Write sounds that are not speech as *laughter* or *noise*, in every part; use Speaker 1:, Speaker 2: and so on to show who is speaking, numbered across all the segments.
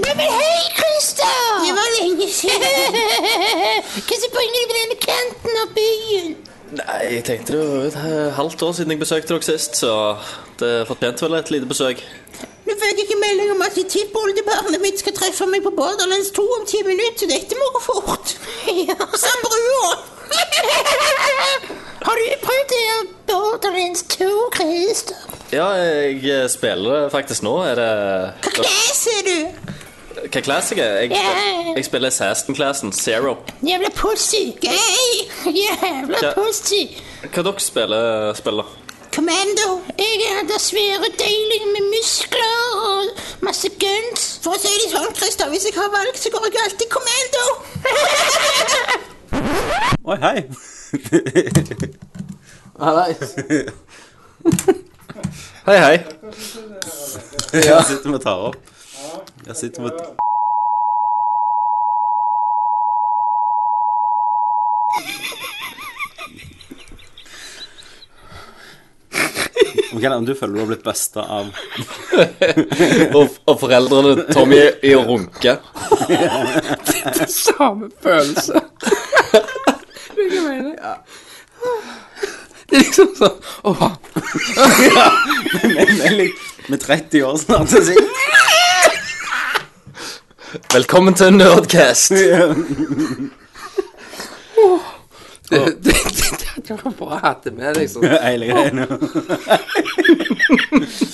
Speaker 1: Neimen, hei, Christer!
Speaker 2: Det var lenge
Speaker 1: *laughs*
Speaker 2: siden.
Speaker 1: Hva som bringer deg på denne kanten av byen?
Speaker 3: Nei, jeg tenkte det var et eh, halvt år siden jeg besøkte dere sist, så det fortjente vel et lite besøk.
Speaker 2: *laughs* Nå fikk jeg ikke melding om at tippoldebarnet mitt skal treffe meg på Borderlands 2 om ti minutter, så dette må gå fort. Samt *laughs* brua!
Speaker 1: Har du prøvd det her Borderlands 2, Christer?
Speaker 3: Ja, jeg eh, spiller det faktisk nå. Er det
Speaker 2: Hva ser du?
Speaker 3: Hva class jeg er? Jeg,
Speaker 1: Ja.
Speaker 3: jeg spiller Saston-classen, Zero.
Speaker 1: Jævla pussy!
Speaker 2: Gay!
Speaker 1: Jævla
Speaker 3: Ja.
Speaker 1: pussy!
Speaker 3: Hva dere spiller, spiller?
Speaker 2: Commando!
Speaker 1: Jeg er der svære deilig med muskler og masse guns.
Speaker 2: For å si det sånn, Christer, hvis jeg har valg, så går jeg alltid kommando.
Speaker 4: Oi, hei!
Speaker 3: *laughs* Hei, hei.
Speaker 4: Jeg sitter med og tar opp. Jeg sitter med Ok, da, Om du føler du har blitt besta av
Speaker 3: Og, og foreldrene Tommy i å runke.
Speaker 5: Samme følelse. Det er ikke meningen. Det er *laughs* liksom sånn Åh,
Speaker 4: Men jeg lik- Med 30 år snart, så sier jeg
Speaker 3: Velkommen til *laughs* Nerdcast.
Speaker 5: det, det, det, det var bra jeg hadde med deg som
Speaker 4: hele greiene.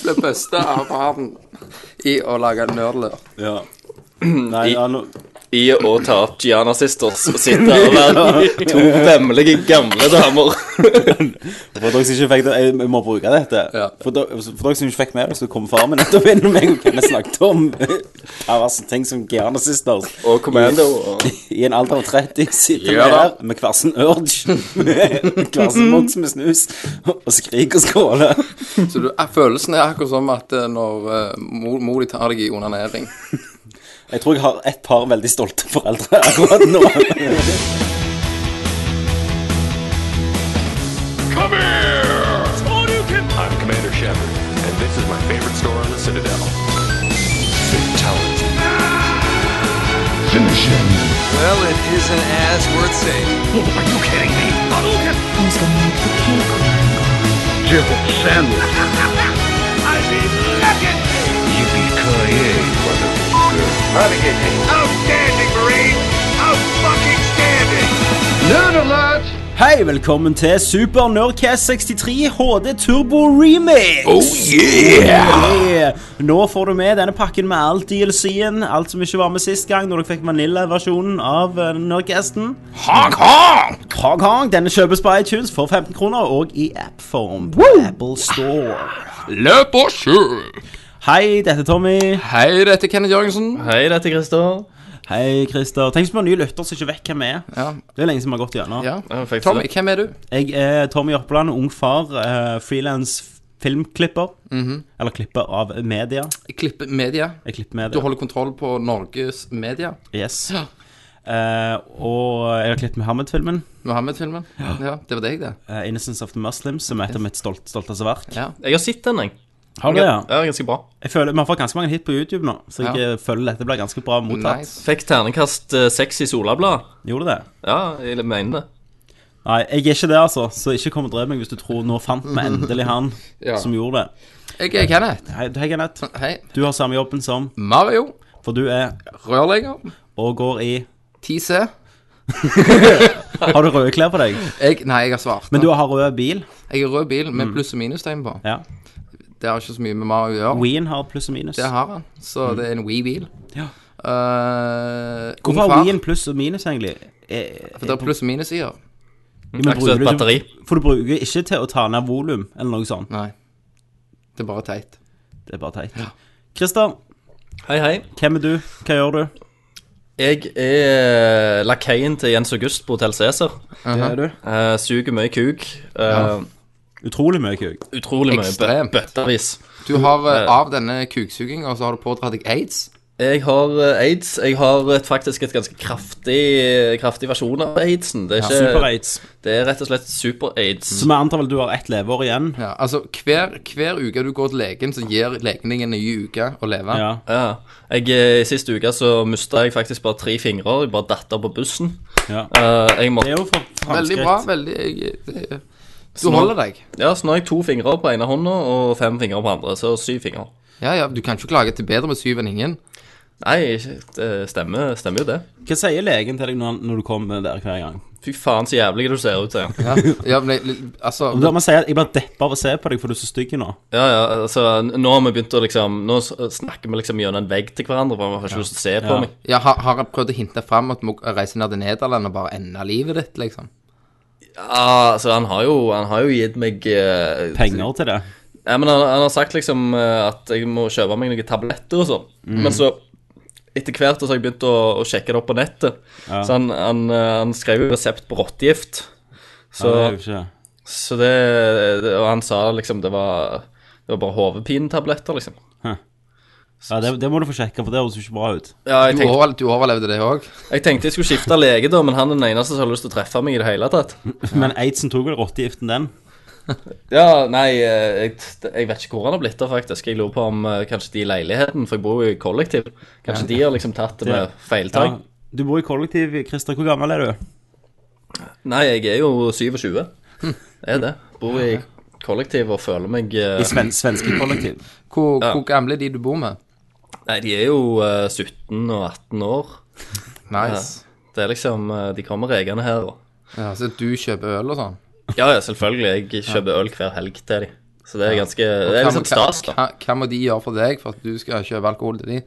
Speaker 5: ble busta av faren i å lage nerdlør.
Speaker 4: Ja. Nei, ja, nå
Speaker 3: I å ta opp Gianna Sisters og sitte her og *laughs* være to vemmelige gamle damer.
Speaker 4: For dere som ikke fikk det, jeg må bruke dette.
Speaker 5: Ja.
Speaker 4: For, dere, for dere som ikke fikk med dere, så kom far min nettopp inn og meg og Kenneth snakket om perverse ting som Giana Sisters.
Speaker 3: Og Commando. Og...
Speaker 4: *laughs* I en alder av 30 sitter vi
Speaker 3: Ja da.
Speaker 4: her med hver sin urge, hver sin boks med snus, og skriker og skåler.
Speaker 5: Så du, eh, følelsen er akkurat som at eh, når eh, mor, mor di tar deg i onanering.
Speaker 4: Jeg tror jeg har et par veldig stolte foreldre akkurat nå.
Speaker 6: Come here! I'm Commander Shepard, and this is my favorite store on the Citadel. Fatality. Finish him.
Speaker 7: Well, it isn't as worth saving.
Speaker 6: Oh, Are you kidding me? Hadouken!
Speaker 8: Who's gonna make the cake?
Speaker 6: Jibble sandwich. *laughs* I mean, look at me! Yippee-ki-yay, motherfucker. Outstanding, Marine! Out-fucking-standing! Noon alert!
Speaker 4: Hei, velkommen til Super Nerdcast 63 HD Turbo Remix.
Speaker 6: Oh, yeah!
Speaker 4: Yeah. Nå får du med denne pakken med alt DLC-en, alt som ikke var med sist gang, når dere fikk Manila-versjonen av eh, Nerdcasten.
Speaker 6: Honk, honk!
Speaker 4: Hong Kong, denne kjøpes på iTunes for 15 kroner og i app-form på Apple Store.
Speaker 5: Løp og kjør!
Speaker 4: Hei, dette er Tommy.
Speaker 5: Hei, dette er Kenneth Jørgensen.
Speaker 3: Hei, dette er Christer.
Speaker 4: Hei, Christer. Tenk så mange nye lyttere som ikke vet hvem vi er.
Speaker 5: Ja,
Speaker 4: Det er lenge siden vi har gått gjennom.
Speaker 5: ja.
Speaker 3: Ja, faktisk
Speaker 5: Tommy,
Speaker 3: det.
Speaker 5: hvem er du?
Speaker 4: Jeg er Tommy Jørpeland, ung far, uh, frilans filmklipper.
Speaker 5: Mhm.
Speaker 4: Eller klipper av media.
Speaker 5: Jeg klipper media.
Speaker 4: Jeg klipper
Speaker 5: Du
Speaker 4: media.
Speaker 5: holder kontroll på Norges media.
Speaker 4: Yes.
Speaker 5: Ja.
Speaker 4: Eh, og jeg har klippet Muhammed-filmen.
Speaker 5: Mohammed-filmen. Ja, det var deg, det.
Speaker 4: eh, 'Innocence of the Muslims', som er et av mitt stolt, stolteste verk.
Speaker 5: Ja.
Speaker 3: Jeg har sett den, jeg.
Speaker 4: Har du det, ja?
Speaker 3: Ja, ganske bra.
Speaker 4: Jeg føler, Vi har fått ganske mange hit på YouTube nå, så jeg
Speaker 5: Ja.
Speaker 4: eh, føler dette blir ganske bra mottatt.
Speaker 5: Nice.
Speaker 3: Fikk ternekast eh, seks i Solabladet.
Speaker 4: Gjorde det?
Speaker 3: Ja, jeg mener det.
Speaker 4: Nei, jeg er ikke det, altså. Så ikke kom og drev meg hvis du tror nå fant vi endelig han
Speaker 5: Ja.
Speaker 4: som gjorde det.
Speaker 5: Jeg er Kenneth.
Speaker 4: Hei, hei, Kenneth.
Speaker 5: Hei.
Speaker 4: Du har samme jobben som
Speaker 5: Mario.
Speaker 4: For du er
Speaker 5: Rørlegger.
Speaker 4: og går i
Speaker 5: 10C.
Speaker 4: Har du røde klær på deg?
Speaker 5: Jeg, nei, jeg har svart.
Speaker 4: Men du har rød bil.
Speaker 5: Jeg har rød bil med pluss- og minustegn på.
Speaker 4: Ja.
Speaker 5: Det har ikke så mye med Mario å gjøre.
Speaker 4: Ween har pluss og minus.
Speaker 5: Det har han. Så det er en Wii-bil.
Speaker 4: Mm. Ja.
Speaker 5: Eh, ung
Speaker 4: Hvorfor
Speaker 5: far,
Speaker 4: har Ween pluss og minus, egentlig? Eh,
Speaker 5: For det er pluss- og minussider.
Speaker 4: men bruker
Speaker 3: Aktuelt
Speaker 4: du ikke-
Speaker 3: batteri.
Speaker 4: For du bruker ikke til å ta ned volum, eller noe sånt.
Speaker 5: Nei. Det er bare teit.
Speaker 4: Det er bare teit. Christer,
Speaker 3: Hei, hei.
Speaker 4: hvem er du? Hva gjør du?
Speaker 3: Jeg er lakeien til Jens August på Hotell Cæsar.
Speaker 4: Det er du.
Speaker 3: Eh, suger mye kuk. eh,
Speaker 4: Utrolig mye kuk.
Speaker 3: Utrolig mye bø
Speaker 5: Ekstremt.
Speaker 3: bøttevis.
Speaker 5: Du har eh, av denne kuksuginga, så har du pådratt deg aids.
Speaker 3: Jeg har eh, aids. Jeg har et, faktisk et ganske kraftig, eh, kraftig versjon av aidsen. Det er, ikke,
Speaker 4: Super-aids.
Speaker 3: det er rett og slett super-aids.
Speaker 4: Så vi antar vel du har ett leveår igjen?
Speaker 5: Ja, altså hver, hver uke du går til legen, så gir legen deg en ny uke å leve.
Speaker 4: Ja.
Speaker 3: Ja. Jeg, eh, I siste uke så mista jeg faktisk bare tre fingre. Jeg bare datt av på bussen.
Speaker 4: ja.
Speaker 3: Eh, jeg
Speaker 4: Det er
Speaker 3: måtte,
Speaker 4: jo for
Speaker 5: Veldig bra.
Speaker 4: framskritt.
Speaker 5: veldig jeg, det- Du holder deg.
Speaker 3: ja, så nå har jeg to fingre på ene hånda og fem fingre på andre. Så syv fingre.
Speaker 5: Ja, ja, Du kan ikke klage til bedre med syv enn ingen.
Speaker 3: Nei, det stemmer, stemmer jo det.
Speaker 4: Hva sier legen til deg når, når du kommer der hver gang?
Speaker 3: Fy faen, så jævlig du ser ut til.
Speaker 5: Ja,
Speaker 4: *laughs*
Speaker 5: ja men jeg, altså
Speaker 4: Og da må jeg si at jeg blir deppa av å se på deg, for du er så stygg nå.
Speaker 3: Ja, ja, altså, nå har vi begynt å liksom Nå s- snakker vi liksom gjennom en vegg til hverandre, for vi har ikke lyst til å se på
Speaker 4: Ja.
Speaker 3: meg.
Speaker 5: ja, har, har jeg prøvd å hinte fram at du må reise ned til Nederland og bare ende livet ditt, liksom?
Speaker 3: Ja, altså, han har jo, han har jo gitt meg eh,
Speaker 4: Penger til det.
Speaker 3: Ja, men han, han har sagt liksom eh, at jeg må kjøpe meg noen tabletter og sånn.
Speaker 4: Mm.
Speaker 3: Men så etter hvert så har jeg begynt å, å sjekke det opp på nettet. Så han, han, eh, han skrev jo resept på rottegift. Så,
Speaker 4: Ja, det er jo ikke.
Speaker 3: så det, det Og han sa liksom det var, det var bare hodepinetabletter, liksom.
Speaker 4: Ja, det, det må du få sjekka, for det høres jo ikke bra ut.
Speaker 3: Ja, jeg
Speaker 5: Du,
Speaker 3: tenkte,
Speaker 5: overle du overlevde det òg?
Speaker 3: jeg tenkte jeg skulle skifte lege, da, men han er den eneste som har lyst til å treffe meg i det hele tatt.
Speaker 4: Men aidsen tok vel rottegiften, den?
Speaker 3: Ja, nei, eh, jeg, jeg vet ikke hvor han har blitt av, faktisk. Jeg lurer på om eh, kanskje de i leiligheten, for jeg bor jo i kollektiv, kanskje de har liksom tatt det med feiltak.
Speaker 4: Ja. Du bor i kollektiv, Christer. Hvor gammel er du?
Speaker 3: Nei, jeg er jo 27. Jeg er det. Bor i kollektiv og føler meg eh,
Speaker 4: I sven svenske kollektiv.
Speaker 5: Hvor, hvor gamle er de du bor med?
Speaker 3: Nei, de er jo eh, 17 og 18 år.
Speaker 5: Nice.
Speaker 3: Det er liksom eh, De kommer regende her og
Speaker 5: Ja, Så du kjøper øl og sånn?
Speaker 3: Ja, ja, selvfølgelig. Jeg kjøper øl hver helg til de. Så det er ganske Det er
Speaker 5: Hva-
Speaker 3: liksom stas, da.
Speaker 5: hva, hva må de gjøre for deg for at du skal kjøpe alkohol til de?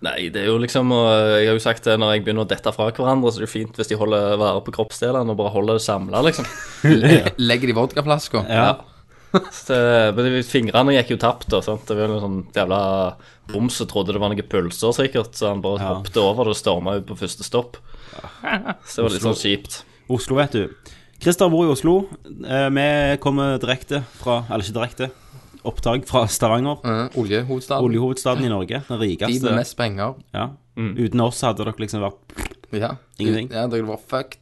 Speaker 3: Nei, det er jo liksom eh, Jeg har jo sagt det når jeg begynner å dette fra hverandre, så det er jo fint hvis de holder vare på kroppsdelene og bare holder det samla, liksom.
Speaker 5: Legger de vodkaflasker?
Speaker 4: Ja.
Speaker 3: Så, men de- fingrene gikk jo tapt, da. Sant? Det var jo en sånn jævla boms som trodde det var noen pølser, sikkert. Så han bare hoppet over det og storma ut på første stopp. Så det var litt sånn kjipt.
Speaker 4: Oslo, vet du. Christer bor i Oslo. Eh, vi kommer direkte fra Eller ikke direkte. Opptak fra Stavanger.
Speaker 5: Mm, Oljehovedstaden.
Speaker 4: Oljehovedstaden i Norge. Den
Speaker 5: de med
Speaker 4: rikeste.
Speaker 5: mest penger.
Speaker 4: Ja. Uten oss hadde dere liksom vært
Speaker 5: Ja.
Speaker 4: Ingenting.
Speaker 5: Ja, dere var fucked.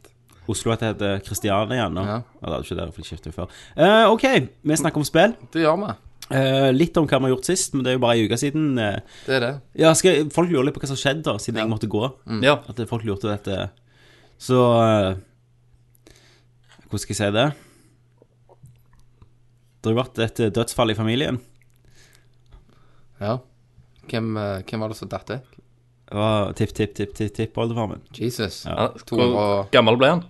Speaker 4: Oslo het- heter Kristiania igjen nå.
Speaker 5: Ja.
Speaker 4: Ja. det hadde ikke det, for de skiftet jo før. Eh, OK, vi snakker om spill.
Speaker 5: Det gjør vi.
Speaker 4: Eh, litt om hva vi har gjort sist, men det er jo bare ei uke siden. Eh,
Speaker 5: Det er det.
Speaker 4: ja, skal, folk lurer litt på hva som skjedde da, siden jeg måtte gå.
Speaker 3: Ja.
Speaker 4: At folk lurte dette Så eh, Hvordan skal jeg si det? Det har jo vært et eh, dødsfall i familien.
Speaker 5: Ja. Hvem, eh, hvem var det som datt vekk?
Speaker 4: Det var tipp, tipp, tipp, tipp, tipp, oldefarmen.
Speaker 5: Jesus.
Speaker 3: Ja, Hvor
Speaker 5: 200
Speaker 3: gammel ble han?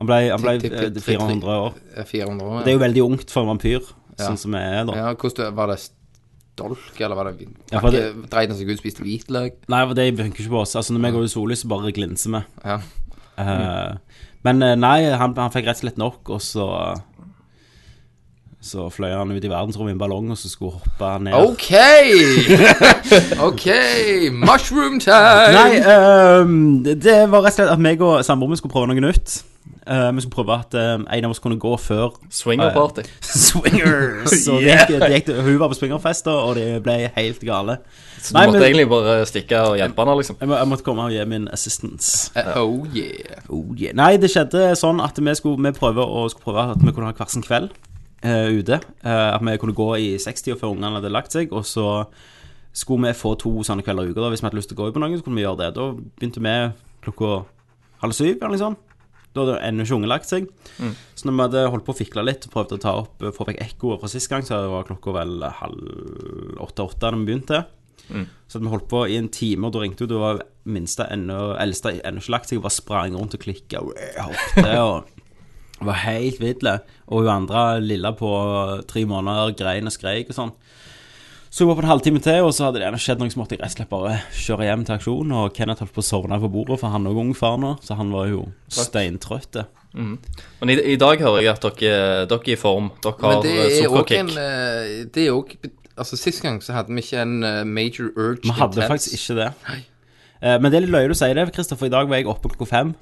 Speaker 4: Han ble, han ble
Speaker 5: Tipp, tipp,
Speaker 4: eh,
Speaker 5: tipp, tipp,
Speaker 4: 400 år.
Speaker 5: Eh, 400 år.
Speaker 4: Det er jo veldig ungt for en vampyr,
Speaker 5: Ja.
Speaker 4: sånn som jeg er, da.
Speaker 5: Ja, hvordan det- var det stolk, eller var det
Speaker 4: Ja, for
Speaker 5: Pakke,
Speaker 4: det-
Speaker 5: Dreide han seg ut, spiste hvitløk?
Speaker 4: Nei, for det funker ikke på oss. Altså, Når vi går i sollys, så bare glinser vi.
Speaker 5: Ja. Mm.
Speaker 4: Eh, Men eh, nei, han, han fikk rett og slett nok, og så Så fløy han ut i verdensrommet i en ballong, og så skulle hoppe ned. *laughs*
Speaker 5: OK! OK, mushroom time!
Speaker 4: Nei, ehm, det var rett og slett at meg og samboeren min skulle prøve noe nytt. Eh, vi skulle prøve at eh, en av oss kunne gå før
Speaker 3: Swinger party.
Speaker 4: swingers. Så det gikk, det gikk, hun var på swingerfest, da, og det ble helt gale.
Speaker 3: Så du
Speaker 4: Nei,
Speaker 3: måtte
Speaker 4: men-
Speaker 3: egentlig bare stikke og hjelpe han, liksom.
Speaker 4: Jeg, må, jeg måtte komme og gi min assistance.
Speaker 5: Eh, Oh yeah.
Speaker 4: Oh, yeah. Nei, det skjedde sånn at vi skulle, vi prøve, og skulle prøve at vi kunne ha hver sin kveld eh, ute. Eh, at vi kunne gå i 60 før ungene hadde lagt seg, og så skulle vi få to sånne kvelder i uka. da. Hvis vi hadde lyst til å gå ut på noe, så kunne vi gjøre det. Da begynte vi klokka halv syv, eller noe sånt. Da hadde ennå ikke ungen lagt seg. Så når vi hadde holdt på å fikle litt og prøvde å ta opp, eh, få vekk ekkoet fra sist gang, så var klokka vel halv åtte-åtte da vi begynte. Så hadde vi holdt på i en time, og da ringte hun. Da var minste ennå, eldste ennå ikke lagt seg, og bare sprang rundt og klikka og hoppet og var helt vidle. Og hun andre lilla på tre måneder grein og skreik og sånn. Så hun var på en halvtime til, og så hadde det gjerne skjedd noe, så måtte jeg rett og slett bare kjøre hjem til aksjon. Og Kenneth holdt på å sovne på bordet, for han er også ung far nå, så han var jo steintrøtt.
Speaker 3: Men i, i dag hører jeg at dere, dere er i form. Dere
Speaker 5: Men
Speaker 3: har
Speaker 5: det
Speaker 3: eh,
Speaker 5: er òg en
Speaker 3: sukkerkick.
Speaker 5: eh, Det er òg Altså, sist gang så hadde vi ikke en eh, major urge
Speaker 4: Vi hadde faktisk ikke det. Eh, Men det er litt løye du sier det, Kristoffer. I dag var jeg oppe klokka fem.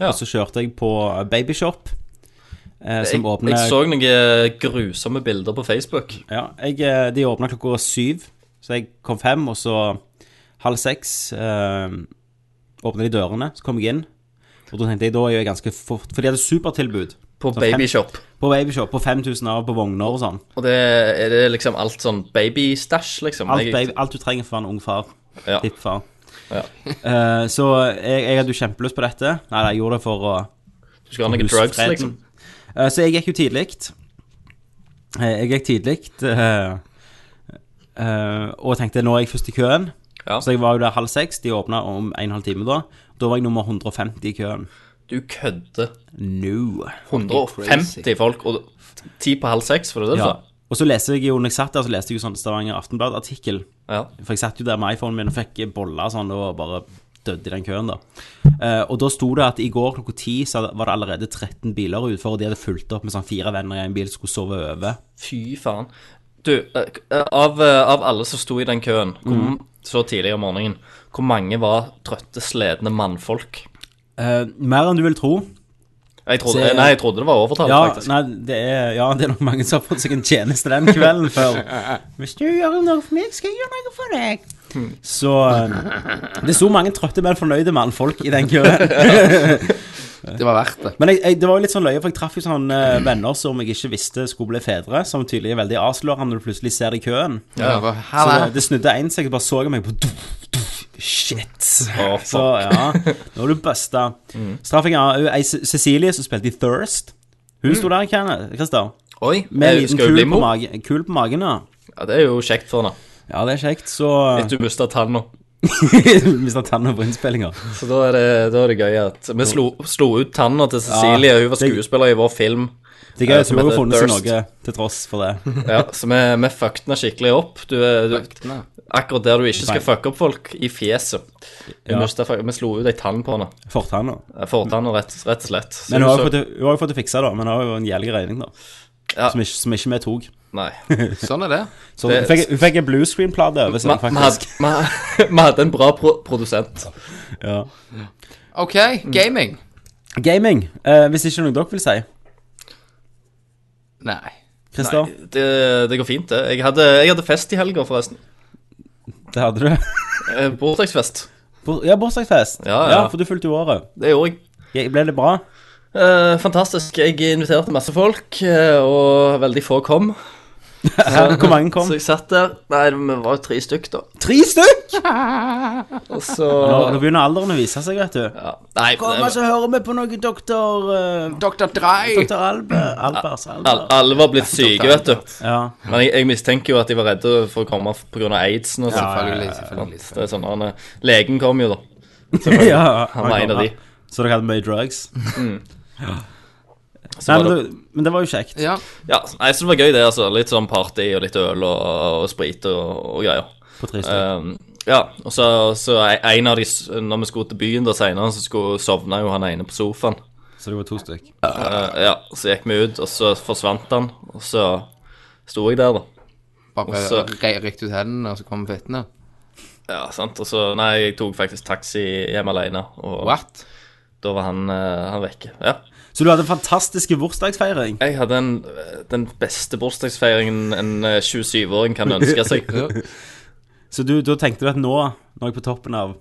Speaker 3: Ja.
Speaker 4: Og så kjørte jeg på Babyshop, eh,
Speaker 3: Jeg,
Speaker 4: som åpner
Speaker 3: jeg så noen eh, grusomme bilder på Facebook.
Speaker 4: ja, jeg, eh, De åpna klokka syv, så jeg kom fem, og så halv seks eh, åpner de dørene, så kommer jeg inn. Og da tenkte jeg, da er jeg ganske fort For de hadde supertilbud.
Speaker 3: På
Speaker 4: Sånn fem-
Speaker 3: babyshop.
Speaker 4: På babyshop, på 5000 av, på vogner og sånn.
Speaker 3: Og det er det liksom alt sånn babystæsj, liksom.
Speaker 4: Alt,
Speaker 3: Jeg-
Speaker 4: baby, alt du trenger for å være en ung far.
Speaker 3: Ja.
Speaker 4: Tippfar.
Speaker 3: Ja.
Speaker 4: Eh, så jeg, jeg hadde jo kjempelyst på dette. Nei, nei, jeg gjorde det for å
Speaker 3: Du skal ha noen drugs,
Speaker 4: husfreden.
Speaker 3: liksom.
Speaker 4: Eh, Så jeg gikk jo tidlig. Eh, Jeg gikk tidlig eh, eh, og tenkte nå er jeg først i køen.
Speaker 3: Ja.
Speaker 4: Så jeg var jo der halv seks. De åpna om en og en halv time da. Da var jeg nummer 150 i køen.
Speaker 3: Du kødder.
Speaker 4: No.
Speaker 3: 150 folk, og ti på halv seks, for det er det du
Speaker 4: Ja.
Speaker 3: sa?
Speaker 4: Og så leste jeg jo når jeg satt der, så leste jeg jo sånn Stavanger Aftenblad-artikkel.
Speaker 3: Ja.
Speaker 4: For jeg satt jo der med iPhonen min og fikk boller og sånn, og bare døde i den køen, da. Eh, og da sto det at i går klokka ti så var det allerede 13 biler utenfor, og de hadde fulgt opp med sånn fire venner i en bil som skulle sove over.
Speaker 3: Fy faen. Du, eh, av, eh, av alle som sto i den køen hvor,
Speaker 4: Mhm.
Speaker 3: så tidlig om morgenen, hvor mange var trøtte, sledne mannfolk?
Speaker 4: Eh, mer enn du vil tro.
Speaker 3: Jeg trodde,
Speaker 4: Se-
Speaker 3: nei, jeg trodde det var overtalt,
Speaker 4: Ja,
Speaker 3: faktisk.
Speaker 4: nei, det er, ja, det er nok mange som har fått seg en tjeneste den kvelden før. Hvis du gjør noe for meg, skal jeg gjøre noe for deg. Så eh, det sto mange trøtte, men fornøyde mannfolk i den køen.
Speaker 5: Det var verdt det.
Speaker 4: Men jeg, jeg, det var jo litt sånn løye, for jeg traff jo sånne eh, venner som jeg ikke visste skulle bli fedre, som tydelig er veldig avslørende når du plutselig ser det i køen.
Speaker 5: Ja,
Speaker 4: Så
Speaker 5: bare,
Speaker 4: det,
Speaker 5: «Halla».
Speaker 4: det snudde én seg, og bare så jeg meg på duff, duff, Shit.
Speaker 3: Å, fuck. Mm.
Speaker 4: så ja, nå er du busta. Så traff jeg en- ei Ce- Cecilie som spilte i Thirst. Hun sto der, Kenneth- Christer.
Speaker 3: Oi,
Speaker 4: Med en
Speaker 3: jeg,
Speaker 4: liten
Speaker 3: Mm. Eh, skal hun bli
Speaker 4: kul på,
Speaker 3: mor?
Speaker 4: magen, kul på magen, ja.
Speaker 3: Ja, det er jo kjekt for henne.
Speaker 4: Ja, det er kjekt, så
Speaker 3: Etter hun mista tanna.
Speaker 4: *laughs* Mista tanna på innspillinga.
Speaker 3: Så da er, det, da er det gøy at Vi slo, slo ut tanna til Cecilie, hun var
Speaker 4: det-
Speaker 3: skuespiller i vår film.
Speaker 4: Det er gøy
Speaker 3: Eh,
Speaker 4: at
Speaker 3: som
Speaker 4: hun har
Speaker 3: heter
Speaker 4: funnet seg
Speaker 3: Thirst.
Speaker 4: noe til tross for
Speaker 3: *laughs*
Speaker 4: det.
Speaker 3: Ja, Så vi, vi fucket henne skikkelig opp. Du, er- du,
Speaker 5: Nei.
Speaker 3: akkurat der du ikke skal
Speaker 4: Nei.
Speaker 3: fucke opp folk, i fjeset. Vi,
Speaker 4: Ja.
Speaker 3: mistet fa- vi slo ut ei tann på henne.
Speaker 4: Fortanna.
Speaker 3: Eh, Fortanna, rett, rett og slett. Så
Speaker 4: Men hun har
Speaker 3: så-
Speaker 4: jo fått, det- hun har jo fått det fiksa, da. Men hun har jo en jævlig regning, da.
Speaker 3: Ja.
Speaker 4: Som, ikke, som ikke vi tok. *laughs*
Speaker 3: Nei.
Speaker 5: Sånn er det.
Speaker 4: Så
Speaker 3: Det-
Speaker 4: hun, fikk, hun fikk en bluescreen-plate over
Speaker 3: Vi
Speaker 4: seg,
Speaker 3: vi hadde,
Speaker 4: faktisk.
Speaker 3: *laughs* vi- vi hadde en bra pro produsent.
Speaker 4: Ja.
Speaker 5: OK, gaming.
Speaker 4: Gaming. Eh, hvis ikke noe dere vil si.
Speaker 5: Nei.
Speaker 4: Christer,
Speaker 3: Det, det går fint, det. Jeg hadde, jeg hadde fest i helga, forresten.
Speaker 4: det hadde du. *laughs*
Speaker 3: Eh, Bursdagsfest.
Speaker 4: Bur- Ja, bursdagsfest.
Speaker 3: Ja, ja.
Speaker 4: for du fylte jo året.
Speaker 3: Det gjorde jeg.
Speaker 4: Jeg- Ble det bra?
Speaker 3: Eh, fantastisk. Jeg inviterte masse folk, eh, og veldig få kom. *laughs*
Speaker 4: Hvor mange kom?
Speaker 3: Så jeg satt der. Nei, vi var jo tre stykk, da.
Speaker 4: Tre stykk!
Speaker 3: Og
Speaker 4: *laughs* Nå, nå
Speaker 3: så
Speaker 4: begynner alderen å vise seg, vet du.
Speaker 3: ja. Nei,
Speaker 4: Kom, altså. og så hører vi på noe doktor eh,
Speaker 5: Dr. Dry.
Speaker 4: Doktor Albert. Albers,
Speaker 3: al-
Speaker 4: Albert.
Speaker 3: alle var blitt syke, vet du. *laughs*
Speaker 4: Ja.
Speaker 3: Men jeg, jeg mistenker jo at de var redde for å komme pga. aidsen og sånn.
Speaker 5: Selvfølgelig. selvfølgelig,
Speaker 3: Det er sånn, han, eh, legen kom jo, da.
Speaker 4: ja,
Speaker 3: Han var en av de.
Speaker 4: Så dere hadde
Speaker 3: *laughs*
Speaker 4: mye drugs?
Speaker 3: Så
Speaker 4: Nei,
Speaker 3: var det-
Speaker 4: men, det, men det var jo kjekt.
Speaker 5: Ja.
Speaker 3: Ja, nei, så det var gøy det, altså. Litt sånn party og litt øl og, og sprit og, og greier.
Speaker 4: På tre stykker.
Speaker 3: Ehm, ja, og så, så e-, en av de, s- når vi skulle til byen da senere, så skulle sovna jo han ene på sofaen.
Speaker 4: Så det var to stykk.
Speaker 3: Eh, ja, så gikk vi ut, og så forsvant han, og så sto jeg der, da.
Speaker 5: Bare
Speaker 3: Og så-
Speaker 5: re- rikte ut hendene, og så kommer fettene.
Speaker 3: Ja, sant, og så, nei, jeg tok faktisk taxi hjem alene, og
Speaker 5: What?
Speaker 3: da var han, eh, han vekke. Ja,
Speaker 4: Så du hadde en fantastisk bursdagsfeiring.
Speaker 3: jeg hadde en, den beste bursdagsfeiringen en eh, 27-åring kan ønske *laughs* seg.
Speaker 4: Så du, da tenkte du at nå, nå er jeg på toppen av,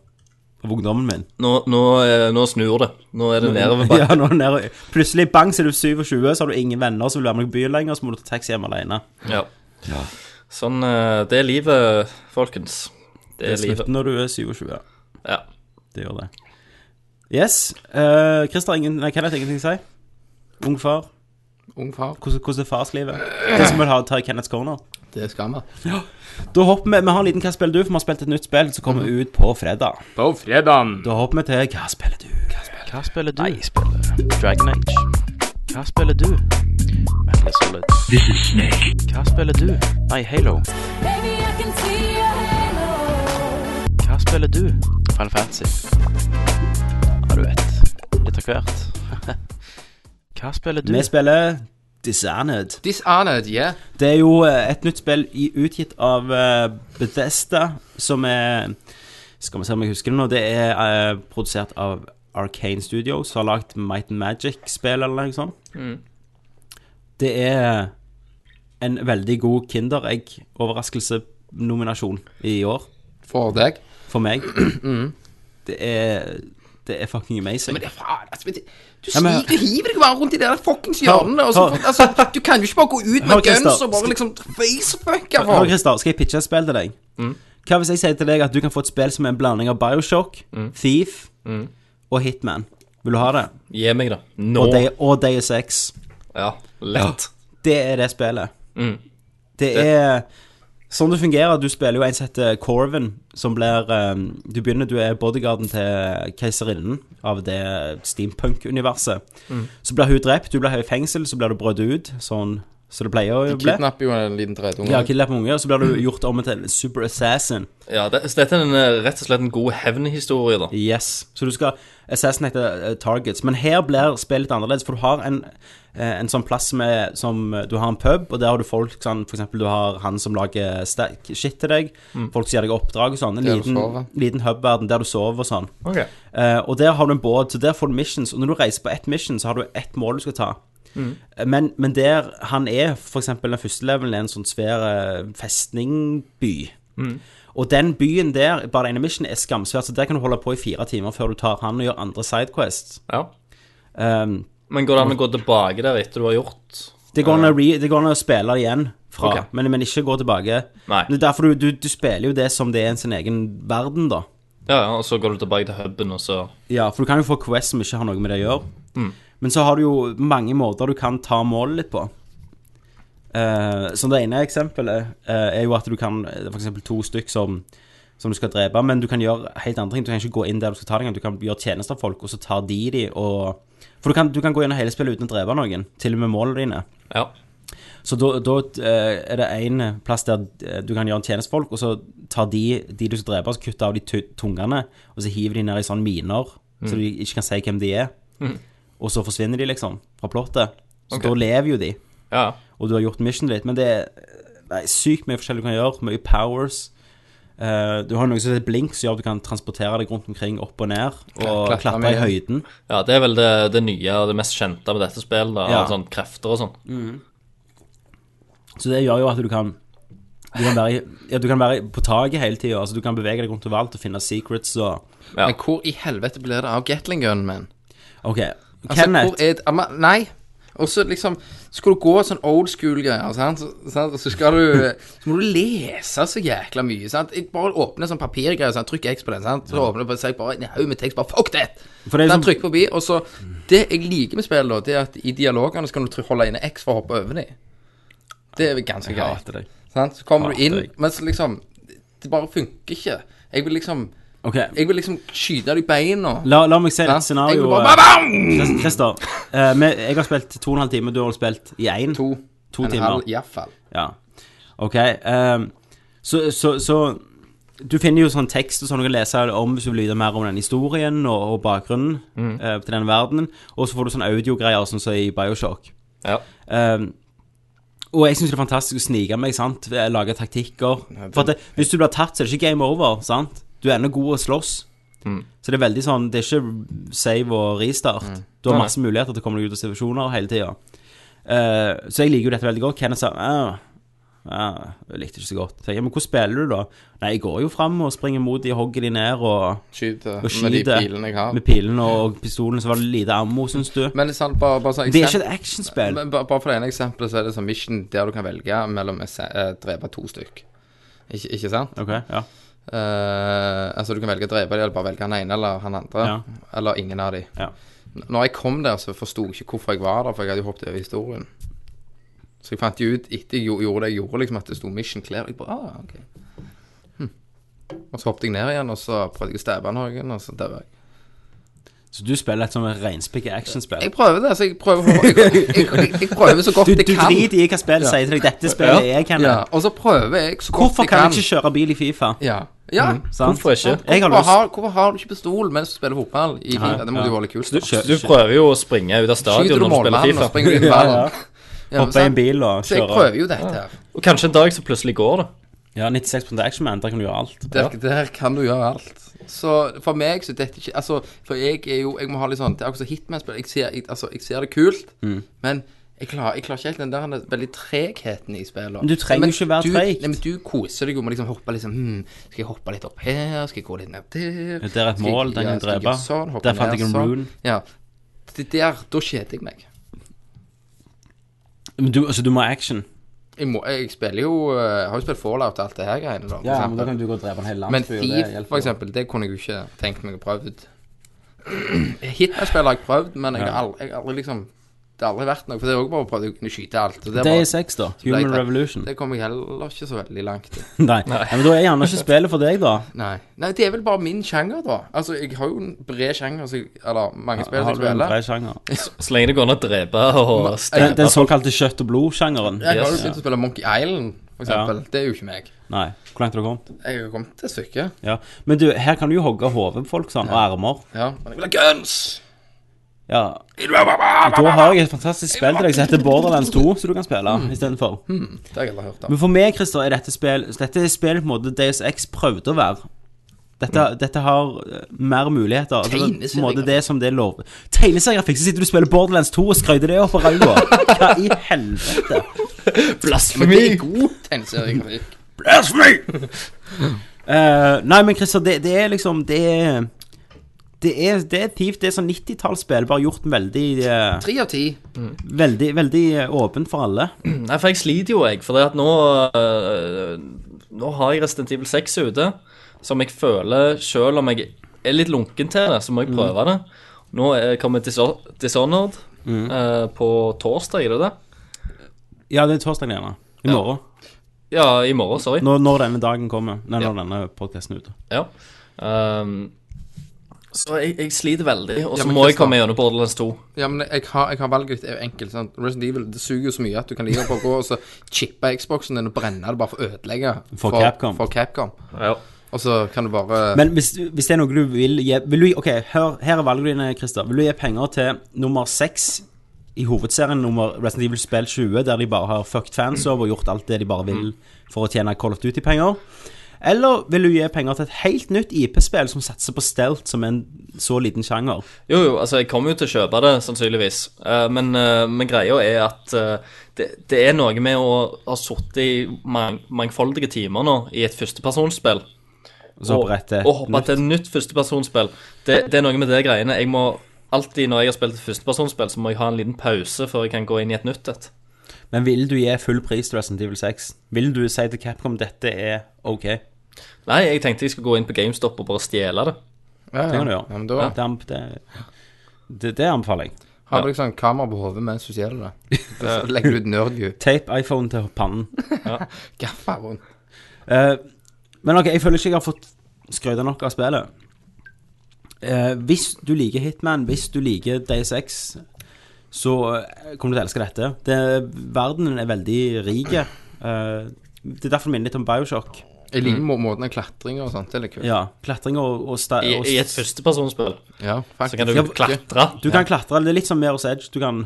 Speaker 4: av ungdommen min.
Speaker 3: Nå, nå, eh, nå snur det. Nå er det nedoverbakke.
Speaker 4: *laughs* Ja, nå er det nedover. Plutselig bang, så er du 27, så har du ingen venner som vil være med deg i byen lenger, så må du ta taxi hjem alene.
Speaker 3: Ja. Sånn eh, Det er livet, folkens. Det
Speaker 4: Det
Speaker 3: er
Speaker 4: er
Speaker 3: livet.
Speaker 4: slutten når du er 27. ja.
Speaker 3: Ja.
Speaker 4: Det gjør det. Yes. Uh, Christer, ingen, nei, Kenneth, ingenting å si? Ung far.
Speaker 5: Ung far.
Speaker 4: Hvordan, hvordan er farslivet? Det skal vi ha, ta i Kenneths corner.
Speaker 5: Det skal vi.
Speaker 4: Da hopper vi, vi har en liten Hva spiller du? For vi har spilt et nytt spill som kommer ut på fredag.
Speaker 5: På fredagen.
Speaker 4: Da hopper vi til Hva spiller du? Hva spiller
Speaker 8: Hva spiller du? Nei, spiller Dragon Age. Hva spiller du? Metal Gear Solid. This is Snake. Hva spiller du? Nei, Halo.
Speaker 9: Baby, I can see your halo.
Speaker 8: Hva spiller du? Final Fantasy. Ja, du vet. Litt av hvert. *laughs* Hva spiller
Speaker 4: du?
Speaker 8: du?
Speaker 4: Vi spiller Dishonored.
Speaker 5: Dishonored, yeah.
Speaker 4: Det er jo eh, et nytt spill i, utgitt av eh, Bethesda, som er Skal vi se om jeg husker det nå. Det er eh, produsert av Arcane Studios, som har lagd Might and Magic-spill eller noe sånt. Det er en veldig god Kinderegg-overraskelse-nominasjon i år
Speaker 5: For deg.
Speaker 4: for meg. Det er Det er fucking amazing.
Speaker 5: Men det er faen, altså, men det- du
Speaker 4: Ja, men-
Speaker 5: sniker, du hiver deg bare rundt i det der fuckings
Speaker 4: Hør,
Speaker 5: hjørnet. Og så,
Speaker 4: hør.
Speaker 5: altså, du kan jo ikke bare gå ut med
Speaker 4: Hør, Christer,
Speaker 5: guns og bare
Speaker 4: skal-
Speaker 5: liksom facefucke
Speaker 4: Hør,
Speaker 5: folk.
Speaker 4: Christer, skal jeg pitche et spill til deg? Hva hvis jeg sier til deg at du kan få et spill som er en blanding av Bioshock, Thief og Hitman? Vil du ha det?
Speaker 3: Gi meg det. Nå.
Speaker 4: Og, Day, og Deus Ex.
Speaker 3: Ja, lett.
Speaker 4: Det er det spillet. Det er sånn det fungerer. Du spiller jo en som heter Corvin, som blir ehm, Du begynner, du er bodyguarden til keiserinnen av det steampunk-universet. Så blir hun drept, du blir hevet i fengsel, så blir du brødd ut, sånn som det pleier å bli.
Speaker 5: Kidnapper jo en liten tredjeunge.
Speaker 4: Ja, kidnapping unge, og så blir du gjort om til en super assassin.
Speaker 3: Ja, det, så dette er en, eh, rett og slett en god hevnhistorie, da.
Speaker 4: Yes. Så du skal assassinate eh, targets. Men her blir spillet litt annerledes, for du har en, eh, en sånn plass som er som eh, Du har en pub, og der har du folk sånn, For eksempel du har han som lager sterk shit til deg. Folk som gir deg oppdrag og sånn. En
Speaker 5: Mm. Der du
Speaker 4: liten,
Speaker 5: sover.
Speaker 4: liten hub-verden der du sover og sånn.
Speaker 3: Ok.
Speaker 4: Eh, og der har du en båt, så der får du missions. Og når du reiser på ett mission, så har du ett mål du skal ta.
Speaker 3: Mm.
Speaker 4: Eh, Men, men der han er, f.eks. den første levelen, er en sånn svær eh, festningby.
Speaker 3: Mm.
Speaker 4: Og den byen der, bare det ene missionet, er skamsvært, så der kan du holde på i fire timer før du tar han og gjør andre sidequests.
Speaker 3: Ja.
Speaker 4: Um,
Speaker 3: Men går det an å gå tilbake der etter du har gjort
Speaker 4: Det går an å re- det går an å spille det igjen, fra,
Speaker 3: Ok.
Speaker 4: men, men ikke gå tilbake.
Speaker 3: Nei.
Speaker 4: Det er derfor du, du, du spiller jo det som det er en sin egen verden, da.
Speaker 3: Ja, ja, og så går du tilbake til huben, og så
Speaker 4: Ja, for du kan jo få quest som ikke har noe med det å gjøre. Men så har du jo mange måter du kan ta målet litt på. Eh, så det ene eksempelet eh, er jo at du kan Det er for eksempel to stykk som, som du skal drepe, men du kan gjøre helt andre ting. Du kan ikke gå inn der du skal ta dem, du kan gjøre tjenester av folk, og så tar de de og For du kan, du kan gå gjennom hele spillet uten å drepe noen, til og med målene dine.
Speaker 3: Ja.
Speaker 4: Så da, da eh, er det en plass der eh, du kan gjøre en tjeneste for folk, og så tar de de du skal drepe, og så kutter av de tu- tungene, og så hiver de ned i sånne miner,
Speaker 5: Mm.
Speaker 4: så de ikke kan si hvem de er. Og så forsvinner de, liksom, fra plottet. Så da lever jo de,
Speaker 3: Ja.
Speaker 4: og du har gjort missionet ditt. Men det er eh, nei, sykt mye forskjellig du kan gjøre, mye powers. Eh, du har noe som heter blink, som gjør at du kan transportere deg rundt omkring, opp og ned, og
Speaker 5: Klatre
Speaker 4: klatre i
Speaker 5: med-
Speaker 4: høyden.
Speaker 3: ja, det er vel det, det nye og det mest kjente med dette spillet. da,
Speaker 4: Ja.
Speaker 3: av Sånn krefter og sånn.
Speaker 4: Så det gjør jo at du kan Du kan være, i- ja, du kan være på taket hele tida. Altså, du kan bevege deg rundt overalt og finne secrets og
Speaker 3: Ja.
Speaker 5: Men hvor i helvete blir det av Gatling Gun, man?
Speaker 4: OK.
Speaker 5: Altså,
Speaker 4: Kenneth
Speaker 5: hvor er det, ah, men- Nei. Og så liksom Skal du gå sånn old school-greier, sant? Så, sant? og så skal du Så må du lese så jækla mye, sant? Jeg bare åpner sånn papirgreier, sant? trykk X på den, sant? Så åpner du på seg bare en haug med tekst, bare fuck that!
Speaker 4: For det er
Speaker 5: Sant?
Speaker 4: liksom-
Speaker 5: Trykk forbi, og så Det jeg liker med spill, da, det er at i dialogene så kan du try- holde inne X for å hoppe over dem. Det er ganske
Speaker 4: Jeg
Speaker 5: greit.
Speaker 4: hater deg.
Speaker 5: Sant? Så kommer du
Speaker 4: Hater
Speaker 5: inn,
Speaker 4: deg.
Speaker 5: men så liksom Det bare funker ikke. Jeg vil liksom
Speaker 4: OK.
Speaker 5: Jeg vil liksom skyte deg i beina.
Speaker 4: La, la meg se et
Speaker 5: sant? Jeg
Speaker 4: scenario.
Speaker 5: vil bare,
Speaker 4: eh,
Speaker 5: ba-bam!
Speaker 4: Chris- Christer, eh, vi- jeg har spilt to og en halv time, du har spilt i én.
Speaker 5: To.
Speaker 4: To
Speaker 5: en
Speaker 4: timer.
Speaker 5: halv, i hvert fall.
Speaker 4: Ja. OK. ehm, så, så, så Du finner jo sånn tekst og sånn du kan lese om hvis du vil vite mer om den historien og, og bakgrunnen
Speaker 5: Mm.
Speaker 4: eh, til den verdenen. Og så får du sånn audiogreier, sånn som i Bioshock.
Speaker 3: Ja.
Speaker 4: Ehm, og jeg syns det er fantastisk å snike meg, sant? lage taktikker. For at det, Hvis du blir tatt, så er det ikke game over. sant? Du er ennå god å slåss.
Speaker 3: Mm.
Speaker 4: Så det er veldig sånn Det er ikke save og restart.
Speaker 5: Mm.
Speaker 4: Du har
Speaker 3: Nei,
Speaker 4: masse muligheter til å komme deg ut av situasjoner hele tida. så jeg liker jo dette veldig godt. Kenneth sa «Ah, ah, jeg likte ikke så godt. Så jeg, men hvordan spiller du, da? Nei, jeg går jo fram og springer mot de, hogger de ned og,
Speaker 5: Skyter
Speaker 4: og
Speaker 5: med de
Speaker 4: skyter.
Speaker 5: pilene jeg har.
Speaker 4: Med pilen og pistolen, så var det lite ammo, syns du?
Speaker 5: Men det er sant, bare, bare sånn
Speaker 4: Det er ikke
Speaker 5: eksempel-
Speaker 4: et actionspill.
Speaker 5: Men bare, bare for det ene eksempelet, så er det sånn mission der du kan velge mellom å se- eh, drepe to stykk. Ikke, ikke sant?
Speaker 4: Ok, ja.
Speaker 5: Eh, altså, du kan velge å drepe dem, eller bare velge han ene eller han andre.
Speaker 4: Ja.
Speaker 5: Eller ingen av dem.
Speaker 4: Ja.
Speaker 5: Når jeg kom der, så forsto jeg ikke hvorfor jeg var der, for jeg hadde jo hoppet over historien. Så jeg fant jo ut etter jeg gjo- gjorde det jeg gjorde, liksom at det sto Mission Clear. Jeg bare, ah, ok. Hm. Og så hoppet jeg ned igjen, og så prøvde jeg å stabbe noen, og så døde jeg.
Speaker 4: Så du spiller et sånn reinspikka actionspill?
Speaker 5: Jeg prøver det, altså. Jeg prøver, jeg, jeg, jeg, jeg prøver så godt
Speaker 4: Du,
Speaker 5: jeg
Speaker 4: du
Speaker 5: kan.
Speaker 4: driter i hva spillet sier til deg. Dette spillet er Kenneth.
Speaker 5: Ja, og så prøver jeg så godt
Speaker 4: Hvorfor
Speaker 5: jeg
Speaker 4: kan
Speaker 5: kan.
Speaker 4: jeg ikke kjøre bil i Fifa?
Speaker 5: Ja. ja.
Speaker 4: Sant?
Speaker 3: Hvorfor ikke?
Speaker 4: Jeg har
Speaker 5: Hvorfor,
Speaker 4: lyst.
Speaker 5: har, hvorfor har du ikke pistol mens du spiller fotball? I FIFA? Det må
Speaker 4: ja.
Speaker 5: jo være litt kult.
Speaker 3: Du,
Speaker 5: da.
Speaker 4: Kjø-
Speaker 3: du prøver jo å springe ut av
Speaker 5: Skyter
Speaker 3: stadion
Speaker 5: du
Speaker 3: når du spiller
Speaker 5: målmannen og
Speaker 3: Fifa.
Speaker 5: springer ut i
Speaker 4: Ja, ja.
Speaker 5: ballen? Ja,
Speaker 4: Hoppe i en
Speaker 5: sant?
Speaker 4: bil og
Speaker 5: Så jeg
Speaker 4: kjøre.
Speaker 5: prøver jo dette her.
Speaker 3: Og kanskje en dag så plutselig går det.
Speaker 4: Ja, 96 Action Man, der kan du gjøre alt.
Speaker 5: Der, der kan du gjøre alt. Så for meg så er dette ikke
Speaker 4: Mm.
Speaker 5: Altså, for jeg er jo Jeg må ha litt sånn Det er akkurat som Hitman-spill. Jeg, ser- jeg, altså, jeg ser det kult, men Jeg klarer, jeg klarer ikke helt den der veldig tregheten i spillet.
Speaker 4: Men du trenger jo ikke være
Speaker 5: du-
Speaker 4: treg.
Speaker 5: Nei, men du koser deg jo med å liksom hoppe liksom hmm, Skal jeg hoppe litt opp her? Skal jeg gå litt ned der?
Speaker 4: Ja, der er et
Speaker 5: Skal jeg-
Speaker 4: mål, den kan jeg
Speaker 5: skal jeg
Speaker 4: drepe.
Speaker 5: gjøre Sånn, hoppe
Speaker 4: Der fant
Speaker 5: ned
Speaker 4: jeg en
Speaker 5: sånn.
Speaker 4: rune.
Speaker 5: Ja. Det der, da kjeder jeg meg.
Speaker 4: Men du, altså, du må ha action.
Speaker 5: Jeg, må, jeg spiller jo eh, Jeg har jo spilt Fallout og alt det her greiene, da. for eksempel.
Speaker 4: du gå og drepe en hel
Speaker 5: Men Thief, for eksempel, det kunne jeg jo ikke tenkt meg å prøve ut. Hitman-spill har jeg prøvd, men jeg har aldri, jeg har aldri liksom Det har aldri vært noe, for det er også bare å prøve å kunne skyte alt. og Det, er
Speaker 4: Day
Speaker 5: bare,
Speaker 4: 6, da. Human
Speaker 5: Nei,
Speaker 4: Revolution.
Speaker 5: det kommer jeg heller ikke så veldig langt i.
Speaker 4: Nei. Ja, men da er gjerne ikke spillet for
Speaker 5: *laughs*
Speaker 4: deg, da.
Speaker 5: Nei. Nei, det er vel bare min sjanger, da. Altså, jeg har jo en bred sjanger, så jeg, eller mange spill som
Speaker 4: Har
Speaker 5: jeg
Speaker 4: du en
Speaker 5: spiller.
Speaker 4: bred sjanger?
Speaker 3: Så lenge det går an å drepe og
Speaker 4: Den,
Speaker 3: steppe
Speaker 4: den såkalte kjøtt og blod-sjangeren.
Speaker 5: Jeg har jo
Speaker 3: Yes.
Speaker 5: begynt å spille Monkey Island, for eksempel. Det er jo ikke meg.
Speaker 4: Nei. Hvor langt har du kommet?
Speaker 5: Jeg har kommet til et stykke.
Speaker 4: Ja. Men du, her kan du jo hogge hodet på folk sånn, og armer.
Speaker 5: Ja. Men jeg vil ha guns!
Speaker 4: Ja. Og da har jeg et fantastisk spill til deg som heter Borderlands 2, som du kan spille istedenfor.
Speaker 5: Det har jeg aldri hørt om.
Speaker 4: Men for meg, Christer, er dette spill Dette er spill på en måte Deus X prøvde å være. Dette, dette har eh, mer muligheter. Altså, det, på en måte det som det er lov Tegneseriegrafikk, så sitter du og spiller Borderlands 2 og skrøyter det opp på ræva. Hva i helvete?
Speaker 5: Men det er god tegneseriegrafikk.
Speaker 4: Eh, nei, men Christer, det, det er liksom Det er det er, det er Thief, det er sånn 90-tallsspill, bare gjort veldig eh,
Speaker 5: Tre av ti.
Speaker 4: Veldig, veldig eh, åpent for alle.
Speaker 3: Nei, for jeg sliter jo, jeg. For det at nå øh, Nå har jeg Resident Evil 6 ute, som jeg føler Selv om jeg er litt lunken til det, så må jeg prøve det. Nå er- kommer Diso- Dishonored øh, på torsdag, er det det?
Speaker 4: Ja, det er torsdag gjerne. I morgen.
Speaker 3: Ja, i morgen, sorry.
Speaker 4: Når, når denne dagen kommer. Nei, når denne podkasten er ute.
Speaker 3: Ja. Ehm, så jeg, jeg sliter veldig, og
Speaker 5: Ja,
Speaker 3: så
Speaker 5: men
Speaker 3: må jeg
Speaker 5: Kristian-
Speaker 3: komme gjennom Borderlands 2.
Speaker 5: Ja, men jeg har, jeg har valget ditt er jo enkelt. Sant? Resident Evil det suger jo så mye at du kan ligge på å gå og så chippe Xboxen din og brenne det bare for å ødelegge.
Speaker 4: For Capcom.
Speaker 5: For Capcom.
Speaker 3: Ja.
Speaker 5: Og så kan du bare
Speaker 4: Men hvis, hvis det er noe du vil gi vil du, Ok, hør, her er valget dine, Christer. Vil du gi penger til nummer seks i hovedserien, nummer Resident Evil Spill 20, der de bare har fucked fans over og gjort alt det de bare vil
Speaker 3: Mm.
Speaker 4: for å tjene Call of Duty-penger? Eller vil du gi penger til et helt nytt IP-spill som satser på stelt som en så liten sjanger?
Speaker 3: Jo, jo, altså jeg kommer jo til å kjøpe det, sannsynligvis. Eh, men, eh, men greia er at eh, det, det er noe med å ha sittet i mang mangfoldige timer nå i et førstepersonsspill.
Speaker 4: Så
Speaker 3: og,
Speaker 4: hoppe rett til et
Speaker 3: og hoppe til et nytt førstepersonsspill. Det, det er noe med det greiene. Jeg må alltid når jeg har spilt et førstepersonsspill, så må jeg ha en liten pause før jeg kan gå inn i et nytt et.
Speaker 4: Men vil du gi full pris til Resident Evil 6? Vil du si til Capcom dette er OK? Det
Speaker 3: Nei, jeg tenkte jeg skulle gå inn på GameStop og bare stjele det.
Speaker 5: ja,
Speaker 4: kan du
Speaker 5: ja.
Speaker 4: gjøre.
Speaker 5: ja, men da
Speaker 4: det, anb- det, det, det anbefaler jeg.
Speaker 5: har du liksom kamera på hodet mens du ser
Speaker 4: *laughs*
Speaker 5: det. Og så legger du ut nerdview.
Speaker 4: Tape iPhone til pannen.
Speaker 5: Gaffaren.
Speaker 4: Eh, men ok, jeg føler ikke jeg har fått skrøyta nok av spillet. Eh, hvis du liker Hitman, hvis du liker DaySX, så eh, kommer du til å elske dette. Det, verdenen er veldig rik. Eh, det er derfor det minner litt om Bioshock.
Speaker 5: Jeg liker må måten av klatring og sånt. Det er litt kult.
Speaker 4: Ja, Klatring og, og, sta,
Speaker 3: I,
Speaker 4: og
Speaker 3: i et førstepersonsspill.
Speaker 5: Ja,
Speaker 3: Så
Speaker 5: faktisk.
Speaker 3: kan du
Speaker 4: Ja,
Speaker 3: klatre.
Speaker 4: Du kan klatre. Det er litt som Meros Edge. Du kan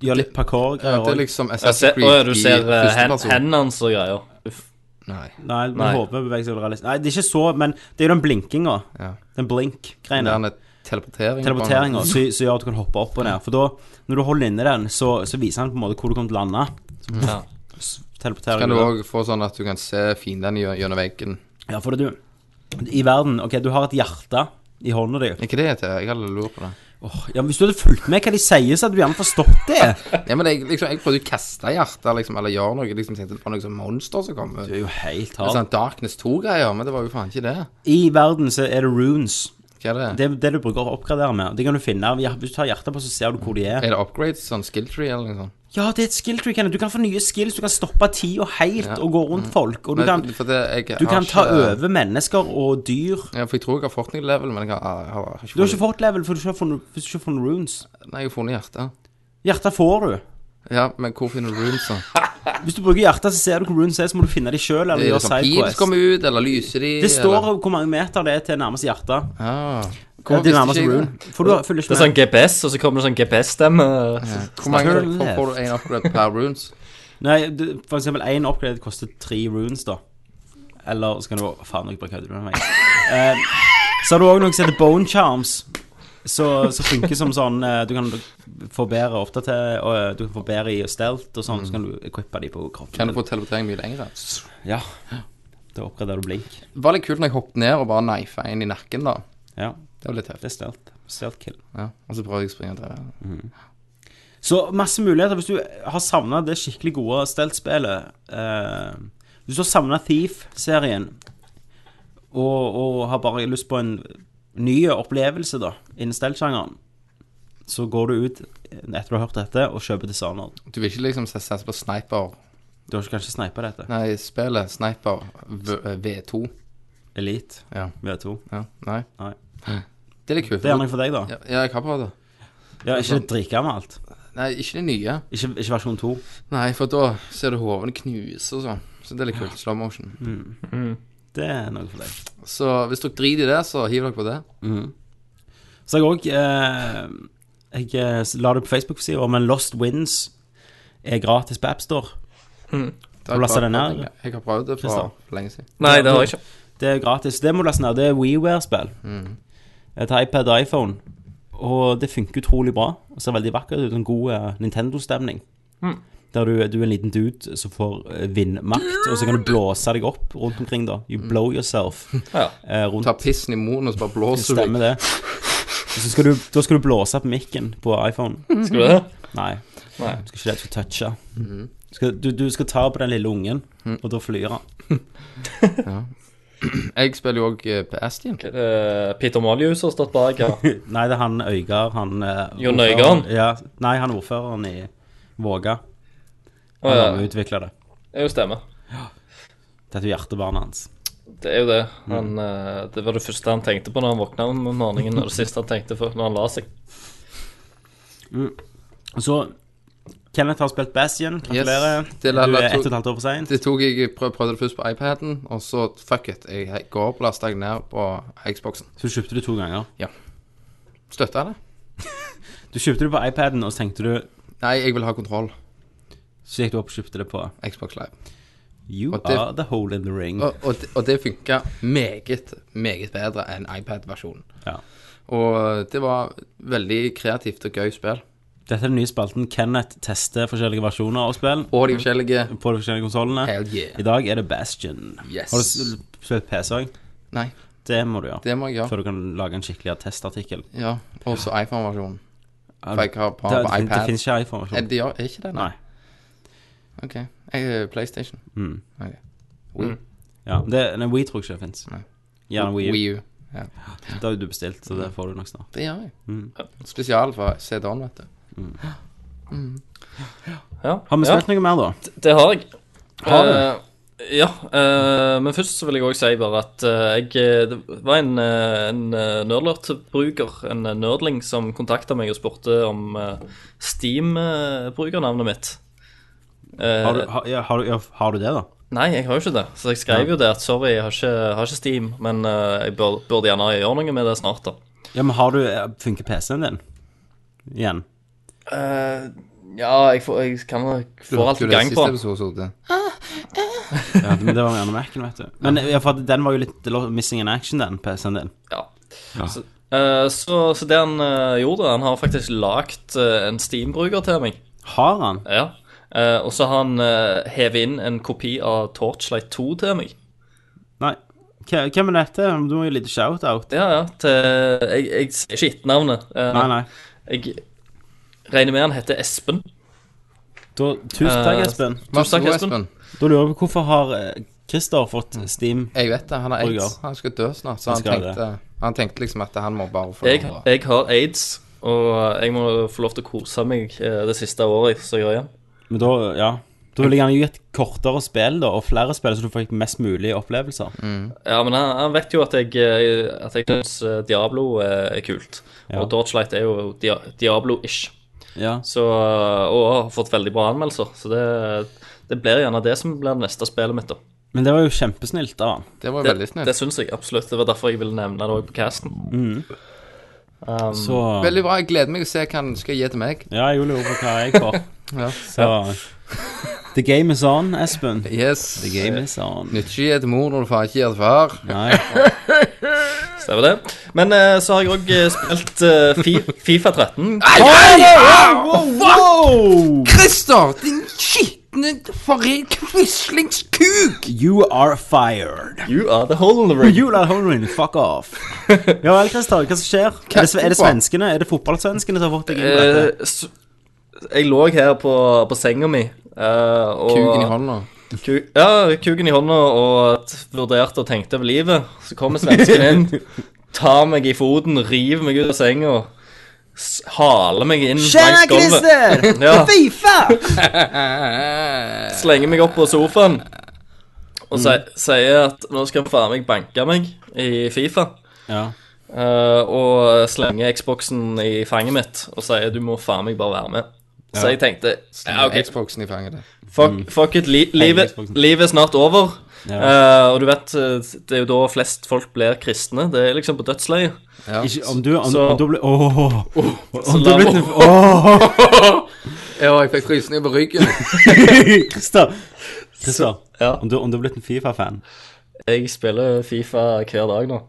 Speaker 4: gjøre litt parkour.
Speaker 5: Ja, det er
Speaker 4: og-
Speaker 5: liksom
Speaker 3: Jeg
Speaker 5: Assassin's
Speaker 3: ser- Å ja, du
Speaker 5: Creed i
Speaker 3: ser eh, hen-
Speaker 5: førsteperson.
Speaker 3: hendene hans og greier.
Speaker 4: *laughs*
Speaker 3: Uff.
Speaker 5: Nei.
Speaker 4: Nei, men
Speaker 3: Nei.
Speaker 4: håper beveger seg realist. Nei, det er ikke så, men det er jo den blinkinga.
Speaker 5: Ja.
Speaker 4: Den blink-greiene.
Speaker 5: Det er en teleportering.
Speaker 4: teleporteringer som som gjør at du kan hoppe opp og ned. For da, når du holder inni den, så, så viser han på en måte hvor du kommer til å lande.
Speaker 3: Ja.
Speaker 5: Så kan
Speaker 4: Teleportering.
Speaker 5: du òg få sånn at du kan se fiendene gjø- gjennom veggen.
Speaker 4: Ja, for det er du. I verden, ok, du har et hjerte i hånda di.
Speaker 5: Er ikke det til? Jeg hadde lurt på det.
Speaker 4: Åh, ja, men Hvis du hadde fulgt med hva de sier, så hadde du gjerne forstått det.
Speaker 5: Ja, men jeg, liksom, jeg prøvde å kaste hjertet, liksom, eller gjøre noe. Liksom, tenkte det var noe sånn monster som kom ut.
Speaker 4: Det er jo helt
Speaker 5: Det er
Speaker 4: hardt.
Speaker 5: sånn Darkness 2-greier, men det var jo faen ikke det.
Speaker 4: I verden så er det runes.
Speaker 5: Hva er det?
Speaker 4: Det er det du bruker å oppgradere med. Det kan du finne. av- Hvis du tar hjertet på, så ser du hvor de er.
Speaker 5: Er det upgrades, sånn skill tree eller noe sånt?
Speaker 4: Ja, det er et skill trick. Kenneth. Du kan få nye skills. Du kan stoppe tida helt og gå rundt folk. Og du
Speaker 5: Mm. Men,
Speaker 4: kan,
Speaker 5: for det, jeg
Speaker 4: du
Speaker 5: har
Speaker 4: kan ta
Speaker 5: ikke-
Speaker 4: over mennesker og dyr.
Speaker 5: Ja, for jeg tror jeg har Fortnite-level, men jeg har, jeg har, jeg har
Speaker 4: Du har ikke fått level, for du har ikke funnet, hvis du ikke har funnet runes.
Speaker 5: Nei, jeg har funnet hjertet.
Speaker 4: Hjertet får du.
Speaker 5: Ja, men hvor finner du
Speaker 4: *laughs*
Speaker 5: runes, da?
Speaker 4: Hvis du bruker hjertet, så ser du hvor runes er, så må du finne de sjøl.
Speaker 5: Er det sånn pils kommer
Speaker 4: Det
Speaker 5: ut, eller lyser de?
Speaker 4: står hvor mange meter det er til nærmeste hjerte.
Speaker 5: Ja.
Speaker 4: Ja,
Speaker 5: Hvor,
Speaker 4: til
Speaker 5: visste
Speaker 4: nærmeste
Speaker 5: ikke jeg
Speaker 4: rune.
Speaker 5: det?
Speaker 4: For du har- følger
Speaker 3: Det
Speaker 4: ikke
Speaker 3: er sånn
Speaker 4: med.
Speaker 3: GPS, og så kommer det sånn GPS-stemme.
Speaker 5: Hvor mange
Speaker 4: Turn
Speaker 5: får, får du en upgrade per runes?
Speaker 4: Nei, du- for eksempel én upgrade koster tre runes, da. Eller så kan du Faen, jeg bare kødder med meg. Eh, så har du òg noe som heter bone charms. så, så funker som sånn eh, Du kan få bedre ofte til og eh, Du kan få bedre i stelt og sånn, så kan du equippe de på kroppen.
Speaker 5: Kan du få teleportering mye lengre?
Speaker 4: Ja. Da oppgraderer du blink.
Speaker 5: Det var litt kult når jeg hoppet ned og bare knifa en i nakken, da.
Speaker 4: Ja,
Speaker 5: Det var litt tøft.
Speaker 4: det er stelt. Stelt kill.
Speaker 5: Ja. Og så prøvde jeg å springe til det.
Speaker 4: Så masse muligheter. Hvis du har savna det skikkelig gode steltspillet eh, Hvis du har savna Thief-serien og, og har bare lyst på en ny opplevelse da innen stelt-sjangeren, så går du ut etter du har hørt dette, og kjøper Dishonored.
Speaker 5: Du vil ikke liksom se- satse på sniper
Speaker 4: Du har ikke kanskje sneipa dette?
Speaker 5: Nei, spillet Sniper V- eh, V2.
Speaker 4: Elite
Speaker 5: Ja.
Speaker 4: V2.
Speaker 5: ja. Nei.
Speaker 4: Nei.
Speaker 5: Det er litt kult.
Speaker 4: Det er nok for deg, da.
Speaker 5: ja, ja, jeg har prøvd det.
Speaker 4: Ja, Ikke dritgammelt.
Speaker 5: Nei, ikke det nye.
Speaker 4: Ikke, ikke versjon 2.
Speaker 5: Nei, for da ser du hovene knuse og sånn. Så det er litt kult. Slow motion.
Speaker 4: Mm. Det er noe for deg.
Speaker 5: Så hvis dere driter i det, så hiv dere på det.
Speaker 4: Så jeg òg eh, Jeg eh, la det på Facebook-sida, men Lost Winds er gratis på AppStore.
Speaker 5: Har
Speaker 4: du lastet
Speaker 5: prøvd-
Speaker 4: den ned?
Speaker 5: Jeg har prøvd det for
Speaker 4: Christer?
Speaker 5: lenge siden.
Speaker 3: Nei, det har jeg ikke.
Speaker 4: Det er gratis. Det må du laste ned. Det er WeWare-spill.
Speaker 3: Mm.
Speaker 4: Et iPad og iPhone. Og det funker utrolig bra. Og ser veldig vakkert ut. En god eh, Nintendo-stemning. Der du, du er en liten dude som får eh, vindmakt, og så kan du blåse deg opp rundt omkring. da You blow yourself
Speaker 3: Mm. *laughs* Ja.
Speaker 4: eh, rundt
Speaker 5: Ta pissen i munnen og så bare blåser du.
Speaker 4: Stemmer det. Og så skal du, da skal du blåse opp mikken på iPhone.
Speaker 3: Skal du det?
Speaker 4: Nei.
Speaker 3: Nei. Mm-hmm.
Speaker 4: Du skal ikke det, du skal touche. Du skal, du, du skal ta på den lille ungen,
Speaker 3: Mm.
Speaker 4: og da flyr han.
Speaker 5: Jeg spiller jo òg Bastion.
Speaker 3: Eh, Peter Malius har stått bak.
Speaker 4: *laughs*
Speaker 3: Ja.
Speaker 4: Nei, det er han Øygard, han eh,
Speaker 3: Jon
Speaker 4: ordføreren.
Speaker 3: Øygard?
Speaker 4: Ja. Nei, han er ordføreren i Våga.
Speaker 3: Å,
Speaker 4: Han
Speaker 3: ja.
Speaker 4: har utvikla det.
Speaker 3: Det er jo stemme.
Speaker 4: Dette er jo hjertebarnet hans.
Speaker 3: Det er jo det. Han,
Speaker 4: Mm.
Speaker 3: eh, det var det første han tenkte på når han våkna om morgenen, og det siste han tenkte på når han la seg.
Speaker 4: Så Kenneth har spilt Bastion. Gratulerer.
Speaker 5: Yes.
Speaker 4: Du
Speaker 5: Det
Speaker 4: er
Speaker 5: la- la to-
Speaker 4: ett og et halvt år for seint.
Speaker 5: Det tok jeg prøv, prøvde det først på iPaden, og så fuck it. Jeg jeg går opp og laster jeg ned på Xboxen.
Speaker 4: Så kjøpte du to ganger.
Speaker 5: Støtta det?
Speaker 4: Du kjøpte det på iPaden, og så tenkte du
Speaker 5: Nei, jeg vil ha kontroll.
Speaker 4: Så gikk du opp og kjøpte det på
Speaker 5: Xbox Live.
Speaker 4: You
Speaker 5: Og det-
Speaker 4: are the hole in the ring.
Speaker 5: Og, og, det- og det funka meget, meget bedre enn iPad-versjonen.
Speaker 4: Ja.
Speaker 5: Og det var veldig kreativt og gøy spill.
Speaker 4: Dette er den nye spalten Kenneth tester forskjellige versjoner av spill på
Speaker 5: Og de forskjellige
Speaker 4: de forskjellige konsollene.
Speaker 5: Hell yeah.
Speaker 4: I dag er det Bastion.
Speaker 5: Yes.
Speaker 4: Har du s- spilt PC òg?
Speaker 5: Nei,
Speaker 4: Det må du gjøre.
Speaker 5: det må jeg gjøre.
Speaker 4: Før du kan lage en skikkelig testartikkel.
Speaker 5: Ja, Også iPhone-versjonen. For
Speaker 4: Det,
Speaker 5: jeg har på,
Speaker 4: det,
Speaker 5: på
Speaker 4: det
Speaker 5: iPad.
Speaker 4: finnes ikke
Speaker 5: Er
Speaker 4: iPhone-versjon.
Speaker 5: det gjør- er ikke det?
Speaker 4: Nei.
Speaker 5: Ok. Jeg er PlayStation.
Speaker 4: Mm.
Speaker 5: Ok.
Speaker 4: Ja, det, nei, We tror jeg ikke det fins.
Speaker 5: Nei.
Speaker 4: Gjerne Wii U.
Speaker 5: Wii U.
Speaker 4: Det har jo du bestilt, så det får du nok snart.
Speaker 5: Det gjør jeg.
Speaker 4: Mm.
Speaker 5: Spesial for CD-en, vet du.
Speaker 3: Ja.
Speaker 4: Har vi
Speaker 3: ja.
Speaker 4: spilt noe mer, da?
Speaker 3: Det har jeg.
Speaker 4: Har du?
Speaker 3: Eh, ja, eh, men først så vil jeg òg si bare at eh, jeg eh, Det var en, uh, en eh, nerdlert-bruker, en eh, nerdling, som kontakta meg og spurte om eh, Steam-brukernavnet mitt. Eh,
Speaker 4: Har du, har, ja, har, du, ja, har du det, da?
Speaker 3: Nei, jeg har jo ikke det. Så jeg skrev jo det at sorry, jeg har ikke, har ikke Steam, men eh, jeg bør, burde gjerne gjøre noe med det snart, da.
Speaker 4: Ja, men har du eh, Funker PC-en din? Igjen.
Speaker 3: Eh, ja, jeg, får, jeg kan
Speaker 5: Du
Speaker 3: får
Speaker 5: hørte jo
Speaker 3: alltid
Speaker 5: det
Speaker 3: gang
Speaker 5: siste
Speaker 3: på den.
Speaker 5: episode.
Speaker 4: Ja, men det var gjerne Mac-en, vet du. *laughs* Men ja, for at den var jo litt det lå missing in action, den PC-en din.
Speaker 3: Ja. Så, eh, så, så det han eh, gjorde, han har faktisk lagd en Steam-bruker til meg.
Speaker 4: Har han?
Speaker 3: Ja. Eh, og så har han uh, hevet inn en kopi av Torchlight 2 til meg.
Speaker 4: Nei. Hva- Hvem er dette? Du må gi litt shout-out.
Speaker 3: Ja, ja. Til, jeg, jeg sier ikke etternavnet. Eh,
Speaker 4: Nei, nei.
Speaker 3: Jeg regner med han heter Espen.
Speaker 4: Da, tusen takk,
Speaker 3: Eh,
Speaker 4: Espen.
Speaker 5: Masse
Speaker 3: takk,
Speaker 5: god,
Speaker 3: Espen.
Speaker 5: Espen.
Speaker 4: Da lurer jeg på hvorfor har eh, Christer fått Steam?
Speaker 5: Jeg vet det. Han har
Speaker 4: Bruker.
Speaker 5: aids. Han skal dø snart. Så
Speaker 4: Han
Speaker 5: han
Speaker 4: skal
Speaker 5: tenkte, han tenkte liksom at han må bare få
Speaker 3: Jeg,
Speaker 5: det bra.
Speaker 3: jeg har aids, og jeg må få lov til å kose meg eh, det siste året som jeg gjør igjen.
Speaker 4: Men da, ja Da ville jeg gjerne gitt kortere spill da, og flere spill, så du fikk mest mulig opplevelser.
Speaker 3: Ja, men han, han vet jo at jeg, eh, at jeg syns Diablo eh, er, er kult.
Speaker 4: Ja.
Speaker 3: Og Torchlight er jo dia Diablo-ish.
Speaker 4: Ja.
Speaker 3: Så, og har fått veldig bra anmeldelser. Så det, det blir gjerne det som blir det neste spillet mitt. da
Speaker 4: Men det var jo kjempesnilt av han.
Speaker 5: Det var
Speaker 3: Det,
Speaker 5: veldig
Speaker 3: det
Speaker 5: snilt. Mm.
Speaker 3: syns jeg absolutt. Det var derfor jeg ville nevne det òg på casten. Um,
Speaker 4: Så
Speaker 5: Veldig bra. Jeg gleder meg å se hva han skal gi til meg.
Speaker 4: Ja, jeg lurer på hva jeg får.
Speaker 5: Ja.
Speaker 4: Så The game is on, Espen.
Speaker 5: Yes.
Speaker 4: The game is on.
Speaker 5: Nyttig å gi til mor når du faen ikke gir til far.
Speaker 4: Nei.
Speaker 3: Stemmer det. Men eh, så har jeg òg spilt eh, Fi- Fifa 13.
Speaker 5: Christer, din skitne forræd quislingskuk!
Speaker 4: You are fired.
Speaker 3: You are the hole in the ring.
Speaker 4: You are hungry, fuck off. Ja vel, Christer, hva som skjer? Er det, er det svenskene? Er det fotballsvenskene som har fått deg inn på
Speaker 3: Eh,
Speaker 4: dette?
Speaker 3: s- jeg lå her på, på senga mi. eh, og,
Speaker 5: Kuken i hånda.
Speaker 3: Ku, ja, kuken i hånda og t- vurderte og tenkte over livet. Så kommer svensken inn, tar meg i foten, river meg ut av senga. s- Haler meg inn
Speaker 4: Tjena,
Speaker 3: langs gulvet.
Speaker 4: Christer!
Speaker 3: Ja.
Speaker 4: Fifa!
Speaker 3: slenger meg opp på sofaen og si- sier at nå skal faen meg banke meg i Fifa.
Speaker 4: Ja.
Speaker 3: Eh, og slenger Xboxen i fanget mitt og sier du må faen meg bare være med. Så jeg tenkte ja, ok,
Speaker 5: Xboxen i fanget.
Speaker 3: fuck, fuck it, li livet,
Speaker 4: Mm. Xboxen.
Speaker 3: livet er snart over.
Speaker 4: Ja.
Speaker 3: Eh, og du vet, eh, det er jo da flest folk blir kristne. Det er liksom på dødsleiet.
Speaker 5: Ja.
Speaker 4: Ikke, om du, om,
Speaker 3: Så-
Speaker 4: om du blir Åh!
Speaker 3: Så
Speaker 4: om du
Speaker 3: la-
Speaker 4: blir Åh! *laughs*
Speaker 5: Ja, jeg fikk frysninger på
Speaker 3: *laughs*
Speaker 5: ryggen.
Speaker 4: Christer! Christer,
Speaker 3: Ja.
Speaker 4: om, du, om du er blitt en *laughs* Fifa-fan
Speaker 3: Jeg spiller Fifa hver dag nå.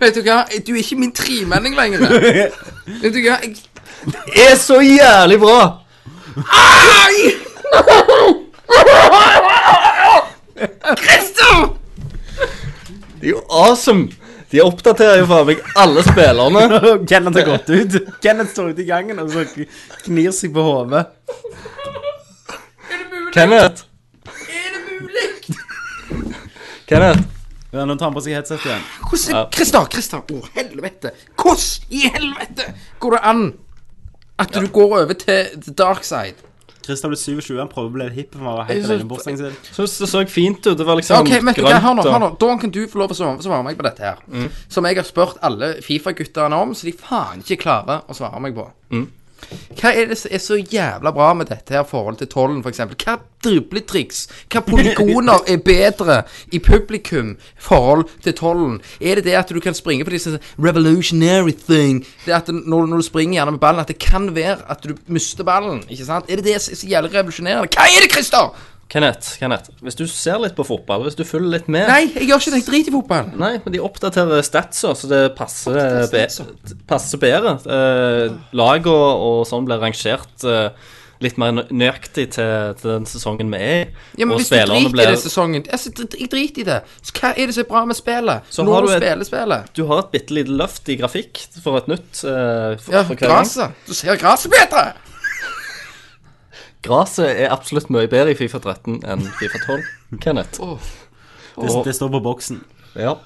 Speaker 5: Vet du hva, du er ikke min tremenning
Speaker 3: *laughs*
Speaker 5: lenger. Vet du hva, jeg
Speaker 3: Det er så jævlig bra!
Speaker 5: Christer!
Speaker 3: Det er jo awesome! De oppdaterer jo faen meg alle spillerne.
Speaker 4: Kenneth *laughs* har gått ut. Kenneth står ute i gangen og så knir seg på hodet.
Speaker 3: Kenneth! Er det mulig? Kenneth,
Speaker 4: Ja, nå tar han på seg headset igjen.
Speaker 5: Hvordan, Christer, Christer, å helvete. Hvordan i helvete går det an at du går over til the dark side?
Speaker 4: Christer ble 27, han prøver å bli hipp. Han var helt
Speaker 3: Jeg synes-
Speaker 4: alene bortstengt sin.
Speaker 3: syns det så fint ut. Det var liksom
Speaker 5: Ok, men vet du hva,
Speaker 3: grønt
Speaker 5: hør nå,
Speaker 3: og-
Speaker 5: hør nå. Da kan du få lov å svare, svare meg på dette her. Som jeg har spurt alle Fifa-gutterne om, så de faen ikke klarer å svare meg på. Hva er det som er så jævla bra med dette her forholdet til tollen, f.eks.? Hva dribletriks, *laughs* hva polygoner er bedre i publikum forhold til tollen? Er det det at du kan springe på disse revolutionary thing? Det at når, når du springer gjerne med ballen, at det kan være at du mister ballen, ikke sant? Er det det som er så jævlig revolusjonerende? Hva er det, Christer?
Speaker 3: Kenneth, Kenneth, hvis du ser litt på fotball, hvis du følger litt med
Speaker 5: Nei, jeg gjør ikke det. Jeg driter i fotball.
Speaker 3: Nei, men de oppdaterer statser, så det passer, eh, be passer bedre. Eh,
Speaker 5: Ah.
Speaker 3: Lag og, og sånn blir rangert eh, litt mer nø- nøyaktig til, til den sesongen vi er i.
Speaker 5: Ja, men
Speaker 3: og
Speaker 5: hvis du driter
Speaker 3: spillerne
Speaker 5: i
Speaker 3: blir
Speaker 5: det sesongen altså, dr- Jeg driter i det. Så hva er det som er bra med spillet?
Speaker 3: Så har
Speaker 5: Når du
Speaker 3: du et-
Speaker 5: spiller spillet.
Speaker 3: Du har et bitte lite løft i grafikk for et nytt. eh, for,
Speaker 5: Ja,
Speaker 3: for hver gang.
Speaker 5: gresset. Du ser gresset bedre!
Speaker 3: Graset er absolutt mye bedre i Fifa 13 enn Fifa
Speaker 5: *laughs*
Speaker 3: 12, Kenneth.
Speaker 4: Det, det står på boksen.
Speaker 3: Ja.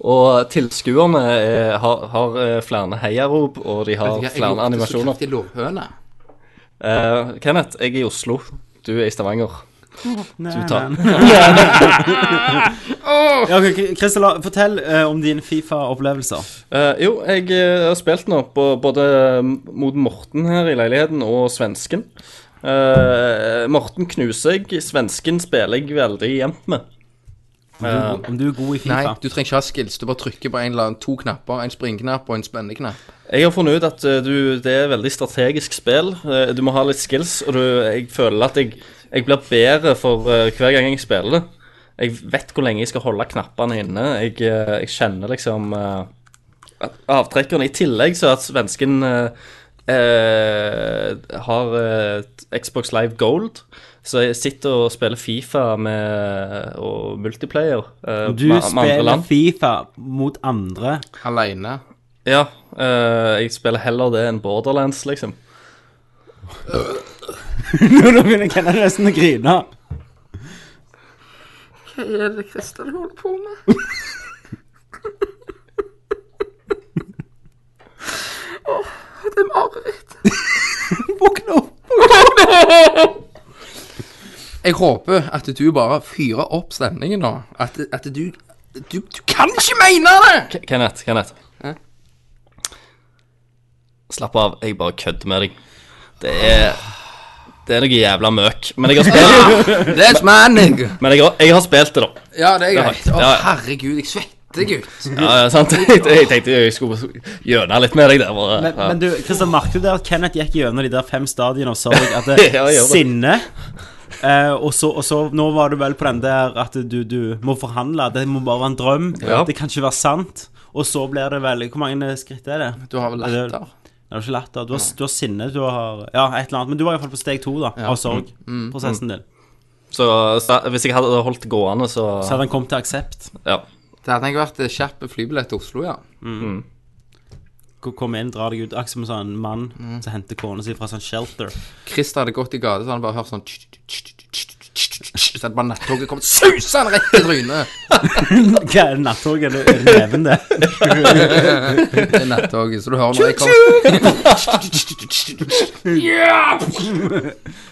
Speaker 3: Og tilskuerne er, har, har eh, flere heiarop, og de har
Speaker 5: Vet du hva, jeg
Speaker 3: flere
Speaker 5: lukter Så
Speaker 3: animasjoner.
Speaker 5: kraftig lovhøne.
Speaker 3: Eh, Kenneth, jeg er i Oslo. Du er i Stavanger. Du tar
Speaker 4: Ja, ok, Christer, la- fortell eh, om dine Fifa-opplevelser.
Speaker 3: *laughs* Eh, Jo, jeg eh, har spilt nå på, både eh, mot Morten her i leiligheten og svensken. Eh, Morten knuser jeg, svensken spiller jeg veldig jevnt med.
Speaker 4: Om, om du er god i
Speaker 5: Nei,
Speaker 4: Fifa.
Speaker 5: du trenger ikke ha skills. Du bare trykker på en eller annen, to knapper. En springknapp og en spenneknapp.
Speaker 3: Jeg har funnet ut at eh, du, det er veldig strategisk spill. Eh, Du må ha litt skills, og du, jeg føler at jeg, jeg blir bedre for eh, hver gang jeg spiller det. Jeg vet hvor lenge jeg skal holde knappene inne. Jeg, eh, jeg kjenner liksom eh, at avtrekkerne. I tillegg så at svensken eh, eh, har eh, Xbox Live Gold. Så jeg sitter og spiller Fifa med, eh, og multiplayer eh,
Speaker 4: Du
Speaker 3: med, med andre
Speaker 4: spiller
Speaker 3: land.
Speaker 4: Fifa mot andre.
Speaker 5: Aleine.
Speaker 3: Ja, eh, jeg spiller heller det enn Borderlands, liksom.
Speaker 4: Nå *laughs* nå begynner Kenneth nesten å grine.
Speaker 5: Hva er det Christer du holder på med? Åh, det er mareritt.
Speaker 4: Våkne opp.
Speaker 5: Jeg håper at du bare fyrer opp stemningen nå. At, at du, du Du kan ikke mene det!
Speaker 3: Ke- Kenneth, Kenneth.
Speaker 5: Hæ?
Speaker 3: Slapp av, jeg bare kødder med deg. Det er Det er noe jævla møk. Men jeg har spilt, *laughs*
Speaker 5: That's my nigga.
Speaker 3: men jeg har, jeg har spilt det, da.
Speaker 5: Ja, det er greit. Å,
Speaker 3: Ja, ja.
Speaker 5: herregud, jeg svetter, gutt.
Speaker 3: Ja, ja, sant? *laughs* Jeg, jeg tenkte jeg skulle gjøne litt med deg der. Bare.
Speaker 4: Men,
Speaker 3: Ja.
Speaker 4: men
Speaker 3: *laughs*
Speaker 4: du, Christian, merket du det at Kenneth gikk gjennom de der fem stadiene av sorg? At det
Speaker 3: Ja, jeg gjør det.
Speaker 4: sinne, Eh, og, så, og så Nå var du vel på den der at du, du må forhandle. Det må bare være en drøm.
Speaker 3: Ja.
Speaker 4: Det kan ikke være sant. Og så blir det vel Hvor mange skritt er det?
Speaker 5: Du har vel latter.
Speaker 4: Det er jo ikke latter. Du har, du har sinne, du har Ja, et eller annet. Men du var iallfall på steg to da, av
Speaker 3: Mm.
Speaker 4: sorgprosessen din.
Speaker 3: Så, så hvis jeg hadde holdt det gående, så,
Speaker 4: Så hadde han kommet til aksept.
Speaker 3: Ja.
Speaker 5: Det hadde jeg vært eh, kjapp flybillett til Oslo, ja.
Speaker 4: K- Kom inn, dra deg ut. Akkurat som en sånn mann
Speaker 3: Mm.
Speaker 4: som henter kona si fra sånn shelter. *laughs*
Speaker 5: Christer hadde gått i gata, så hadde han bare hørt sånn tsk, tsk, tsk, tsk, tsk, tsk, tsk, Så hadde bare nattoget kommet susende rett i trynet.
Speaker 4: Hva er det, nattoget? Er det- er det neven, det?
Speaker 5: Det er nattoget, så du hører når jeg kommer
Speaker 4: *laughs*
Speaker 5: *laughs*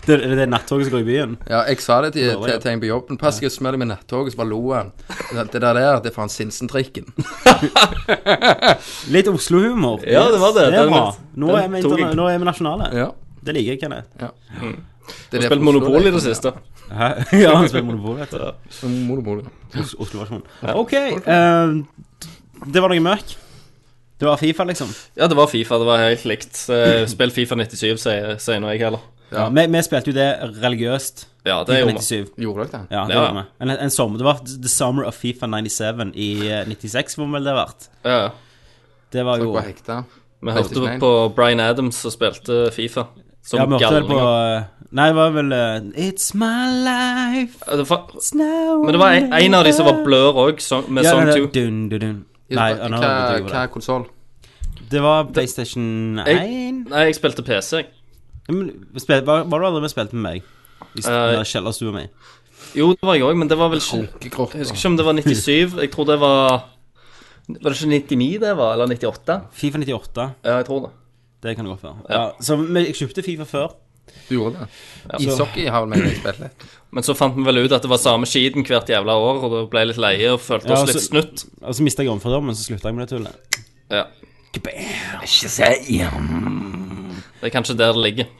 Speaker 4: Det, er det nattoget som går i byen?
Speaker 5: Ja, jeg sa det til, til, til en på jobben. Pass, jeg smeller med nattoget, så bare lo han. Det det der der, det er faen
Speaker 3: *laughs*
Speaker 5: Sinsentrikken.
Speaker 4: Litt Oslo-humor.
Speaker 3: Ja, det var det.
Speaker 4: Det er
Speaker 3: Den-
Speaker 4: bra. Nå
Speaker 3: den
Speaker 4: er vi,
Speaker 3: tok jeg.
Speaker 4: interna nå er vi nasjonale.
Speaker 5: Ja.
Speaker 4: Det liker jeg,
Speaker 3: *laughs*
Speaker 4: Kenneth.
Speaker 5: Det er
Speaker 3: Spilt Monopol i det siste.
Speaker 4: *laughs* Hæ? ja, han spiller monopol, vet du.
Speaker 5: Monopol, ja.
Speaker 4: Os- Oslo-versjonen. Ok, eh, det var noe mørk. Det var Fifa, liksom.
Speaker 3: Ja, det var Fifa. Det var helt likt. Eh, Spill Fifa 97, sier, sier nå jeg heller.
Speaker 5: Ja.
Speaker 4: Vi, vi spilte jo det religiøst.
Speaker 3: Ja, det gjorde vi.
Speaker 4: 97.
Speaker 5: Gjorde dere det?
Speaker 4: Ja, det
Speaker 3: Ja.
Speaker 4: var vi. En, en sommer, det var The Summer of Fifa 97 i eh, 96, hvor vel det har vært.
Speaker 3: Ja, ja.
Speaker 4: Det var jo
Speaker 5: Dere var hekta?
Speaker 3: Vi
Speaker 5: Helt
Speaker 3: hørte
Speaker 5: ikke
Speaker 3: på Bryan Adams som spilte Fifa. Som
Speaker 4: Ja, vi hørte vel på eh,
Speaker 3: galninger.
Speaker 4: Nei, det var vel eh, It's my life
Speaker 3: Ja, det var-
Speaker 4: it's now
Speaker 3: Men det var en, en av de som var blør òg, med sånn
Speaker 4: ja,
Speaker 3: Song
Speaker 4: nei,
Speaker 3: 2.
Speaker 4: Dun, dun, dun. Nei,
Speaker 5: Hva,
Speaker 4: nå har jeg gått
Speaker 5: hva
Speaker 4: over det.
Speaker 5: konsoll?
Speaker 4: det var PlayStation 1.
Speaker 3: Nei, jeg spilte PC. jeg.
Speaker 4: Ja, men spil- Var var du aldri med spilt med meg? I
Speaker 3: Eh,
Speaker 4: uh, kjellerstua mi.
Speaker 3: Jo, det var jeg òg, men det var vel ikke
Speaker 5: Runkekropp.
Speaker 3: Jeg husker ikke om det var 97. Jeg tror det var Var det ikke 99 det var? Eller 98?
Speaker 4: Fifa 98,
Speaker 3: Ja, jeg tror det.
Speaker 4: det kan det godt være. Ja. så men jeg kjøpte Fifa før.
Speaker 5: Du gjorde det? Ishockey har vel vi spilt litt.
Speaker 3: Men så fant vi vel ut at det var samme skiten hvert jævla år, og da ble jeg litt leie og følte
Speaker 4: Ja,
Speaker 3: oss
Speaker 4: altså-
Speaker 3: litt snutt.
Speaker 4: Og så mista jeg jomfrudommen, så slutta jeg med det tullet.
Speaker 3: Ja. Det er kanskje der det ligger.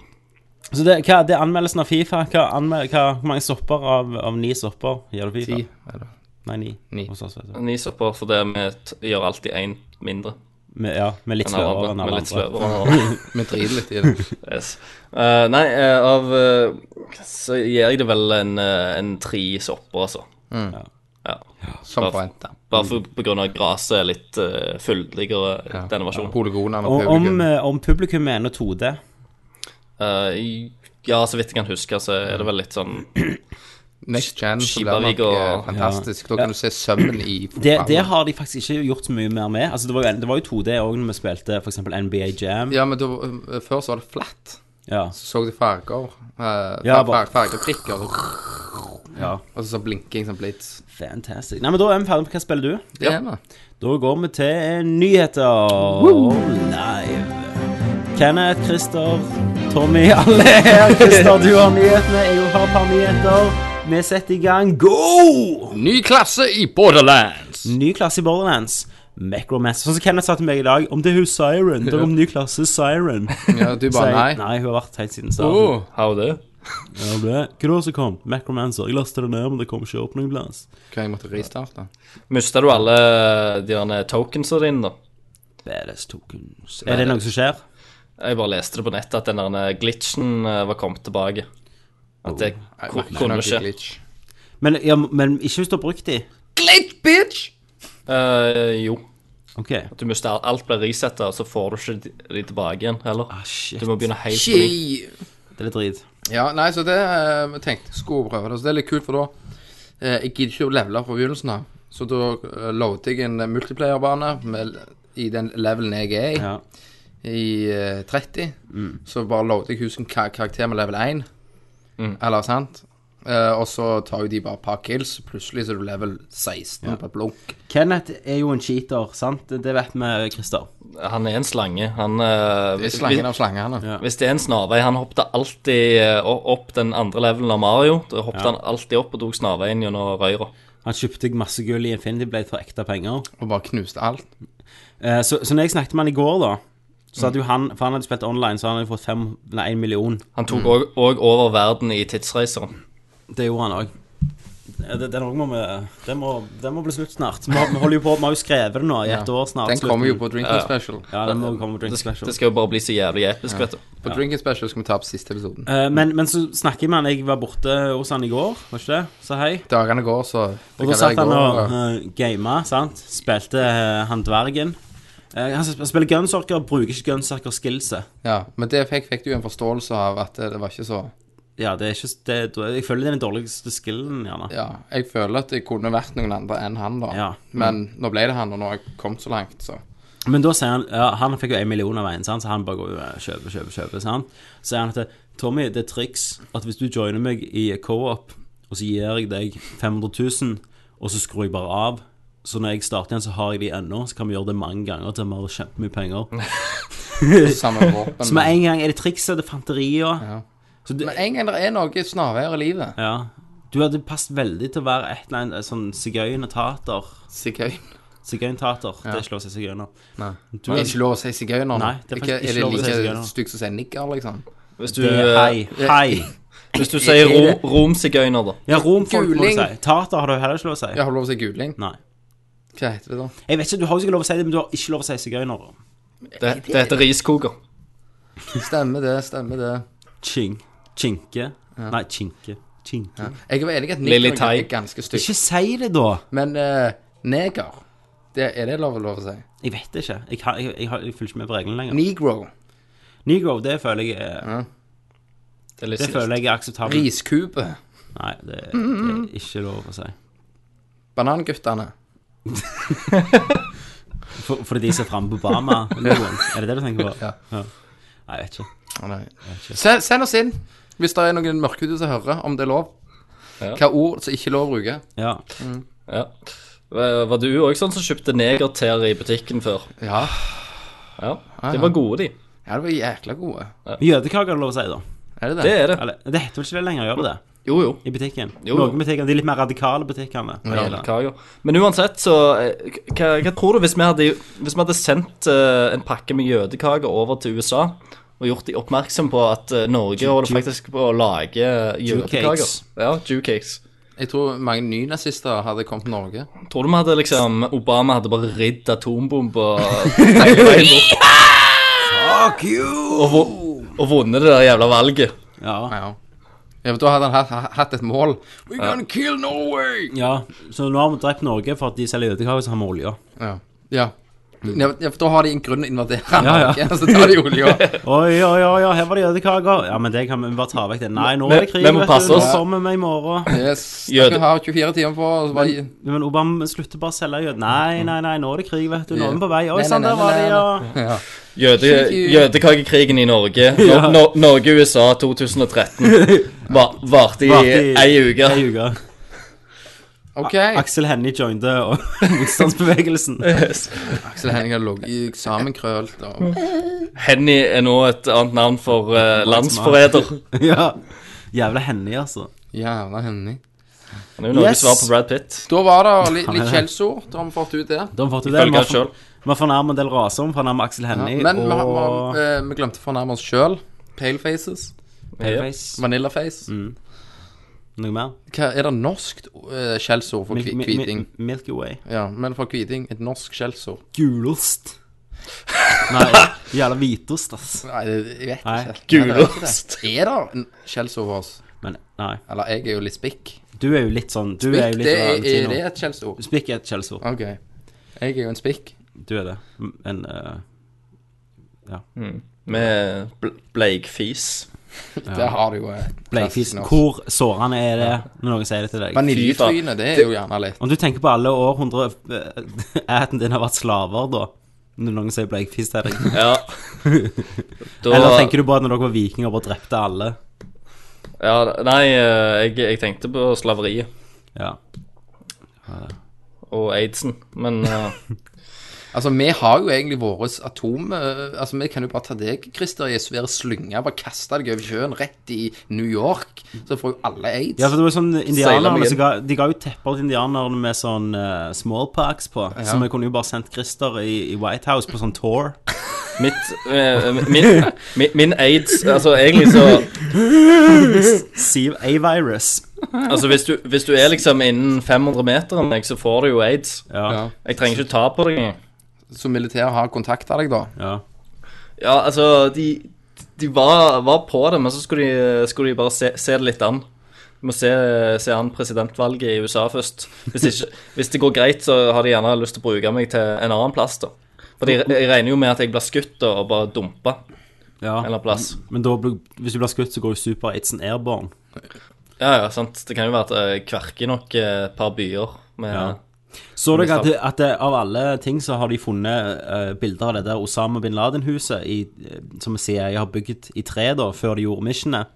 Speaker 4: Så det, hva, det er anmeldelsen av Fifa. Hva, anmel, hva, hvor mange sopper av, av ni sopper gir du Fifa?
Speaker 5: Ti, eller?
Speaker 4: Nei, ni.
Speaker 5: Ni.
Speaker 4: Hos oss, vet du.
Speaker 3: Ni sopper for det vi t- gjør alltid én mindre
Speaker 4: Med, ja, med litt
Speaker 3: enn alle
Speaker 4: sløvere
Speaker 3: andre. Med litt
Speaker 4: enn alle andre.
Speaker 3: sløvere. enn alle andre.
Speaker 4: *laughs*
Speaker 5: Vi driter litt i det.
Speaker 3: Yes. Eh, nei, eh, av eh, Så gir jeg det vel en, eh, en tre sopper, altså. Ja.
Speaker 5: Som forventa.
Speaker 3: Bare for, på grunn av graset er litt uh, fyldigere denne versjonen.
Speaker 5: Polygonene og
Speaker 4: Og om,
Speaker 5: publikum.
Speaker 4: eh, om publikum er ennå 2D
Speaker 3: Eh, i- ja, så vidt jeg kan huske, så er det vel litt sånn
Speaker 4: eh,
Speaker 5: Next Gen så blir det
Speaker 3: Skibavik
Speaker 5: nok
Speaker 3: og-
Speaker 5: eh, fantastisk. Da kan du se sømmen i
Speaker 4: *laughs* det,
Speaker 5: fotballen.
Speaker 4: det har de faktisk ikke gjort så mye mer med. Altså, det, var jo, en- det var jo 2D òg når vi spilte f.eks. NBA Jam.
Speaker 5: Ja, men da, eh, før så var det flatt.
Speaker 4: Ja.
Speaker 5: Så så du farger. eh,
Speaker 4: Ja,
Speaker 5: fer-
Speaker 4: bare-
Speaker 5: fer- Fargeprikker.
Speaker 4: Ja.
Speaker 5: Og så sånn blinking som blits.
Speaker 4: Fantastic. Nei, men Da er vi ferdig med hva spiller du?
Speaker 5: Det er det.
Speaker 4: Da går vi til nyheter live. Kenneth, Christer, Tommy, *laughs* alle er her. Christer, du har nyhetene, jeg har et par nyheter. Vi setter i gang. Go!
Speaker 5: Ny klasse i Borderlands.
Speaker 4: Ny klasse i Borderlands. Macromancer. Sånn som Kenneth sa til meg i dag. Om det er hun Siren. Det er om ny klasse Siren.
Speaker 5: Ja, du
Speaker 4: Så
Speaker 5: bare
Speaker 4: jeg-
Speaker 5: nei.
Speaker 4: Nei, Oh. hun har vært helt siden starten.
Speaker 5: Åh,
Speaker 3: How det?
Speaker 4: Ja, det er. Hva da som kom? Macromancer. Jeg lastet det ned, men det kom ikke opp noen plass.
Speaker 5: Hva, jeg måtte restarte?
Speaker 3: Mista du alle eh, de derne tokensa dine, da?
Speaker 4: Badass tokens. Er det noe som skjer?
Speaker 3: Jeg bare leste det på nettet at den derne glitchen eh, var kommet tilbake. At det ku- kunne skje.
Speaker 5: Glitch.
Speaker 4: Men, ja, men ikke hvis du har brukt de.
Speaker 5: Glitch, bitch!
Speaker 3: Eh, jo.
Speaker 4: Ok.
Speaker 3: Du mister alt, alt blir resetta, og så får du ikke de, de tilbake igjen heller.
Speaker 4: Ah, shit.
Speaker 3: Du må begynne helt på nytt.
Speaker 5: Shit.
Speaker 4: Det er litt drit.
Speaker 5: Ja, nei, så det eh, jeg tenkte jeg skulle prøve det. Så det er litt kult, for da eh, Jeg gidder ikke å levele fra begynnelsen av. Så da eh, loader jeg en eh, multiplayerbane med, i den levelen jeg er i,
Speaker 4: Ja.
Speaker 5: i eh, 30. Så bare loader jeg husen ka karakter med level 1. Eller sant? Eh, og så tar jo de bare et par kills, så plutselig så er du level 16 på et blunk.
Speaker 4: Kenneth er jo en cheater, sant? Det- Det vet vi, Christer.
Speaker 3: Han er en slange. Han eh,
Speaker 5: Det er
Speaker 3: hvis-
Speaker 5: slangen av slangene.
Speaker 4: Ja.
Speaker 3: Hvis det er en snarvei, han hoppet alltid eh, opp den andre levelen av Mario. Da hoppet han alltid opp og tok snarveien gjennom røyra.
Speaker 4: Han kjøpte masse gull i Infinity Blade for ekte penger.
Speaker 5: Og bare knuste alt.
Speaker 4: Eh, Så, så når jeg snakket med han i går, da så hadde jo han, For han hadde spilt online, så han hadde fått fem, nei, en million.
Speaker 3: Han tok òg over verden i tidsreiseren.
Speaker 4: Det gjorde han òg. Ja, Eh, det- Den òg må vi den må, den må bli slutt snart. Vi, har- vi holder jo på, vi har jo skrevet det nå i et år snart.
Speaker 5: Den kommer jo
Speaker 4: slutten.
Speaker 5: på Drinking
Speaker 3: Ja.
Speaker 5: Special.
Speaker 4: Ja, den må komme på Drink
Speaker 3: Det,
Speaker 4: Special.
Speaker 3: det skal jo bare bli så jævlig episk, vet du.
Speaker 5: På Drinking Special skal vi ta opp siste episoden.
Speaker 4: Eh, men, men så snakker jeg med han Jeg var borte hos han i går, var ikke det? Så hei.
Speaker 5: Dagene går, så
Speaker 4: Og da satt han og uh, gama, sant. Spilte eh, han dvergen. Eh, han sp- spiller gunsorker, bruker ikke gunsorker-skillset.
Speaker 5: Ja, men det fikk, fikk du en forståelse av at det det var ikke så
Speaker 4: Ja, det er ikke s- det, Jeg føler det er den dårligste skillen, gjerne.
Speaker 5: Ja, jeg føler at det kunne vært noen andre enn han, da.
Speaker 4: Ja.
Speaker 5: Men nå ble det han, og nå har jeg kommet så
Speaker 4: *laughs*
Speaker 5: langt, så
Speaker 4: Men da sier han ja, Han fikk jo en million av veien, sant? så han bare går jo eh, kjøper, kjøper, kjøper. Sant? Så sier han at Tommy, det er triks at hvis du joiner meg i co-op, og så gir jeg deg 500 000, og så skrur jeg bare av så når jeg starter igjen, så har jeg de ennå. Så kan vi gjøre det mange ganger til vi har kjempemye penger.
Speaker 5: Samme våpen.
Speaker 4: Så med en gang er det trikset, det er fanterier.
Speaker 5: Ja.
Speaker 4: Så det,
Speaker 5: Men en gang det er noe snarveier i livet
Speaker 4: ja. Du hadde passet veldig til å være et eller annet sånn sigøynetater.
Speaker 5: Sigøyn.
Speaker 4: Sigøyntater. Det er ikke lov å si sigøyner.
Speaker 5: Nei.
Speaker 4: Du-
Speaker 5: Det er ikke lov å si sigøyner. nå.
Speaker 4: Nei, det er faktisk
Speaker 5: Ikke-
Speaker 4: ikke
Speaker 5: det
Speaker 4: lov å si sigøyner.
Speaker 5: like stygt som å si nigger, liksom?
Speaker 3: Hvis du,
Speaker 4: Det er hei. Hei.
Speaker 3: eh, hvis du sier ro,
Speaker 5: Er det-
Speaker 3: romsigøyner, da.
Speaker 4: Ja, romfolk må du
Speaker 5: Guling.
Speaker 4: si. Tater har du heller ikke lov å si.
Speaker 5: Jeg har lov å si guling.
Speaker 4: Nei.
Speaker 5: Hva heter det da?
Speaker 4: Jeg vet ikke, Du har jo ikke lov å si det, men du har ikke lov å si sigøyner.
Speaker 3: Det, det heter riskoker.
Speaker 5: Stemmer det, stemmer det.
Speaker 4: Ching. Chinke. Nei, chinke. Chinke.
Speaker 5: Jeg var enig i at
Speaker 3: Lily
Speaker 5: nigger
Speaker 3: Tai.
Speaker 5: er ganske stygt.
Speaker 4: Ikke si det, da!
Speaker 5: Men eh, neger, det er det lov, lov å si?
Speaker 4: Jeg vet ikke. Jeg, har- jeg, jeg, har- jeg følger ikke med på reglene lenger.
Speaker 5: Negro.
Speaker 4: Negro, det føler jeg er,
Speaker 3: Det er litt
Speaker 4: det føler jeg er akseptabelt.
Speaker 5: Riskube.
Speaker 4: Nei, det, det er ikke lov å si.
Speaker 5: Bananguttene.
Speaker 4: For- Fordi de ser frem på
Speaker 3: *laughs*
Speaker 4: Bama? Er det det du tenker på?
Speaker 5: Ja.
Speaker 4: Nei, jeg vet ikke.
Speaker 5: Å, nei. Send, send oss inn hvis det er noen mørkhudede som hører, om det er lov. Hva ord som ikke er lov å bruke.
Speaker 4: Ja.
Speaker 3: Ja. Var var du òg sånn som kjøpte negerter i butikken før?
Speaker 5: Ja.
Speaker 3: Ja. De var gode, de.
Speaker 5: ja, det var jækla gode.
Speaker 4: Men Jødekake er det lov å si, da.
Speaker 5: Er det det?
Speaker 3: Det er det.
Speaker 4: Eller, det heter vel ikke det lenger, gjør det det?
Speaker 3: Jo, jo.
Speaker 4: I butikken.
Speaker 3: Jo, jo.
Speaker 4: Noen butikker, De litt mer radikale butikkene.
Speaker 3: Ja, kaker. Men uansett, så eh, Hva, hva tror du hvis vi hadde, hvis vi hadde sendt eh, en pakke med jødekaker over til USA og gjort de oppmerksom på at eh, Norge holder faktisk på å lage jødekaker?
Speaker 4: Jewcakes.
Speaker 3: Ja, Jewcakes.
Speaker 5: Jeg tror mange nynazister hadde kommet til Norge.
Speaker 3: Tror du vi hadde liksom Obama hadde bare ridd atombomber
Speaker 7: Fuck you!
Speaker 3: og, vu- og vunnet det der jævla valget?
Speaker 4: Ja.
Speaker 5: Ja. Ja, men Da hadde han hatt, hatt et mål. We're gonna kill Norway!
Speaker 4: ja. Så nå har vi drept Norge for at de selger jødekake, så har vi olje.
Speaker 5: Ja. Mm. ja. Ja, men- ja, for Da har de en grunn å invadere
Speaker 4: Ja, ja.
Speaker 5: Norge, *laughs* så tar de olja. *laughs*
Speaker 4: Oi, oi, oi, oi, her var det jødekaker. Ja, men det kan vi bare ta vekk. det. Nei, nå er det krig,
Speaker 3: Men- men må
Speaker 4: vet
Speaker 3: passe
Speaker 4: du. Nå
Speaker 3: oss.
Speaker 4: kommer vi i morgen.
Speaker 5: Yes.
Speaker 3: Jøde-
Speaker 5: Dere har 24 timer på å bare
Speaker 4: Men Obama slutter bare å selge jød... Nei, nei, nei, nå er det krig, vet du. Nå er vi på vei. Oi
Speaker 5: Nei, nei,
Speaker 4: sann,
Speaker 5: nei,
Speaker 4: der var
Speaker 5: nei,
Speaker 4: det,
Speaker 5: nei,
Speaker 4: ja.
Speaker 3: Jøde,
Speaker 5: Thank you.
Speaker 3: jødekakekrigen i Norge, no, no, Norge-USA 2013, var, varte i
Speaker 4: Varte i-
Speaker 3: ei uke.
Speaker 4: Ei uke.
Speaker 5: OK.
Speaker 4: Aksel Hennie jointe og *laughs* motstandsbevegelsen.
Speaker 3: *laughs*
Speaker 5: Aksel Henning har ligget sammenkrølt og
Speaker 3: Henny er nå et annet navn for eh, landsforræder.
Speaker 4: Ja. Jævla Hennie, altså.
Speaker 5: Jævla Henning.
Speaker 3: Han er jo noe
Speaker 4: *laughs* Yes.
Speaker 3: svar på Brad Pitt.
Speaker 5: Da var det litt,
Speaker 4: Han er
Speaker 5: litt
Speaker 4: det.
Speaker 5: skjellsord. Da har vi fått ut det.
Speaker 4: Da har vi fått det.
Speaker 3: Følger
Speaker 4: Vi har
Speaker 3: han
Speaker 4: for-
Speaker 3: selv.
Speaker 4: vi har fornærmet en del raser. Vi fornærmet Aksel Hennie
Speaker 5: Men vi, har, vi,
Speaker 4: og
Speaker 5: har, eh, vi glemte å fornærme oss sjøl. Pale faces.
Speaker 4: Paleface.
Speaker 5: Vanilla face.
Speaker 4: Mm. Noe mer?
Speaker 5: Hva, er det norsk eh, skjellsord for kvi,
Speaker 4: Mil- mi-
Speaker 5: kviting?
Speaker 4: mi- Milky Way.
Speaker 5: Ja, men for kviting, et norsk skjellsord
Speaker 4: Gulost. Nei, jævla hvitost, ass.
Speaker 5: Nei, det, jeg vet
Speaker 4: Nei.
Speaker 5: ikke.
Speaker 3: Gulost.
Speaker 5: Nei, det Er det en skjellsord for oss?
Speaker 4: Men nei.
Speaker 5: Eller jeg er jo litt spikk.
Speaker 4: Du er jo litt sånn Du er jo
Speaker 5: Spikk,
Speaker 4: litt
Speaker 5: det er, er det
Speaker 4: latino.
Speaker 5: et skjellsord?
Speaker 4: Spikk er et skjellsord.
Speaker 5: Ok. Jeg er jo en spikk.
Speaker 4: Du er det. En eh,
Speaker 3: Med bl bleikfis.
Speaker 5: Det har du jo. eh,
Speaker 4: bleikfis.
Speaker 5: klassisk norsk.
Speaker 4: Hvor sårende er det når noen sier det til deg?
Speaker 5: Vaniljetryne, det er jo gjerne litt
Speaker 4: Om du tenker på alle århundrer eh, *laughs* æten din har vært slaver, da. Når noen sier bleikfis til deg. *laughs*
Speaker 3: Ja. Da,
Speaker 4: Eller tenker du bare at når dere var vikinger, bare drepte alle?
Speaker 3: ja, Nei, eh, jeg, jeg tenkte på slaveriet
Speaker 4: Ja.
Speaker 3: og aidsen, men eh,
Speaker 5: Altså, vi har jo egentlig vårt atom eh, Altså, vi kan jo bare ta deg, Christer, i en svær slynge, bare kaste deg over sjøen, rett i New York, så får jo alle aids.
Speaker 4: Ja, for det var sånn
Speaker 3: Seiler
Speaker 4: indianerne
Speaker 3: meg
Speaker 4: så
Speaker 3: inn.
Speaker 4: ga, De ga jo tepper til indianerne med sånn eh, smallpox på. Så vi kunne jo bare sendt Christer i, i White House på sånn tour.
Speaker 3: mitt eh, min, min, min aids Altså, egentlig så
Speaker 4: Siv A-virus.
Speaker 3: Altså, hvis du, hvis du er liksom innen 500 meter av meg, så får du jo aids.
Speaker 4: Ja,
Speaker 5: Ja.
Speaker 3: Jeg trenger ikke ta på deg engang.
Speaker 5: Så militæret har kontakta deg, da?
Speaker 4: ja.
Speaker 3: Ja, altså, de, de var, var på det, men så skulle de, skulle de bare se, se det litt an. Du må se, se an presidentvalget i USA først. Hvis, ikke, hvis det går greit, så har de gjerne lyst til å bruke meg til en annen plass, da. For de, jeg regner jo med at jeg blir skutt og bare dumpa en
Speaker 4: ja.
Speaker 3: eller annen plass.
Speaker 4: Men da, blir- hvis du blir skutt, så går jo super-aidsen airborne.
Speaker 3: Ja, ja, sant. Det kan jo være at jeg kverker nok eh, et par byer med
Speaker 4: Ja. Så dere at, at det, av alle ting så har de funnet eh, bilder av det der Osama bin Laden-huset i, eh, som CIA har bygget i tre da, før de gjorde missionet?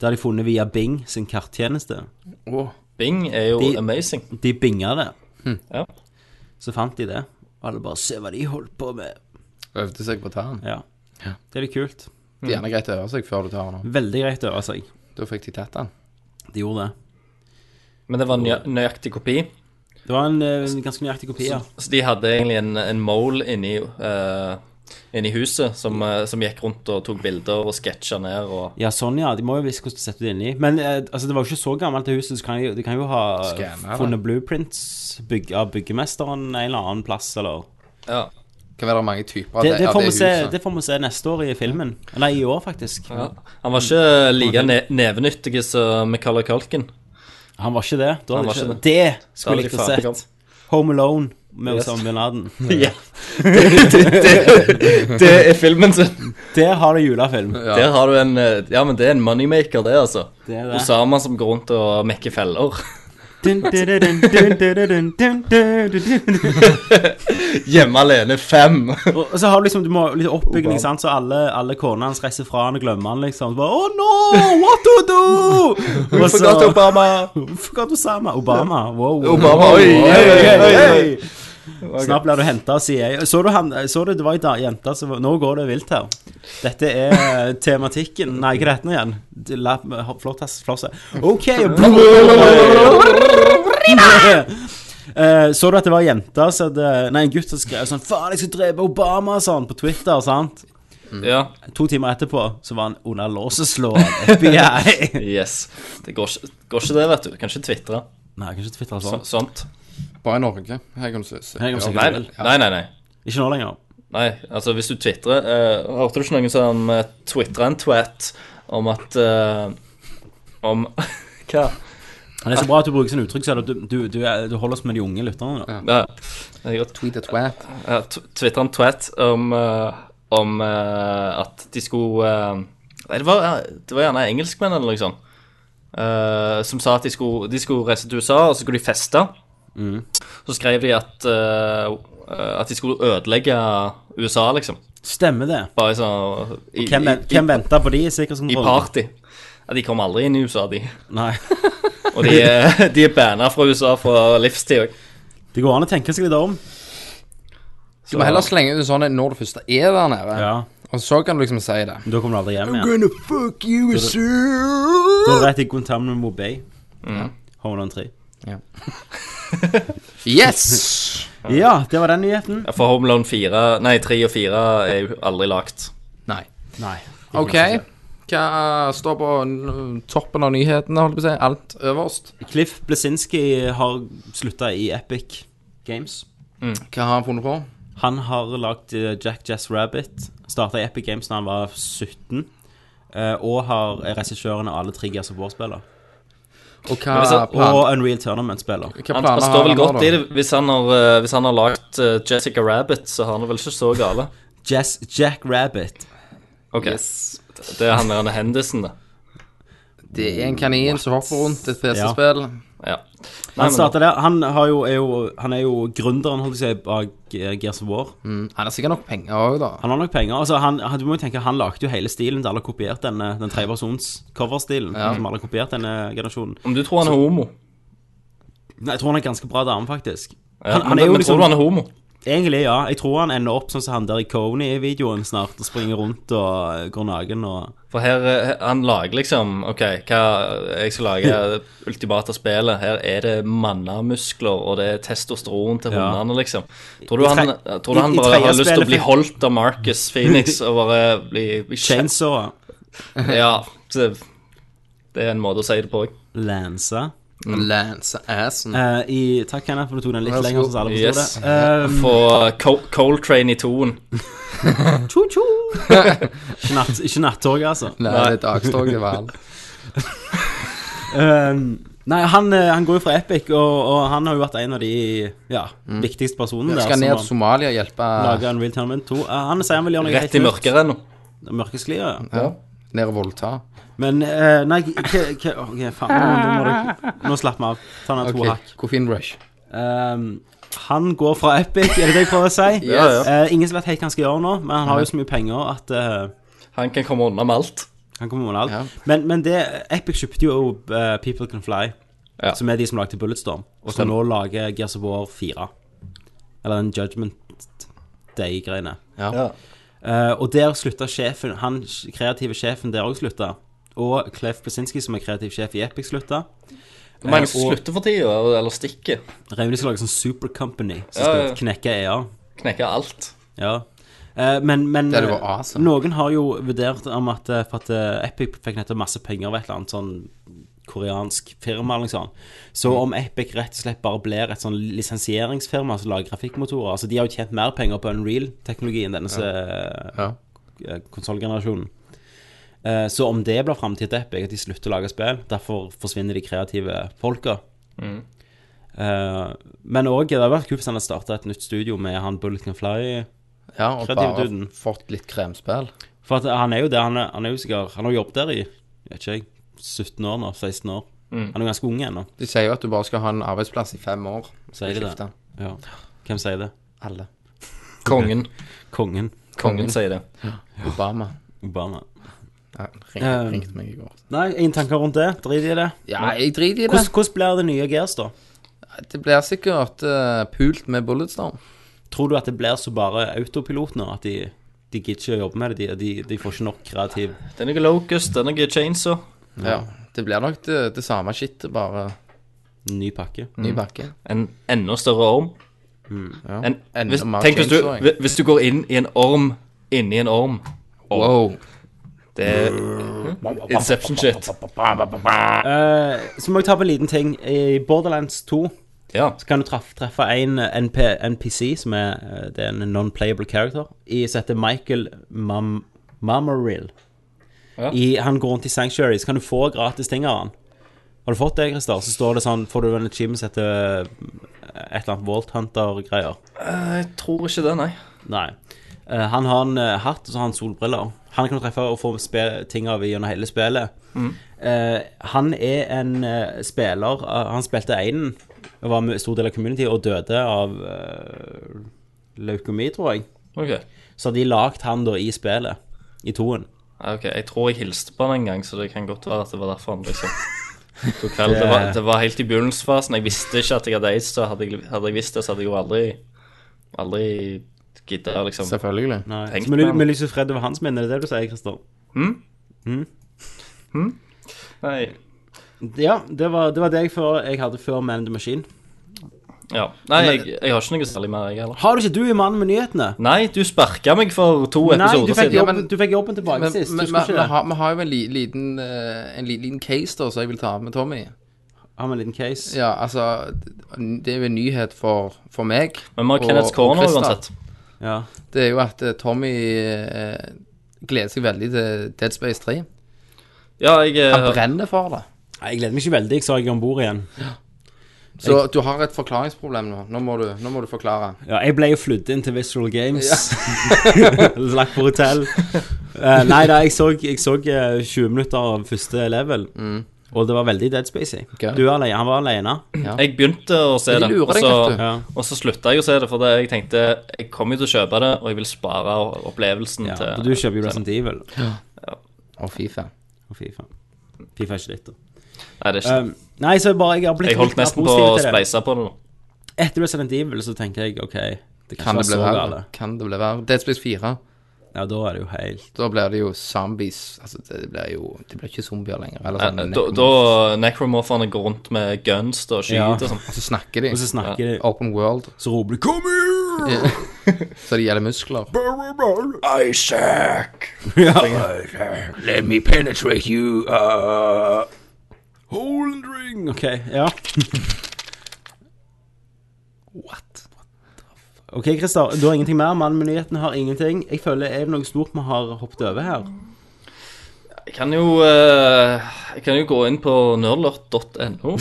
Speaker 4: Det har de funnet via Bing sin karttjeneste.
Speaker 5: Åh,
Speaker 3: Bing er jo
Speaker 4: De-
Speaker 3: amazing.
Speaker 4: De binga det.
Speaker 3: Ja.
Speaker 4: Så fant de det. Og alle bare Se hva de holdt på med.
Speaker 5: Øvde seg på å ta den.
Speaker 4: Ja. Det er litt kult.
Speaker 5: Det er gjerne greit å øve seg før du tar den.
Speaker 4: Veldig greit å øve seg.
Speaker 5: Da fikk de tatt den.
Speaker 4: De gjorde det.
Speaker 3: Men det var en nøya- nøyaktig kopi.
Speaker 4: Det var en eh, ganske nøyaktig kopi, ja.
Speaker 3: Så de hadde egentlig en, en mole inni, eh, inni huset som, eh, som gikk rundt og tok bilder og sketsja ned og
Speaker 4: Ja, sånn ja. De må jo visst hvordan de setter det inni. Men eh, altså, det var jo ikke så gammelt, det huset. Så kan de, de kan jo ha
Speaker 5: Skanner det.
Speaker 4: funnet blueprints bygg, av byggemesteren en eller annen plass, eller
Speaker 3: Ja.
Speaker 5: Kan være mange typer av
Speaker 4: Det,
Speaker 5: det,
Speaker 4: det,
Speaker 5: av
Speaker 4: får, vi
Speaker 5: det
Speaker 4: se,
Speaker 5: huset.
Speaker 4: det får vi se neste år i filmen. Eller i år, faktisk.
Speaker 3: Han var ikke like ne nevenyttig som Macaulay Culkin.
Speaker 4: Han var ikke det. Da
Speaker 3: Han
Speaker 4: hadde
Speaker 3: var
Speaker 4: ikke,
Speaker 3: ikke
Speaker 4: det.
Speaker 3: Da hadde
Speaker 4: skulle
Speaker 3: de
Speaker 4: jeg likt å
Speaker 3: faen ikke
Speaker 4: sett. Home Alone med
Speaker 3: Yes.
Speaker 4: Osama bin Laden.
Speaker 3: *laughs* Ja. Det, det, det, det er filmen sin.
Speaker 4: Der har du julefilm.
Speaker 5: Ja.
Speaker 3: Der har du en eh, Ja, men det er en moneymaker, det, altså.
Speaker 4: Det er det.
Speaker 3: Osama som går rundt og mekker feller. *laughs*
Speaker 4: Dun, dun, dun, dun, dun, dun, dun, dun, dun, dun.
Speaker 3: Hjemme alene fem.
Speaker 4: Og og så har du liksom du må, litt oppbygging, sant? så alle, alle kornene hans reiser fra han og glemmer han, liksom. Så Bare, oh no, what to do? Og så-
Speaker 3: Forgot Obama.
Speaker 4: Forgot Osama. Obama, wow.
Speaker 3: Obama, oi, oi, oi, oi.
Speaker 4: Snart blir du henta av CIA. Så du han så du, det var ei da- jente som var- Nå går det vilt her. Dette er eh, tematikken Nei, hva heter den igjen? Det- La, flott, ass. Flosse. OK. Eh, Så du at det var jenter som hadde Nei, en gutt som skrev sånn Faen, jeg skal drepe Obama, sånn, på Twitter, sant?
Speaker 3: Ja.
Speaker 4: To timer etterpå så var han under lås og slå av *laughs* FBI.
Speaker 3: Yes. Det går ikke, går ikke det, vet du. Kan ikke tvitre
Speaker 4: Nei, kanskje Twitter
Speaker 3: så,
Speaker 4: sånn.
Speaker 3: sånt.
Speaker 5: Bare i Norge. Her kan du se. se.
Speaker 4: Her kan du se.
Speaker 3: Nei, nei, nei. nei, nei.
Speaker 4: Ikke nå lenger.
Speaker 3: Nei, altså hvis du twitrer eh, Hørte du ikke noen som uh, twitra en twat om at eh, Om *laughs* Hva?
Speaker 4: Men det er så bra at du bruker sånne uttrykk, så du, du, du, er- du holder oss med de unge lytterne. da.
Speaker 3: Ja, jeg har tw
Speaker 5: Tweet a twat.
Speaker 3: uh, twitra en twat om, eh, om eh, at de skulle eh, Nei, det var, eh, det var gjerne engelskmenn eller noe sånt. eh, som sa at de skulle, de skulle reise til USA, og så skulle de feste. Så skrev de at, eh, at de skulle ødelegge USA, liksom.
Speaker 4: Stemmer det.
Speaker 3: Bare sånn i- i-
Speaker 4: Hvem, ven- hvem venter på de i
Speaker 3: I
Speaker 4: sikkerhetskontrollen?
Speaker 3: party. Ja, de kommer aldri inn i USA, de.
Speaker 4: Nei.
Speaker 3: Og de er, *laughs* de er banna fra USA for livstid òg.
Speaker 4: Det går an å tenke seg litt om.
Speaker 5: Du må heller slenge ut sånn når du først er der nede.
Speaker 4: Ja.
Speaker 5: Og så kan du liksom si det.
Speaker 4: Da kommer du aldri hjem igjen. I'm gonna fuck you, sir. Da er det rett i Guantanamo Bay. Mm. Home Alone 3. *laughs*
Speaker 5: Yes!
Speaker 4: Ja, det var den nyheten.
Speaker 3: For Home Loan 4, nei 3 og 4 er jo aldri lagt.
Speaker 5: Nei.
Speaker 4: Nei.
Speaker 5: OK. Hva står på n- toppen av nyhetene, holdt jeg på å si? Alt øverst.
Speaker 4: Cliff Blesinski har slutta i Epic Games.
Speaker 5: Hva har han funnet på?
Speaker 4: Han har lagd eh, Jack Jazz Rabbit. Starta i Epic Games da han var 17. eh, Og har er regissøren av alle tre Gears of War-spiller.
Speaker 5: Og hva,
Speaker 3: hvis han-
Speaker 5: plan,
Speaker 4: Og Unreal Tournament-spiller.
Speaker 5: hva
Speaker 3: Han,
Speaker 5: planer
Speaker 3: han står vel
Speaker 5: nå,
Speaker 3: godt
Speaker 5: da?
Speaker 3: i det. Hvis han har, eh, hvis han har lagt eh, Jessica Rabbit, så har han det vel ikke så gale.
Speaker 4: Jazz Jack Rabbit.
Speaker 3: Ok, Det er han der han er Henderson, det.
Speaker 5: Det er en kanin som hopper rundt et PC-spill.
Speaker 3: Ja. Nei,
Speaker 4: Han
Speaker 3: men-
Speaker 4: starta der. Han, har jo, er jo, han er jo gründeren, holdt jeg på å si, bak eh, Gears of War.
Speaker 5: Mm, Han har sikkert nok penger òg, da.
Speaker 4: Han har nok penger. Altså, han, han- du må jo tenke, han lagde jo hele stilen til alle har kopiert denne den treversons coverstilen. Som alle har kopiert denne generasjonen.
Speaker 3: Om du tror han er homo
Speaker 4: Nei, jeg tror han er en ganske bra dame, faktisk.
Speaker 3: ja,
Speaker 4: Han- han
Speaker 3: men,
Speaker 4: er jo
Speaker 3: men
Speaker 4: liksom-
Speaker 3: Tror du han er homo?
Speaker 4: Egentlig, ja. Jeg tror han ender opp sånn som han der i Coney-videoen snart, og springer rundt og eh, går naken og
Speaker 3: For her, eh, han lager liksom Ok, hva jeg skal lage det ultimate spillet. Her er det mannemuskler, og det er testosteron til
Speaker 4: Ja.
Speaker 3: hundene, liksom. Tror du
Speaker 4: I tre-
Speaker 3: han, eh, tror du
Speaker 4: i-
Speaker 3: han
Speaker 4: i
Speaker 3: bare har
Speaker 4: tredje
Speaker 3: lyst til å
Speaker 4: spillet-
Speaker 3: bli holdt av Marcus Phoenix og bare
Speaker 4: *laughs*
Speaker 3: *laughs* bli bli kjent?
Speaker 4: Chainsaw.
Speaker 3: Ja. så Det er en måte å si det på òg.
Speaker 4: Lanse.
Speaker 5: Lance assen.
Speaker 4: Eh, i, takk, Kenneth, for du tok den litt
Speaker 5: Vær så
Speaker 4: lenger,
Speaker 5: god.
Speaker 4: så alle forstår
Speaker 3: Yes.
Speaker 4: det. Eh,
Speaker 5: *laughs*
Speaker 4: *laughs*
Speaker 3: Få Col- Coltrane i toen.
Speaker 4: tjo-tjo! ikke natt- ikke nattoget, altså.
Speaker 5: Nei, det er dagstog, det var alt.
Speaker 4: Ehm, nei, han, eh, han går jo fra Epic, og, og han har jo vært en av de ja, viktigste personene der.
Speaker 5: Skal ned til
Speaker 4: som
Speaker 5: Somalia og hjelpe
Speaker 4: har laget Unreal Tournament 2. Eh, han sier han vil gjøre noe
Speaker 3: Rett i
Speaker 4: nytt.
Speaker 3: mørket ennå.
Speaker 4: Mørkesklia, ja.
Speaker 5: ja. Ned og voldta.
Speaker 4: Men eh, nei, hva hva- OK, faen. Nå, nå, må du, nå slapp vi av. Ta ned to
Speaker 5: Ok,
Speaker 4: hakk.
Speaker 5: Koffeinrush.
Speaker 4: Ehm, han går fra Epic, er det det jeg prøver å si?
Speaker 5: Yes.
Speaker 4: Eh, ingen som vet helt hva han skal gjøre nå, men han har jo så mye penger at eh,
Speaker 3: Han kan komme unna med alt.
Speaker 4: han kommer med alt.
Speaker 5: Ja.
Speaker 4: Men, men det, Epic kjøpte jo eh, People Can Fly,
Speaker 3: Ja.
Speaker 4: som er de som lagde Bulletstorm, og som nå lager Gears of War 4. Eller den Judgment Day-greiene.
Speaker 5: Ja.
Speaker 4: Eh, og der slutta sjefen, han kreative sjefen der òg slutta. Og Clef Blesinski, som er kreativ sjef i Epic, slutta.
Speaker 3: Det er mange som
Speaker 4: Eh, og-
Speaker 3: slutter for tida, eller stikker.
Speaker 4: Revni skal lage sånn Super Company som
Speaker 3: Ja,
Speaker 4: skal
Speaker 3: ja, ja.
Speaker 4: knekke E EA.
Speaker 3: Knekker alt.
Speaker 4: Ja. Eh, men men
Speaker 5: Det hadde vært
Speaker 4: eh,
Speaker 5: awesome.
Speaker 4: noen har jo vurdert om at eh, for at eh, Epic fikk nettopp masse penger av et eller annet sånn koreansk firma eller noe sånt. Så
Speaker 5: Mm.
Speaker 4: om Epic rett og slett bare blir et sånn lisensieringsfirma som lager grafikkmotorer Altså, de har jo tjent mer penger på Unreal-teknologien, denne ja.
Speaker 5: Ja.
Speaker 4: konsollgenerasjonen. Eh, Så om det blir framtiden til Epic, at de slutter å lage spill, derfor forsvinner de kreative folka.
Speaker 5: Mm.
Speaker 4: Eh, men òg, det hadde vært kult hvis han hadde starta et nytt studio med han Bullet Can Fly.
Speaker 5: ja, og
Speaker 4: Kreativ
Speaker 5: bare
Speaker 4: duden.
Speaker 5: fått litt kremspill.
Speaker 4: For at han er jo det, han er, han er jo sikkert Han har jobbet der i jeg vet ikke jeg, 17 år nå, 16 år. Han er jo ganske ung ennå.
Speaker 5: De sier jo at du bare skal ha en arbeidsplass i fem år.
Speaker 4: Sier de det?
Speaker 5: Skifte.
Speaker 4: Ja. Hvem sier det?
Speaker 5: Alle.
Speaker 3: Kongen.
Speaker 4: Kongen.
Speaker 3: Kongen sier det.
Speaker 5: Obama.
Speaker 4: Obama.
Speaker 5: Ja, ring,
Speaker 4: Eh,
Speaker 5: ringte meg i går.
Speaker 4: Nei, ingen tanker rundt det? Drit i det.
Speaker 5: Ja, jeg driter i det.
Speaker 4: Hvordan, hvordan blir det nye Gears, da?
Speaker 5: Det blir sikkert eh, pult med Bulletstorm.
Speaker 4: Tror du at det blir så bare autopilot nå? At de, de gidder ikke å jobbe med det? De, de, de får ikke nok kreativ
Speaker 3: Det er noe Locust, det er noe Chainsaw.
Speaker 5: Ja. Det blir nok det, det samme skittet, bare
Speaker 4: ny pakke?
Speaker 5: ny pakke.
Speaker 3: En enda større orm. En,
Speaker 5: Enda
Speaker 3: hvis,
Speaker 5: mer
Speaker 3: tenk hvis du,
Speaker 5: chainsaw, jeg.
Speaker 3: hvis- hvis du går inn i en orm inni en orm.
Speaker 5: Wow.
Speaker 3: Det er Hmm. Inception-shit.
Speaker 4: Eh, så må jeg ta på en liten ting. I Borderlands 2
Speaker 3: Ja.
Speaker 4: så kan du traff, treffe en eh, NP, NPC, som er, eh, det er en non-playable character, i, som heter Michael Mam Mamaril.
Speaker 3: Ja.
Speaker 4: I, han går rundt i Sanctuary, så kan du få gratis ting av han. Har du fått det, Christer? Så står det sånn, får du en achievement som heter eh, et eller annet Vault Hunter-greier.
Speaker 3: Jeg tror ikke det, nei.
Speaker 4: Nei. Eh, han har en eh, hatt og så har han solbriller. Han kan du treffe og få spe- ting av gjennom hele spillet.
Speaker 5: Mm.
Speaker 4: Eh, han er en eh, spiller eh, Han spilte einen og var en stor del av community og døde av eh, leukemi, tror jeg.
Speaker 3: Ok.
Speaker 4: Så har de lagd han da i spillet, i toen.
Speaker 3: Ja, ok, Jeg tror jeg hilste på han en gang, så det kan godt være at det var derfor han liksom tok kveld.
Speaker 4: *laughs*
Speaker 3: Det var, det var helt i begynnelsesfasen. Jeg visste ikke at jeg hadde aids. Så hadde jeg, hadde jeg visst det, så hadde jeg jo aldri Aldri giddet å liksom
Speaker 5: Selvfølgelig.
Speaker 4: Nei.
Speaker 3: Tenk
Speaker 4: Så vi ly-
Speaker 3: på han.
Speaker 4: vi lyser fred over hans minne, det er det du sier, Christer?
Speaker 3: Nei.
Speaker 4: Ja, det var det, var det jeg, før, jeg hadde før Man in the Machine.
Speaker 3: Ja. Nei, jeg, jeg har ikke noe særlig mer, jeg heller.
Speaker 4: Har du ikke du i Mannen med nyhetene?
Speaker 3: Nei, du sparka meg for to
Speaker 4: Nei, du
Speaker 3: episoder
Speaker 4: fikk,
Speaker 3: siden.
Speaker 5: Ja,
Speaker 4: jobben,
Speaker 5: men-
Speaker 4: du fikk jobben tilbake
Speaker 5: Men
Speaker 4: sist.
Speaker 5: men-
Speaker 4: Du
Speaker 5: men-
Speaker 4: skulle
Speaker 5: vi
Speaker 4: ikke det?
Speaker 5: har- vi har jo en li- liten, eh, en li- liten case da, som jeg vil ta med Tommy.
Speaker 4: Har vi en liten case?
Speaker 5: Ja, altså Det er jo en nyhet for, for meg.
Speaker 3: Men vi har
Speaker 5: og-
Speaker 3: Kenneths
Speaker 5: og
Speaker 3: corner
Speaker 5: Christer.
Speaker 3: uansett.
Speaker 4: Ja.
Speaker 5: Det er jo at eh, Tommy eh, gleder seg veldig til Dead Space 3.
Speaker 3: Ja, jeg eh,
Speaker 5: Han brenner for det.
Speaker 4: Nei, Jeg gleder meg ikke veldig, jeg sa jeg er om bord igjen.
Speaker 5: Så du har et forklaringsproblem nå. Nå må du, nå må du forklare.
Speaker 4: Ja, jeg ble jo flydd inn til Visual Games. *laughs* Lagt på hotell. Eh, nei da, jeg så, jeg så eh, 20 minutter av første level, og det var veldig Dead Spacey.
Speaker 5: Ok.
Speaker 4: Du er alene, han var alene.
Speaker 3: Jeg begynte å se
Speaker 5: De
Speaker 3: det,
Speaker 5: lurer
Speaker 3: og
Speaker 5: deg,
Speaker 3: så,
Speaker 5: vet du.
Speaker 4: Ja.
Speaker 3: og så slutta jeg å se det. For det, jeg tenkte jeg kommer jo til å kjøpe det, og jeg vil spare opplevelsen
Speaker 4: Ja,
Speaker 3: til
Speaker 4: og du kjøper jo Resident Evil. Å,
Speaker 5: Å, fy faen.
Speaker 4: fy faen. Fifa er ikke ditt, da.
Speaker 3: Nei, det er ikke
Speaker 4: Um, nei, så bare jeg har blitt
Speaker 3: Jeg holdt
Speaker 4: litt mer
Speaker 3: nesten på å
Speaker 4: positiv til det.
Speaker 3: spleise på det nå.
Speaker 4: Etter Resident Evil så tenker jeg OK, det kan,
Speaker 5: Kan det
Speaker 4: ikke være
Speaker 5: bli
Speaker 4: så
Speaker 5: verre?
Speaker 4: galt.
Speaker 5: Kan det bli verre? Dead Space 4.
Speaker 4: Ja, da er det jo helt
Speaker 5: Da blir det jo zombies. Altså, det blir jo Det blir ikke zombier lenger. Eller sånn.
Speaker 3: Eh, Da, da necromorphene går rundt med guns da, og skyter
Speaker 4: Ja.
Speaker 3: og sånn.
Speaker 5: Og så snakker de.
Speaker 4: Og så snakker de,
Speaker 5: Open world.
Speaker 4: så roper de 'Kom her!'
Speaker 5: *laughs* Så det gjelder muskler.
Speaker 4: Ja. Holden ring! OK, ja. What? OK, Christer. Du har ingenting mer. Mannen med nyhetene har ingenting. Jeg føler Er det noe stort vi har hoppet over her?
Speaker 3: Jeg kan jo, eh, jeg kan jo gå inn på
Speaker 5: *laughs*
Speaker 3: nerdlort.no og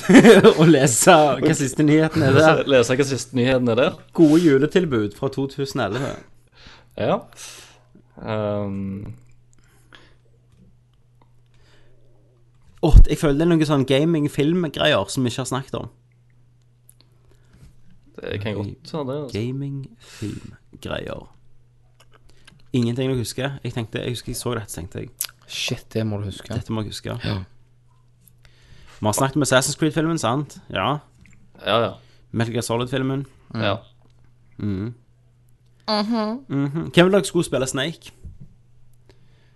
Speaker 4: Å lese hva siste nyheten er der.
Speaker 3: lese hva siste nyheten er der.
Speaker 4: Gode juletilbud fra 2011.
Speaker 3: Ja. Ehm,
Speaker 4: Åh, jeg føler det er noen sånn gaming-film-greier som vi ikke har snakket om.
Speaker 3: det kan jeg godt ha det. Altså.
Speaker 4: Gaming-film-greier. Ingenting å huske. Jeg tenkte, jeg husker jeg så dette, tenkte jeg.
Speaker 5: Shit, det må du huske.
Speaker 4: Dette må jeg huske. Vi har snakket om Assassin's Creed-filmen, sant? Ja.
Speaker 3: Ja, ja.
Speaker 4: Metal Gear Solid-filmen.
Speaker 3: ja.
Speaker 5: Mm.
Speaker 4: Mhm. Hvem vil dere skulle spille Snake?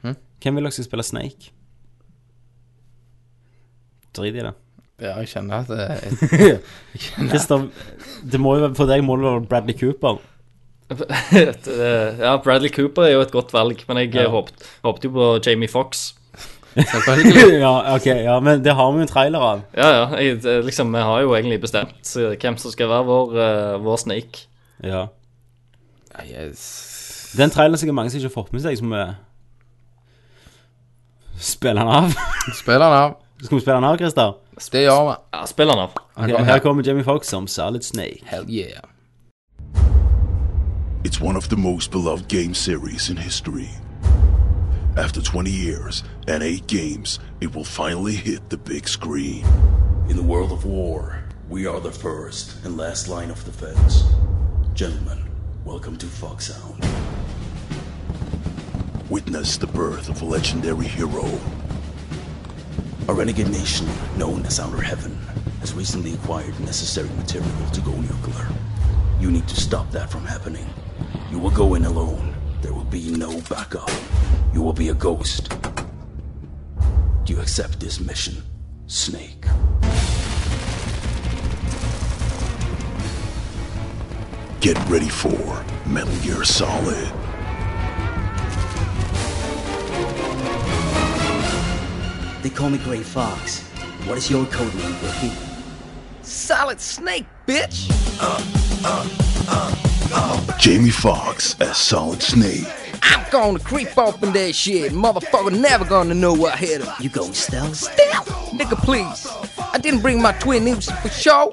Speaker 4: Hvem vil dere skulle spille Snake? Drit i det.
Speaker 5: Ja, jeg kjenner at *laughs* det,
Speaker 4: Christer, det må jo være for deg må det være Bradley Cooper.
Speaker 3: Et, eh, *laughs* ja, Bradley Cooper er jo et godt valg, men jeg eh, håpet, håpet jo på Jamie Fox.
Speaker 4: ja, ok, ja, men det har vi jo en trailer av.
Speaker 3: Ja, ja. Jeg, det- liksom, vi har jo egentlig bestemt eh, hvem som skal være vår, eh, vår snake.
Speaker 4: Ja.
Speaker 5: yes.
Speaker 4: Det er en trailer sikkert mange som ikke har fått med seg, som eh, Spiller han av? *laughs*
Speaker 5: Spiller den av.
Speaker 4: Skal vi spille han av, Christer?
Speaker 5: Det gjør vi.
Speaker 3: Ja, spill han av.
Speaker 4: Ok, her kommer Jamie Foxx som Solid Snake.
Speaker 5: Hell yeah.
Speaker 10: It's one of the most beloved game series in history. After 20 years and 8 games, it will finally hit the big screen.
Speaker 11: In the world of war, we are the first and last line of defense. Gentlemen, welcome to Foxhound.
Speaker 10: Witness the birth of a legendary hero,
Speaker 11: A renegade nation known as Outer Heaven has recently acquired necessary material to go nuclear. You need to stop that from happening. You will go in alone. There will be no backup. You will be a ghost. Do you accept this mission, Snake?
Speaker 10: Get ready for Metal Gear Solid.
Speaker 11: They call me Gray Fox. What is your code name, Ricky?
Speaker 10: Jamie Foxx as Solid Snake.
Speaker 5: I'm gonna creep up in that shit. Motherfucker never gonna know what hit him.
Speaker 11: You go stealth?
Speaker 5: Damn, nigga, please. I didn't bring my twin nips for show.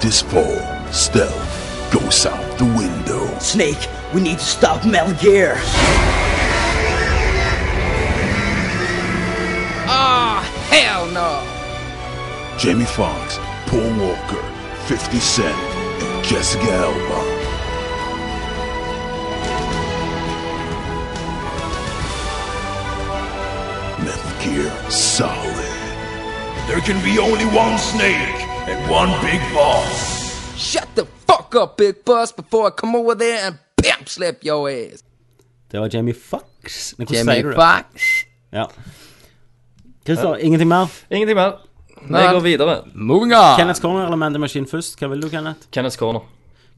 Speaker 10: This fall, Stealth goes out the window.
Speaker 11: Snake, we need to stop Metal Gear.
Speaker 5: Ah, hell no.
Speaker 10: Jamie Foxx, Paul Walker, 50 Cent, and Jessica Alba. Metal Gear Solid.
Speaker 6: There can be only one snake and one big boss.
Speaker 5: Shut the fuck up, big bus, before I come over there and pimp slap your ass.
Speaker 4: Det var Jamie Foxx. Nei, hvordan
Speaker 5: Jimmy
Speaker 4: sier du det?
Speaker 5: Fox.
Speaker 4: Ja. Christer, ingenting mer?
Speaker 3: Ingenting mer. Vi
Speaker 5: Nei.
Speaker 3: går videre.
Speaker 5: Moving on.
Speaker 4: Kenneth Corner eller Mandy Machine først? Hva vil du, Kenneth?
Speaker 3: Kenneth Corner.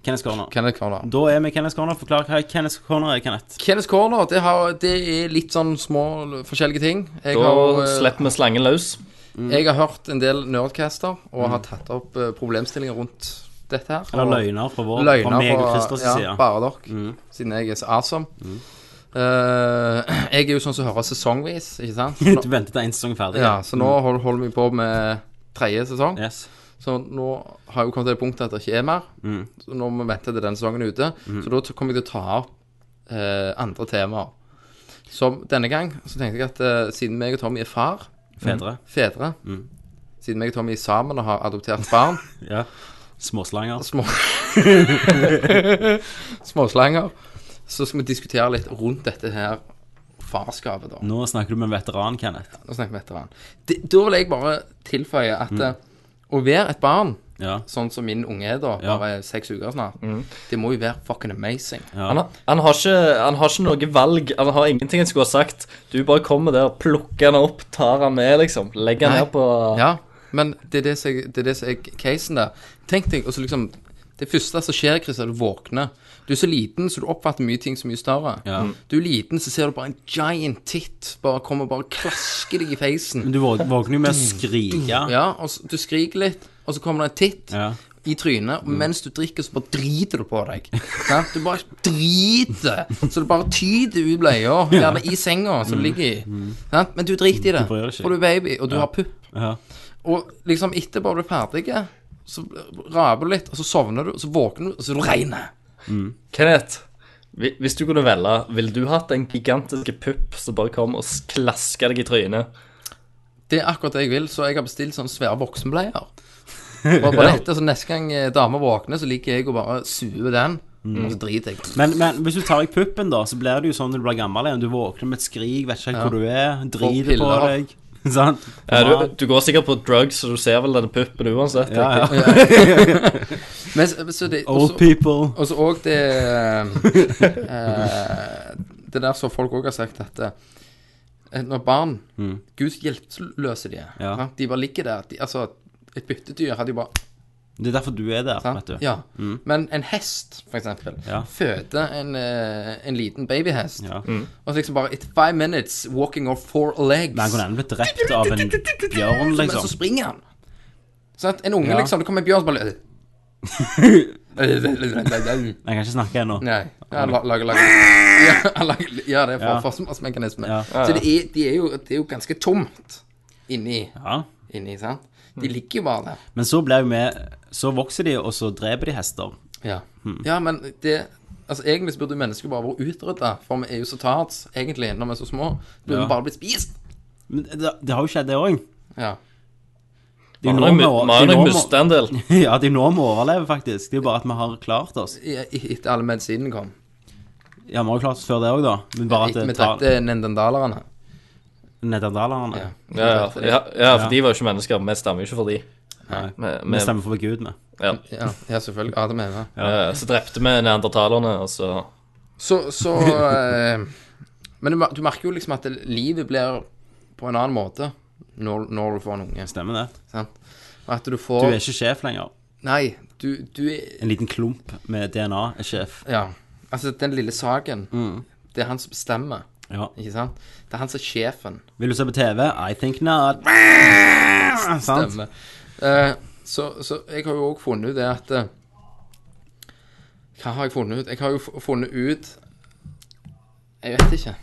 Speaker 4: Kenneth Corner.
Speaker 5: Kenneth Corner.
Speaker 4: Da er vi Kenneth Corner. Forklar hva Kenneth Corner er, Kenneth.
Speaker 5: Kenneth Corner, det, har, det er litt sånn små forskjellige ting. Jeg
Speaker 3: Da
Speaker 5: har, eh,
Speaker 3: slipper vi slangen løs.
Speaker 4: Mm.
Speaker 5: jeg har hørt en del nerdcaster og har tatt opp eh, problemstillinger rundt dette her.
Speaker 4: Eller
Speaker 5: Og-
Speaker 4: løgner fra vår
Speaker 5: løgner
Speaker 4: fra meg og
Speaker 5: fra-
Speaker 4: Christers
Speaker 5: Ja,
Speaker 4: side. Mm.
Speaker 5: bare dere, siden jeg er så awesome. Eh, *clears throat* jeg er jo sånn som hører sesongvis, ikke
Speaker 4: *laughs*
Speaker 5: sant?
Speaker 4: *laughs*
Speaker 5: Så
Speaker 4: Du
Speaker 5: nå,
Speaker 4: venter til en sesong er ferdig.
Speaker 5: ja, så nå hold- holder vi på med tredje sesong.
Speaker 4: Yes.
Speaker 5: Så nå har jeg jo kommet til det punktet at det ikke er mer. Så nå må vi vente til den sesongen er ute. Så da t- kommer jeg til å ta opp eh, andre temaer. Som denne gang så tenkte jeg at eh, siden meg og Tommy er far, Mm.
Speaker 4: Fedre.
Speaker 5: fedre Siden meg og Tommy er sammen og har adoptert barn
Speaker 4: Ja. Småslanger.
Speaker 5: små Småslanger. Så skal vi diskutere litt rundt dette her farskapet, da.
Speaker 4: Nå snakker du med en veteran, Kenneth.
Speaker 5: Nå snakker vi etter hverandre. Det- Da vil jeg bare tilføye at eh, å være et barn,
Speaker 4: Ja.
Speaker 5: sånn som min unge er da,
Speaker 4: Ja.
Speaker 5: bare seks uker snart, det må jo være fucking amazing.
Speaker 3: Han, har- han, har ikke, han har ikke noe valg. Han har ingenting han skulle ha sagt. Du bare kommer der, plukker han opp, tar han med, liksom. Legger han
Speaker 5: Nei.
Speaker 3: ned på
Speaker 5: Ja, men det er det som jeg- det er det som er casen der. Tenk deg, og så liksom Det første som skjer, Chris, er at du våkner. Du er så liten, så du oppfatter mye ting så mye større. Du er liten, så ser du bare en giant tit bare kommer og bare klasker deg i feisen.
Speaker 4: Men du våk- våkner jo med å skrike.
Speaker 5: Ja, og så, du skriker litt, og så kommer det en titt i
Speaker 4: Mm.
Speaker 5: trynet, og mens du drikker, så bare driter du på deg. Sant? Du bare driter, så du bare tyter ut bleia, gjerne i senga som du ligger i. Sant? Men du driter i
Speaker 4: Mm.
Speaker 5: det,
Speaker 4: Du bryr deg ikke.
Speaker 5: for du er baby, og du har pupp.
Speaker 4: Ja.
Speaker 5: Og liksom etterpå blir du ferdig, så raper du litt, og så sovner du, og så våkner du, og så er du rein.
Speaker 3: Kenneth, hvi- hvis du kunne velge, ville du hatt en gigantisk pupp som bare kom og s- klaska deg i trynet?
Speaker 5: Det er akkurat det jeg vil, så jeg har bestilt sånne
Speaker 4: *laughs*
Speaker 5: svære voksenbleier. Bare på dette, så neste gang eh, dama våkner, så ligger jeg og bare suer den,
Speaker 4: Mm.
Speaker 5: og så driter jeg.
Speaker 4: Men, men hvis du tar deg puppen, da, så blir det jo sånn når du blir gammel igjen. Du våkner med et skrik, vet ikke helt
Speaker 5: Ja.
Speaker 4: hvor du er,
Speaker 5: Og
Speaker 4: driter på
Speaker 5: piller.
Speaker 4: deg. *laughs* Sant?
Speaker 3: Ja, du, du går sikkert på drugs, så du ser vel denne puppen uansett.
Speaker 4: Ja,
Speaker 3: ikke?
Speaker 5: Men, så- så det,
Speaker 4: Old
Speaker 5: også-
Speaker 4: people.
Speaker 5: Og så òg det eh, Det der som folk òg har sagt, at eh, når barn Gud hjelpeløse de er.
Speaker 4: Mm. Ja.
Speaker 5: sant? De bare ligger der. De, altså, et byttedyr hadde jo bare
Speaker 4: Det er derfor du er der,
Speaker 5: sant?
Speaker 4: vet du. Mm.
Speaker 5: Ja. Men en hest, for eksempel,
Speaker 4: Ja.
Speaker 5: føder en, eh, en liten babyhest.
Speaker 4: Ja.
Speaker 3: Mm.
Speaker 5: Og så liksom bare It's five minutes walking off four legs.
Speaker 4: Men han kunne ennå blitt drept av en bjørn,
Speaker 5: Men
Speaker 4: liksom.
Speaker 5: så springer han. Så at en unge,
Speaker 4: Ja.
Speaker 5: liksom Det kommer en bjørn
Speaker 4: *laughs*
Speaker 5: som bare *laughs*
Speaker 4: Jeg kan ikke snakke ennå.
Speaker 5: Nei. Ja, han la- lager, lager. *laughs* Ja, han lager ja, det er for
Speaker 4: Ja.
Speaker 5: forsvarsmekanisme.
Speaker 4: Ja.
Speaker 5: Så det er, de er jo, det er jo ganske tomt inni,
Speaker 4: Ja.
Speaker 5: inni sant?
Speaker 4: Mm.
Speaker 5: De ligger jo bare der.
Speaker 4: Men så blir jo vi Så vokser de, og så dreper de hester.
Speaker 5: Ja, ja men det Altså, Egentlig så burde jo mennesker bare vært utrydda, for vi er jo så tards, egentlig, når vi er så små. Du burde
Speaker 4: Ja.
Speaker 5: vi bare blitt spist.
Speaker 4: Men det, det har jo skjedd, det òg.
Speaker 5: Ja.
Speaker 4: De
Speaker 3: Man
Speaker 4: nå
Speaker 3: har
Speaker 4: må-
Speaker 3: jo- man har
Speaker 4: de nå
Speaker 3: jo
Speaker 4: må-
Speaker 3: mista en *laughs* del.
Speaker 4: *laughs* Ja, de nå må overleve, faktisk. Det er bare at vi har klart oss.
Speaker 5: I- i- Etter alle medisinene kom.
Speaker 4: Ja, vi har jo klart oss før det òg, da. Men bare at
Speaker 5: Etter vi
Speaker 4: det tar
Speaker 5: drepte nendendalerne.
Speaker 4: nederlanderne.
Speaker 5: Ja.
Speaker 3: Ja, ja, ja, ja, for de var jo ikke mennesker. Vi stemmer jo ikke for de.
Speaker 5: Nei.
Speaker 3: Men-
Speaker 4: Vi
Speaker 3: men-
Speaker 4: stemmer for Gud, vi.
Speaker 3: ja.
Speaker 5: Ja, ja selvfølgelig. Adam og Eva.
Speaker 3: Eh, Så drepte vi neandertalerne, og så *laughs*
Speaker 5: Så, så eh, Men du, mer- du merker jo liksom at det- livet blir på en annen måte når, når du får en unge.
Speaker 4: Stemmer det.
Speaker 5: Sant? Og at du
Speaker 4: Du
Speaker 5: får
Speaker 4: er ikke sjef lenger.
Speaker 5: Nei, du, du er
Speaker 4: En liten klump med DNA er sjef.
Speaker 5: Ja. Altså, den lille saken
Speaker 4: Mm.
Speaker 5: Det er han som bestemmer,
Speaker 4: Ja.
Speaker 5: ikke sant? Det er han som er sjefen.
Speaker 4: Vil du se på TV? I think not. Sant?
Speaker 5: Stemmer. Eh, så, så jeg har jo òg funnet ut det at eh, Hva har jeg funnet ut? Jeg har jo fu- funnet ut Jeg vet ikke.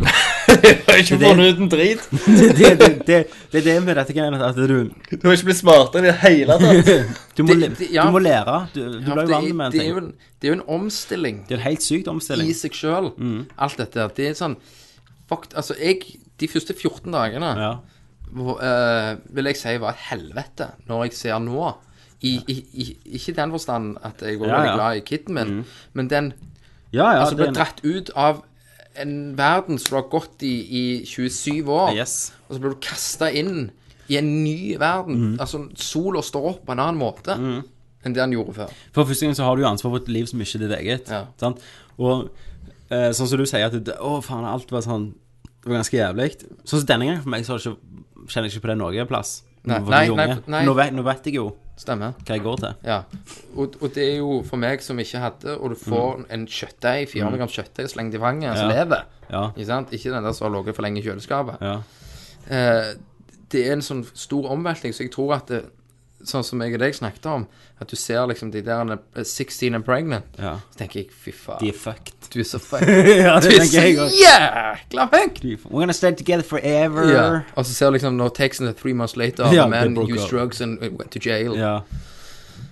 Speaker 3: Du har ikke funnet ut en drit! *laughs*
Speaker 4: Det, det, det, det, det er det med dette greiene at du,
Speaker 3: Du har ikke blitt smartere i det hele tatt.
Speaker 4: du, må,
Speaker 5: Det-
Speaker 4: le-
Speaker 5: det- ja.
Speaker 4: du må lære. Du, du
Speaker 5: Ja,
Speaker 4: blir jo
Speaker 5: det,
Speaker 4: vant
Speaker 5: er-
Speaker 4: med en
Speaker 5: det, er jo
Speaker 4: ting.
Speaker 5: en, det er jo en omstilling.
Speaker 4: Det er en helt sykt omstilling. Mm.
Speaker 5: i seg sjøl. Alt dette. her. Det er sånn fuck, Altså, jeg De første 14 dagene
Speaker 4: Ja.
Speaker 5: hvor, eh, vil jeg si var et helvete, når jeg ser nå. I, i, i, ikke i den forstand at jeg var
Speaker 4: Ja,
Speaker 5: veldig
Speaker 4: ja.
Speaker 5: glad i kiden min, men den
Speaker 4: ja, ja.
Speaker 5: altså,
Speaker 4: det
Speaker 5: ble
Speaker 4: er en-
Speaker 5: dratt ut av en verden som du har gått i i 27 år,
Speaker 4: Yes.
Speaker 5: og så ble du kasta inn i en ny verden.
Speaker 4: Mm.
Speaker 5: Altså, sola står opp på en annen måte enn det han gjorde før.
Speaker 4: For første gang så har du jo ansvar for et liv som ikke er ditt eget.
Speaker 5: Ja.
Speaker 4: Sant? Og eh, sånn som du sier at det, Å, faen, alt var sånn Det var ganske jævlig. Sånn som denne gangen for meg, så har det ikke, kjenner jeg ikke på det noe plass.
Speaker 5: Nei,
Speaker 4: For de
Speaker 5: nei,
Speaker 4: unge.
Speaker 5: nei, nei.
Speaker 4: Nå, vet, nå vet jeg jo
Speaker 5: Stemmer.
Speaker 4: hva jeg går til.
Speaker 5: Ja, og, og det er jo for meg som ikke hadde, og du får en kjøttdeig, 400 gram kjøttdeig slengt i fanget, som
Speaker 4: Mm. Ja.
Speaker 5: lever.
Speaker 4: Ja.
Speaker 5: Ikke sant? Ikke den der som har ligget for lenge i kjøleskapet.
Speaker 4: ja.
Speaker 5: Eh, det er en sånn stor omveltning, så jeg tror at det, sånn som jeg og deg snakket om, at du ser liksom de der eh, 16 and pregnant,
Speaker 4: Ja.
Speaker 5: så tenker jeg, fy faen,
Speaker 4: De er fucked.
Speaker 5: du er så fucked.
Speaker 4: *laughs* ja,
Speaker 5: Du
Speaker 4: det tenker
Speaker 5: er så
Speaker 4: jeg også.
Speaker 5: jækla fucked!
Speaker 4: We're gonna stay together forever.
Speaker 5: Ja. Og så ser du liksom når teksten er three months later,
Speaker 4: Ja,
Speaker 5: the man
Speaker 4: they broke
Speaker 5: used
Speaker 4: up.
Speaker 5: drugs and went to jail.
Speaker 4: Ja.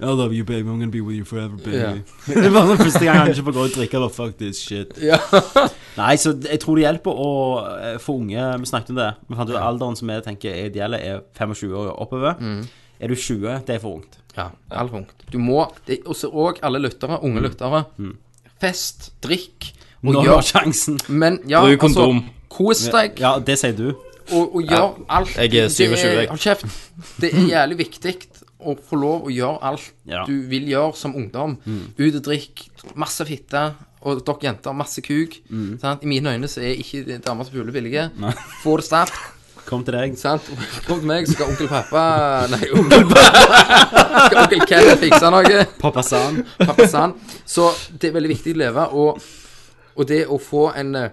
Speaker 4: I love you, baby. I'm gonna be with you forever, baby.
Speaker 5: Ja.
Speaker 4: *laughs* det var den første gang han ikke får gå og drikke. Eller fuck this shit.
Speaker 5: Ja.
Speaker 4: *laughs* Nei, så jeg tror det hjelper å eh, få unge Vi snakket om det. Vi fant ut at alderen som jeg tenker er ideell, er 25 år og oppover.
Speaker 5: Mm.
Speaker 4: Er du 20, det er for ungt.
Speaker 5: Ja, all punkt. Du må, det, og så òg alle lyttere, unge lyttere. Fest, drikk og
Speaker 4: Mm. Nå
Speaker 5: gjør
Speaker 4: har sjansen.
Speaker 5: *laughs* Men ja,
Speaker 3: Bruk kondom.
Speaker 5: altså Kos deg
Speaker 4: Ja, det sier du.
Speaker 5: og, og gjør alt.
Speaker 3: jeg er
Speaker 5: Det
Speaker 3: 27, jeg.
Speaker 5: Hold kjeft. Det er jævlig viktig å få lov å gjøre alt
Speaker 4: Ja.
Speaker 5: du vil gjøre som ungdom.
Speaker 3: Mm.
Speaker 5: Ut og drikk, masse fitte. Og dere
Speaker 3: Mm.
Speaker 5: jenter, masse kuk. Sant? I mine øyne så er ikke damer så fuglebillige. Få det sterkt.
Speaker 4: Kom til deg.
Speaker 5: Sant? Kom til meg, så skal onkel pappa Nei, onkel
Speaker 3: *laughs*
Speaker 5: pappa Skal onkel Kenneth fikse noe?
Speaker 4: Pappa San.
Speaker 5: Pappa San. Så det er veldig viktig å leve, og, og det å få en eh,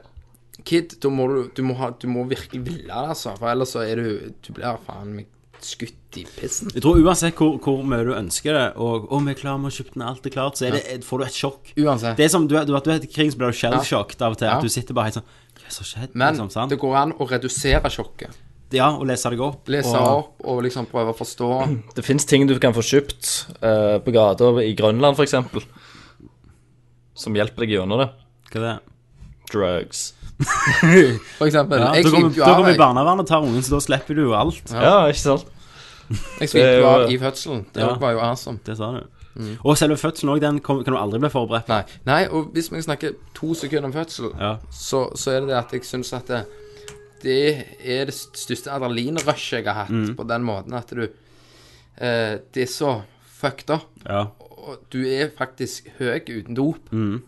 Speaker 5: kid Da må du, du, må ha, du må virkelig ville det, altså. For ellers så er du Du blir faen meg skutt i pissen.
Speaker 4: Jeg tror uansett hvor, hvor mye du ønsker det, og om vi er klar, vi har kjøpt den, alt er klart, så er det, får du et sjokk.
Speaker 5: Uansett.
Speaker 4: Det er som du, du, at du heter krig, så blir du shell-shocked av og til.
Speaker 5: Ja.
Speaker 4: At du sitter bare helt sånn Hva er det som har skjedd?
Speaker 5: Men
Speaker 4: liksom, sant?
Speaker 5: det går an å redusere sjokket.
Speaker 4: Ja, og lese deg opp.
Speaker 5: Lese
Speaker 4: og,
Speaker 5: opp og liksom prøve å forstå.
Speaker 3: *laughs* Det fins ting du kan få kjøpt eh, på gata i Grønland, f.eks., som hjelper deg gjennom det.
Speaker 4: Hva er det?
Speaker 3: Drugs.
Speaker 5: For eksempel.
Speaker 4: Ja,
Speaker 5: jeg
Speaker 4: da kommer
Speaker 5: svimte jo av.
Speaker 4: vi i
Speaker 5: Jeg,
Speaker 4: barnevernet og tar ungen, så da slipper du jo alt.
Speaker 3: Ja, ikke sant?
Speaker 5: jeg svimte
Speaker 3: Det
Speaker 5: jo
Speaker 3: er jo-
Speaker 5: av i fødselen. Det
Speaker 4: Eh, Ja.
Speaker 5: var jo awesome.
Speaker 4: Det sa du.
Speaker 5: Mm.
Speaker 4: Og selve fødselen òg, den kom, kan du aldri bli forberedt på.
Speaker 5: Nei, nei, og hvis vi snakker to sekunder om fødsel,
Speaker 4: Ja.
Speaker 5: så, så er det det at jeg syns at det, det er det største adrenalinrushet jeg har hatt,
Speaker 4: Mm.
Speaker 5: på den måten at du eh, Det er så fucked up,
Speaker 4: Ja.
Speaker 5: og du er faktisk høy uten dop
Speaker 4: Mm.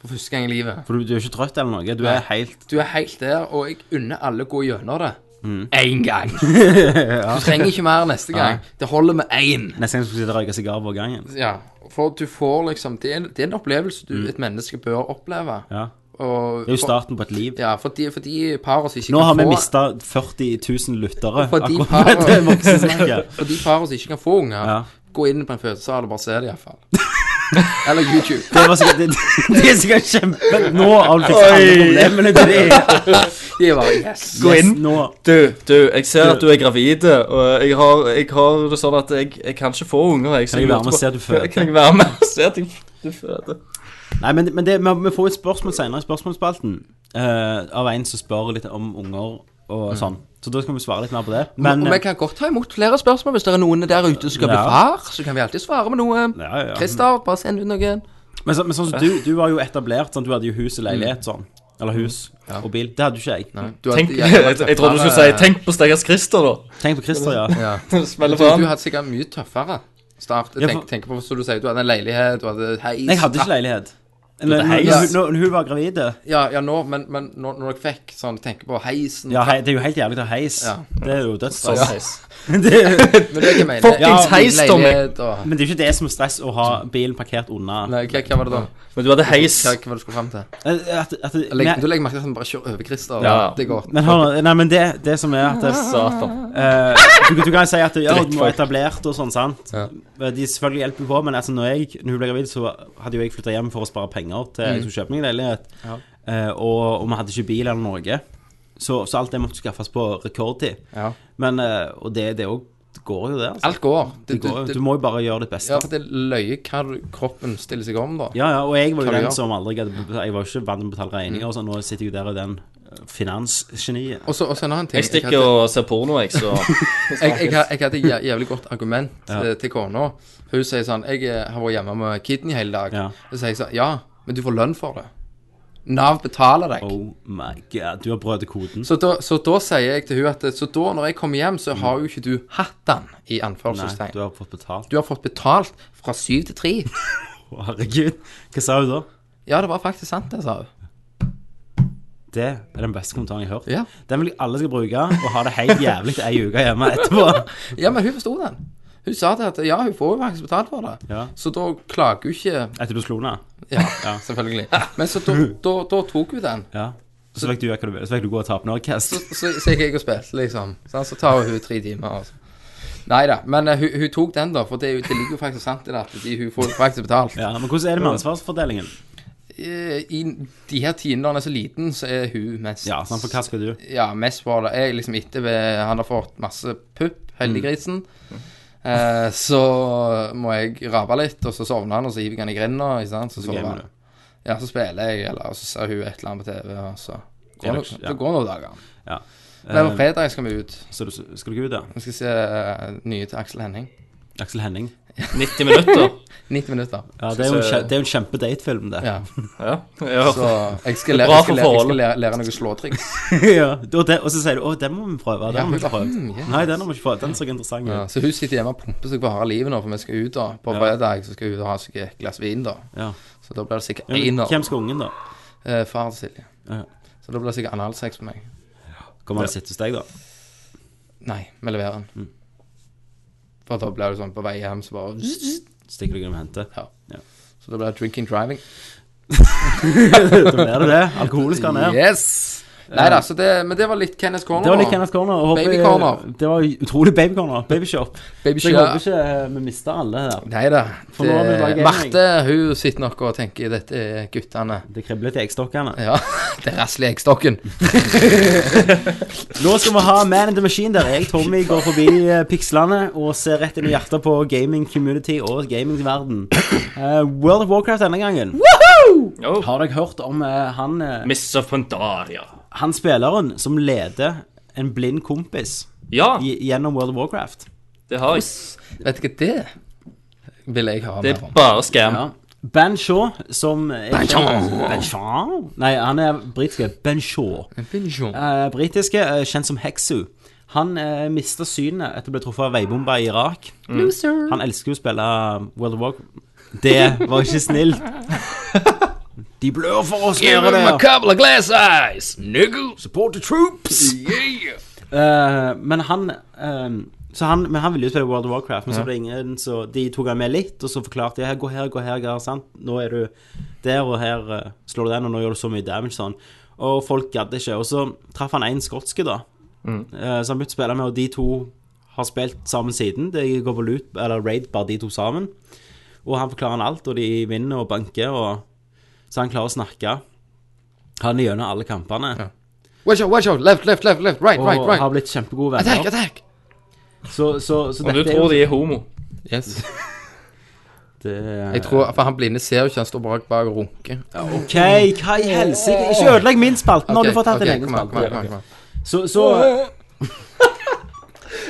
Speaker 5: for første gang i livet.
Speaker 4: For du, du er ikke trøtt eller noe. Du
Speaker 5: Nei.
Speaker 4: er helt
Speaker 5: Du er helt der, og jeg unner alle å gå gjennom det.
Speaker 4: Mm.
Speaker 5: Én
Speaker 4: *laughs*
Speaker 5: gang. Du trenger ikke mer neste gang. Det holder med én.
Speaker 4: Nesten som du sitter og røyker sigar på gangen.
Speaker 5: Ja, for du får liksom Det er en, det er en opplevelse du, et menneske bør oppleve.
Speaker 4: Mm. Ja.
Speaker 5: Og,
Speaker 4: Det er jo starten på et liv.
Speaker 5: Ja, for de, for de parer som ikke
Speaker 4: Nå
Speaker 5: kan
Speaker 4: har vi
Speaker 5: få
Speaker 4: mista 40 000 lyttere.
Speaker 5: For de
Speaker 4: Akkurat med *laughs* det
Speaker 5: parer
Speaker 4: voksensnakket.
Speaker 5: *laughs* For de parer som ikke kan få unger,
Speaker 4: Ja.
Speaker 5: gå inn på en fødesal og bare se det, iallfall. *laughs* Eller YouTube.
Speaker 4: Det var sikkert det, det er sikkert kjempe Nå har du fiksa alle problemene til deg.
Speaker 5: De er bare Yes.
Speaker 3: Gå inn.
Speaker 4: Nå.
Speaker 3: Du, du, jeg ser at du er gravid, og jeg har, jeg har det sånn at jeg, jeg kan ikke få unger. Jeg, så
Speaker 4: Kan jeg
Speaker 3: lurte
Speaker 4: være med
Speaker 3: på-
Speaker 4: og se at du føder?
Speaker 3: Kan jeg være med og se at jeg, du føder?
Speaker 4: Nei, men, men det, vi, vi får et spørsmål senere i spørsmålsspalten eh, av en som spør litt om unger og
Speaker 5: Mm.
Speaker 4: sånn. Så da skal vi svare litt mer på det. Men eh,
Speaker 5: og vi kan godt ta imot flere spørsmål hvis det er noen der ute som skal bli
Speaker 4: Ja.
Speaker 5: far. Så kan vi alltid svare med noe.
Speaker 4: Ja, ja.
Speaker 5: Christer, bare send ut noen.
Speaker 4: Men, så, men sånn som du, du var jo etablert, sånn, du hadde jo hus og
Speaker 5: Mm.
Speaker 4: leilighet sånn. Eller hus og bil. Det hadde jo ikke jeg.
Speaker 5: Du
Speaker 3: Tenk, jeg, *laughs* jeg, trodde du skulle si 'tenk på Steggers Christer', da. *laughs*
Speaker 4: Tenk på Christer,
Speaker 5: *laughs*
Speaker 4: ja.
Speaker 5: ja.
Speaker 3: Smeller
Speaker 5: Du, du
Speaker 3: fra.
Speaker 5: hadde sikkert mye tøffere start.
Speaker 4: Ja,
Speaker 5: Tenk,
Speaker 4: for-
Speaker 5: tenk på, som du sier, du hadde en leilighet, du hadde heis
Speaker 4: Jeg hadde ikke leilighet. Når,
Speaker 5: heis.
Speaker 4: når, hun- når hun var gravid eh.
Speaker 5: Ja, ja nå, men, men når, når jeg fikk sånn Tenker på heisen
Speaker 4: Ja, hei, det er jo helt jævlig å ha heis.
Speaker 5: Ja.
Speaker 4: Det er jo dødsstress.
Speaker 3: Sånn
Speaker 4: *laughs*
Speaker 3: heis.
Speaker 4: Det er-
Speaker 5: Men det er ikke meningen.
Speaker 3: Fuckings
Speaker 5: Ja,
Speaker 3: heis, Tommy.
Speaker 5: leilighet og-
Speaker 4: men det er jo ikke det som er stress, å ha bilen parkert unna.
Speaker 5: Nei, hva, hva var det da?
Speaker 3: Men du hadde heis.
Speaker 5: Hva, hva var det du skulle frem til?
Speaker 4: At, at,
Speaker 5: Legg,
Speaker 4: men,
Speaker 5: du legger merke til at han bare kjører over Christer. og
Speaker 3: Ja.
Speaker 5: Det går.
Speaker 4: men hør nå, nei, men det, det som er at det,
Speaker 3: Satan.
Speaker 4: Eh, du, du kan si at ja, du var etablert og sånn, sant. Eh,
Speaker 5: Ja.
Speaker 4: De selvfølgelig hjelper på, men altså, når, jeg, når hun ble gravid, så hadde jo jeg flytta hjem for å spare penger til
Speaker 5: Mm.
Speaker 4: jeg skulle kjøpe meg en leilighet. Eh, og, og vi hadde ikke bil eller noe, så, så alt det måtte skaffes på rekordtid.
Speaker 5: Ja.
Speaker 4: Men, eh, og det, det òg går jo, det. Altså.
Speaker 5: Alt går.
Speaker 4: det går, jo. du må jo bare gjøre ditt
Speaker 5: ja,
Speaker 4: beste.
Speaker 5: for det er løye hva du- kroppen stiller seg om, da.
Speaker 4: Ja, ja, og jeg var
Speaker 5: Hva
Speaker 4: jo
Speaker 5: du
Speaker 4: den
Speaker 5: gjør.
Speaker 4: som aldri hadde Jeg var jo ikke vant til å betale regninger, og sånn. Nå sitter jeg jo der og er den eh, finansgeniet.
Speaker 5: Mm. Og så og så en annen ting
Speaker 3: Jeg stikker og ser porno, jeg, så
Speaker 5: jeg, jeg, jeg, jeg hadde et jæ- jævlig godt argument
Speaker 4: *laughs*
Speaker 5: eh, til kona. Hun sier sånn Jeg eh, har vært hjemme med kidney hele dag.
Speaker 4: Ja.
Speaker 5: Så sier jeg sånn Ja, men du får lønn for det. Nav betaler deg.
Speaker 4: Oh my god, du har brødet koden.
Speaker 5: Så da, så da sier jeg til hun at Så da, når jeg kommer hjem, så har jo ikke du hatt den,
Speaker 4: Nei,
Speaker 5: i
Speaker 4: sånn, eh.
Speaker 5: anførselstegn.
Speaker 4: du har fått betalt.
Speaker 5: Du har fått betalt fra syv til tre. *laughs*
Speaker 4: Å, Herregud, hva sa hun da?
Speaker 5: Ja, det var faktisk sant, det, sa hun.
Speaker 4: Det er den beste kommentaren jeg har hørt.
Speaker 5: Ja.
Speaker 4: Den vil jeg alle skal bruke, og ha det helt jævlig ei uke hjemme etterpå.
Speaker 5: Ja, men hun forsto den. Hun sa det at ja, hun får jo faktisk betalt for det.
Speaker 4: Ja.
Speaker 5: Så da klager hun ikke
Speaker 4: Etter du slo henne.
Speaker 5: Ja, selvfølgelig. *laughs* Men så da, da, da tok hun den.
Speaker 4: Ja. Så fikk du gjøre hva du ville. Så fikk du gå og ta opp Norcast.
Speaker 5: Så, så, så gikk jeg og spilte, liksom. Sånn, så tar hun tre timer. Altså. Nei da, men eh, hun, hun tok den, da. For det, er jo- det ligger jo faktisk sant i det at de, hun får jo faktisk betalt.
Speaker 4: Ja, men hvordan er det med ansvarsfordelingen?
Speaker 5: Eh, I de her tidene når han er så liten, så er hun mest
Speaker 4: Ja, sånn, for hva skal du?
Speaker 5: Ja, mest var det Jeg er liksom etter ved, han har fått masse pupp, heldiggrisen.
Speaker 4: Mm.
Speaker 5: Eh, så må jeg rabe litt, og så sovner han, og så hiver jeg han i grinda. ikke sant? Så, sover
Speaker 4: gamer
Speaker 5: han. Ja, så spiller jeg, eller og så ser hun et eller annet på TV, og så
Speaker 4: Det er
Speaker 5: går
Speaker 4: nok-
Speaker 5: det,
Speaker 4: ja.
Speaker 5: det går noen dager.
Speaker 4: Ja.
Speaker 5: Men på
Speaker 4: Eh,
Speaker 5: fredag skal vi ut.
Speaker 4: så du, skal du gå ut, ja?
Speaker 5: Vi skal se eh, nye til Aksel Henning.
Speaker 4: Aksel Henning.
Speaker 3: 90 minutter.
Speaker 5: 90 minutter.
Speaker 4: Ja, det er jo en, kje- det er jo en kjempedatefilm, det.
Speaker 5: Ja.
Speaker 3: Ja. ja.
Speaker 5: Så jeg skal lære,
Speaker 3: Bra
Speaker 5: jeg
Speaker 3: for
Speaker 5: skal lære, jeg
Speaker 3: forholdet.
Speaker 5: skal lære, lære noen slåtriks.
Speaker 4: *laughs* *laughs* ja. Og, det, og så sier du 'Å, den må vi prøve'. Den
Speaker 5: Ja,
Speaker 4: må vi
Speaker 5: ja,
Speaker 4: prøve.
Speaker 5: mm, yes.
Speaker 4: Nei, den har vi ikke prøvd. Den så interessant
Speaker 5: Ja,
Speaker 4: ut.
Speaker 5: så hun sitter hjemme og pumper seg bare av livet nå, for vi skal ut da. På fredag så skal hun ut og ha seg et glass vin, da.
Speaker 4: Ja.
Speaker 5: Så da blir det sikkert
Speaker 4: Men,
Speaker 5: én
Speaker 4: Hvem skal ungen, da?
Speaker 5: Eh, far til Silje.
Speaker 4: Ja.
Speaker 5: Så da blir det sikkert analsex på meg.
Speaker 4: Kommer han sitte hos deg, da?
Speaker 5: Nei, vi leverer den.
Speaker 4: Mm.
Speaker 5: For da blir det sånn på vei hjem, så bare
Speaker 4: Stikker du gjennom og henter?
Speaker 5: Ja. Så da blir det drinking driving.
Speaker 4: *laughs* Da blir det det. Alkoholen skal ned.
Speaker 5: Yes! Nei da, så det, men det var litt Kenneth Corner.
Speaker 4: Eh. Det var litt Kenneth Corner. og håper-
Speaker 5: Baby Corner.
Speaker 4: Det var utrolig Baby Corner. Baby Shop.
Speaker 5: Baby
Speaker 4: Så jeg
Speaker 5: Shop.
Speaker 4: håper ikke eh, vi mister alle her.
Speaker 5: Nei da.
Speaker 4: For nå er det bare gaming.
Speaker 5: Marte hun sitter nok og tenker dette er guttene.
Speaker 4: Det kribler til eggstokkene.
Speaker 5: Ja, *laughs* det rasler i eggstokken.
Speaker 4: Nå skal vi ha Man in the Machine, der jeg, Tommy, går forbi eh, pikslene og ser rett inn i hjertet på gaming community og gamingverden. Eh, World of Warcraft denne gangen.
Speaker 5: Oh.
Speaker 4: Har dere hørt om eh, han eh,
Speaker 3: Miss of Pandaria.
Speaker 4: Han spilleren som leder en blind kompis
Speaker 3: Ja.
Speaker 4: i- gjennom World of Warcraft.
Speaker 3: Det har jeg.
Speaker 5: Vet du hva det er? vil jeg ha
Speaker 3: Det
Speaker 5: mer
Speaker 3: er
Speaker 5: om.
Speaker 3: bare scam.
Speaker 4: Ja. Ben Shaw, som er
Speaker 5: Shaw.
Speaker 4: Ben Shaw? Nei, han er britiske. Ben Shaw.
Speaker 5: Pensjon.
Speaker 4: Eh, britiske, eh, kjent som Hexu. Han eh, mista synet etter å bli truffet av veibomba i Irak. Han elsker jo å spille um, World of Warcraft. Det var ikke
Speaker 5: *laughs*
Speaker 4: snilt. De blør for oss,
Speaker 5: Give
Speaker 4: gjør det.
Speaker 5: him a couple of glass eyes, nigga.
Speaker 4: Support the troops!
Speaker 5: Yeah.
Speaker 4: Eh, men han eh, så han, Men han ville jo spille World of Warcraft, men så
Speaker 5: Ja.
Speaker 4: ble det ingen så De tok han med litt, og så forklarte de her, gå her, gå her, gå her, sant? Nå er du der, og her eh, slår du den, og nå gjør du så mye damage, sånn. Og folk gadd ikke. Og så traff han en skotske, da, eh, som han begynte å spille med, og de to har spilt sammen siden. De går på loot, eller raid, bare de to sammen. Og han forklarer han alt, og de vinner og banker, og så han klarer å snakke. Han er gjennom alle kampene,
Speaker 5: Watch out, watch out. Left, left, left, left. Right,
Speaker 4: og
Speaker 5: right, right.
Speaker 4: har blitt kjempegode venner.
Speaker 5: Attack, attack.
Speaker 4: Så, så, så
Speaker 3: Og du
Speaker 4: dette
Speaker 3: tror
Speaker 4: er jo
Speaker 3: de er homo.
Speaker 5: Yes.
Speaker 4: det,
Speaker 5: *laughs* Jeg tror, for han blinde ser jo ikke han står bak bak og runker.
Speaker 4: OK, hva i helsike Ikke ødelegg min spalte! Nå har du fått tatt din egen spalte. Så, så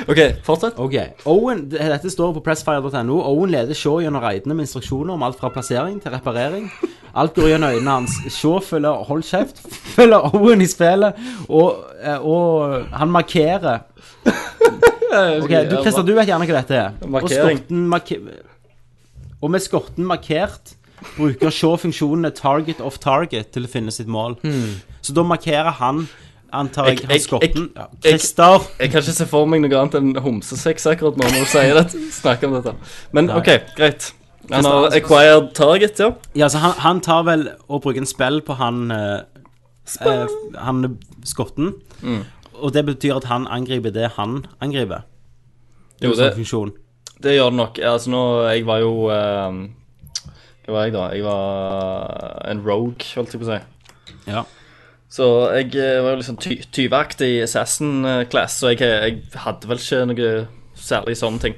Speaker 3: OK, fortsett.
Speaker 4: OK. Owen, det- dette står på pressfire.no. Owen leder Shaw gjennom raidene med instruksjoner om alt fra plassering til reparering. Alt går gjennom øynene hans. Shaw følger Hold kjeft. *laughs* Følger Owen i spillet, og, eh, og han
Speaker 3: *laughs*
Speaker 4: markerer. Ok, du, Christer, du vet gjerne hva dette er. Og
Speaker 3: Markering.
Speaker 4: skorten marke- Og med skorten markert bruker Shaw funksjonene target off target til å finne sitt mål. Så da markerer han, antar jeg,
Speaker 3: Hmm. Jeg-
Speaker 4: han
Speaker 3: jeg-
Speaker 4: skorten.
Speaker 3: jeg-
Speaker 4: Ja, Christer!
Speaker 3: Jeg kan ikke se for meg noe annet enn homsesex akkurat nå når du sier det. Snakker om dette. Men OK, greit. Han har acquired target, ja.
Speaker 4: Ja, så han, han tar vel og bruker en spill på han eh, eh, Han skotten. Og det betyr at han angriper det han angriper. Det
Speaker 3: Jo,
Speaker 4: er jo sånn
Speaker 3: det-
Speaker 4: funksjon.
Speaker 3: Det gjør det nok. Altså nå, Jeg var jo ehm, Hva var jeg, da? Jeg var en rogue, holdt jeg på å si.
Speaker 4: Ja.
Speaker 3: Så jeg eh, var jo liksom ty tyveaktig i Assassin eh, Class, så jeg, jeg hadde vel ikke noe særlig sånne ting.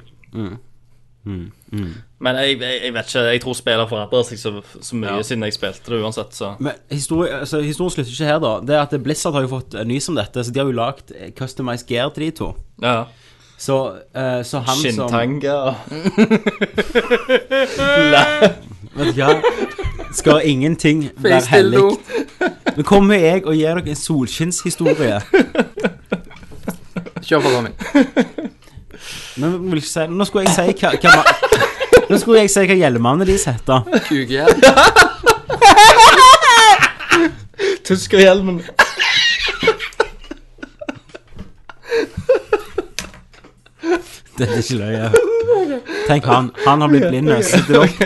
Speaker 3: Men jeg, jeg, jeg vet ikke. Jeg tror spillet forandrer seg så, så mye siden jeg spilte det uansett, så
Speaker 4: Men historien, altså, historien slutter ikke her, da. Det er at Blizzard har jo fått eh, nys om dette, så de har jo lagd eh, customized gear til de to.
Speaker 3: ja.
Speaker 4: Så, eh, så han
Speaker 3: Shintanga og
Speaker 4: som Vet du hva? Skal ingenting være hellig. Nå kommer jeg og gir dere en solskinnshistorie.
Speaker 5: Kjør på, *laughs* Tommy.
Speaker 4: Nå, vil jeg ikke si, nå skulle jeg si hva, hva ma- *laughs* Nå skulle jeg si hva hjelmene deres heter.
Speaker 5: Kukhjelm.
Speaker 3: *laughs* tyskerhjelmen.
Speaker 4: Det er ikke løye. Tenk han. Han har blitt blind. og Sitter opp.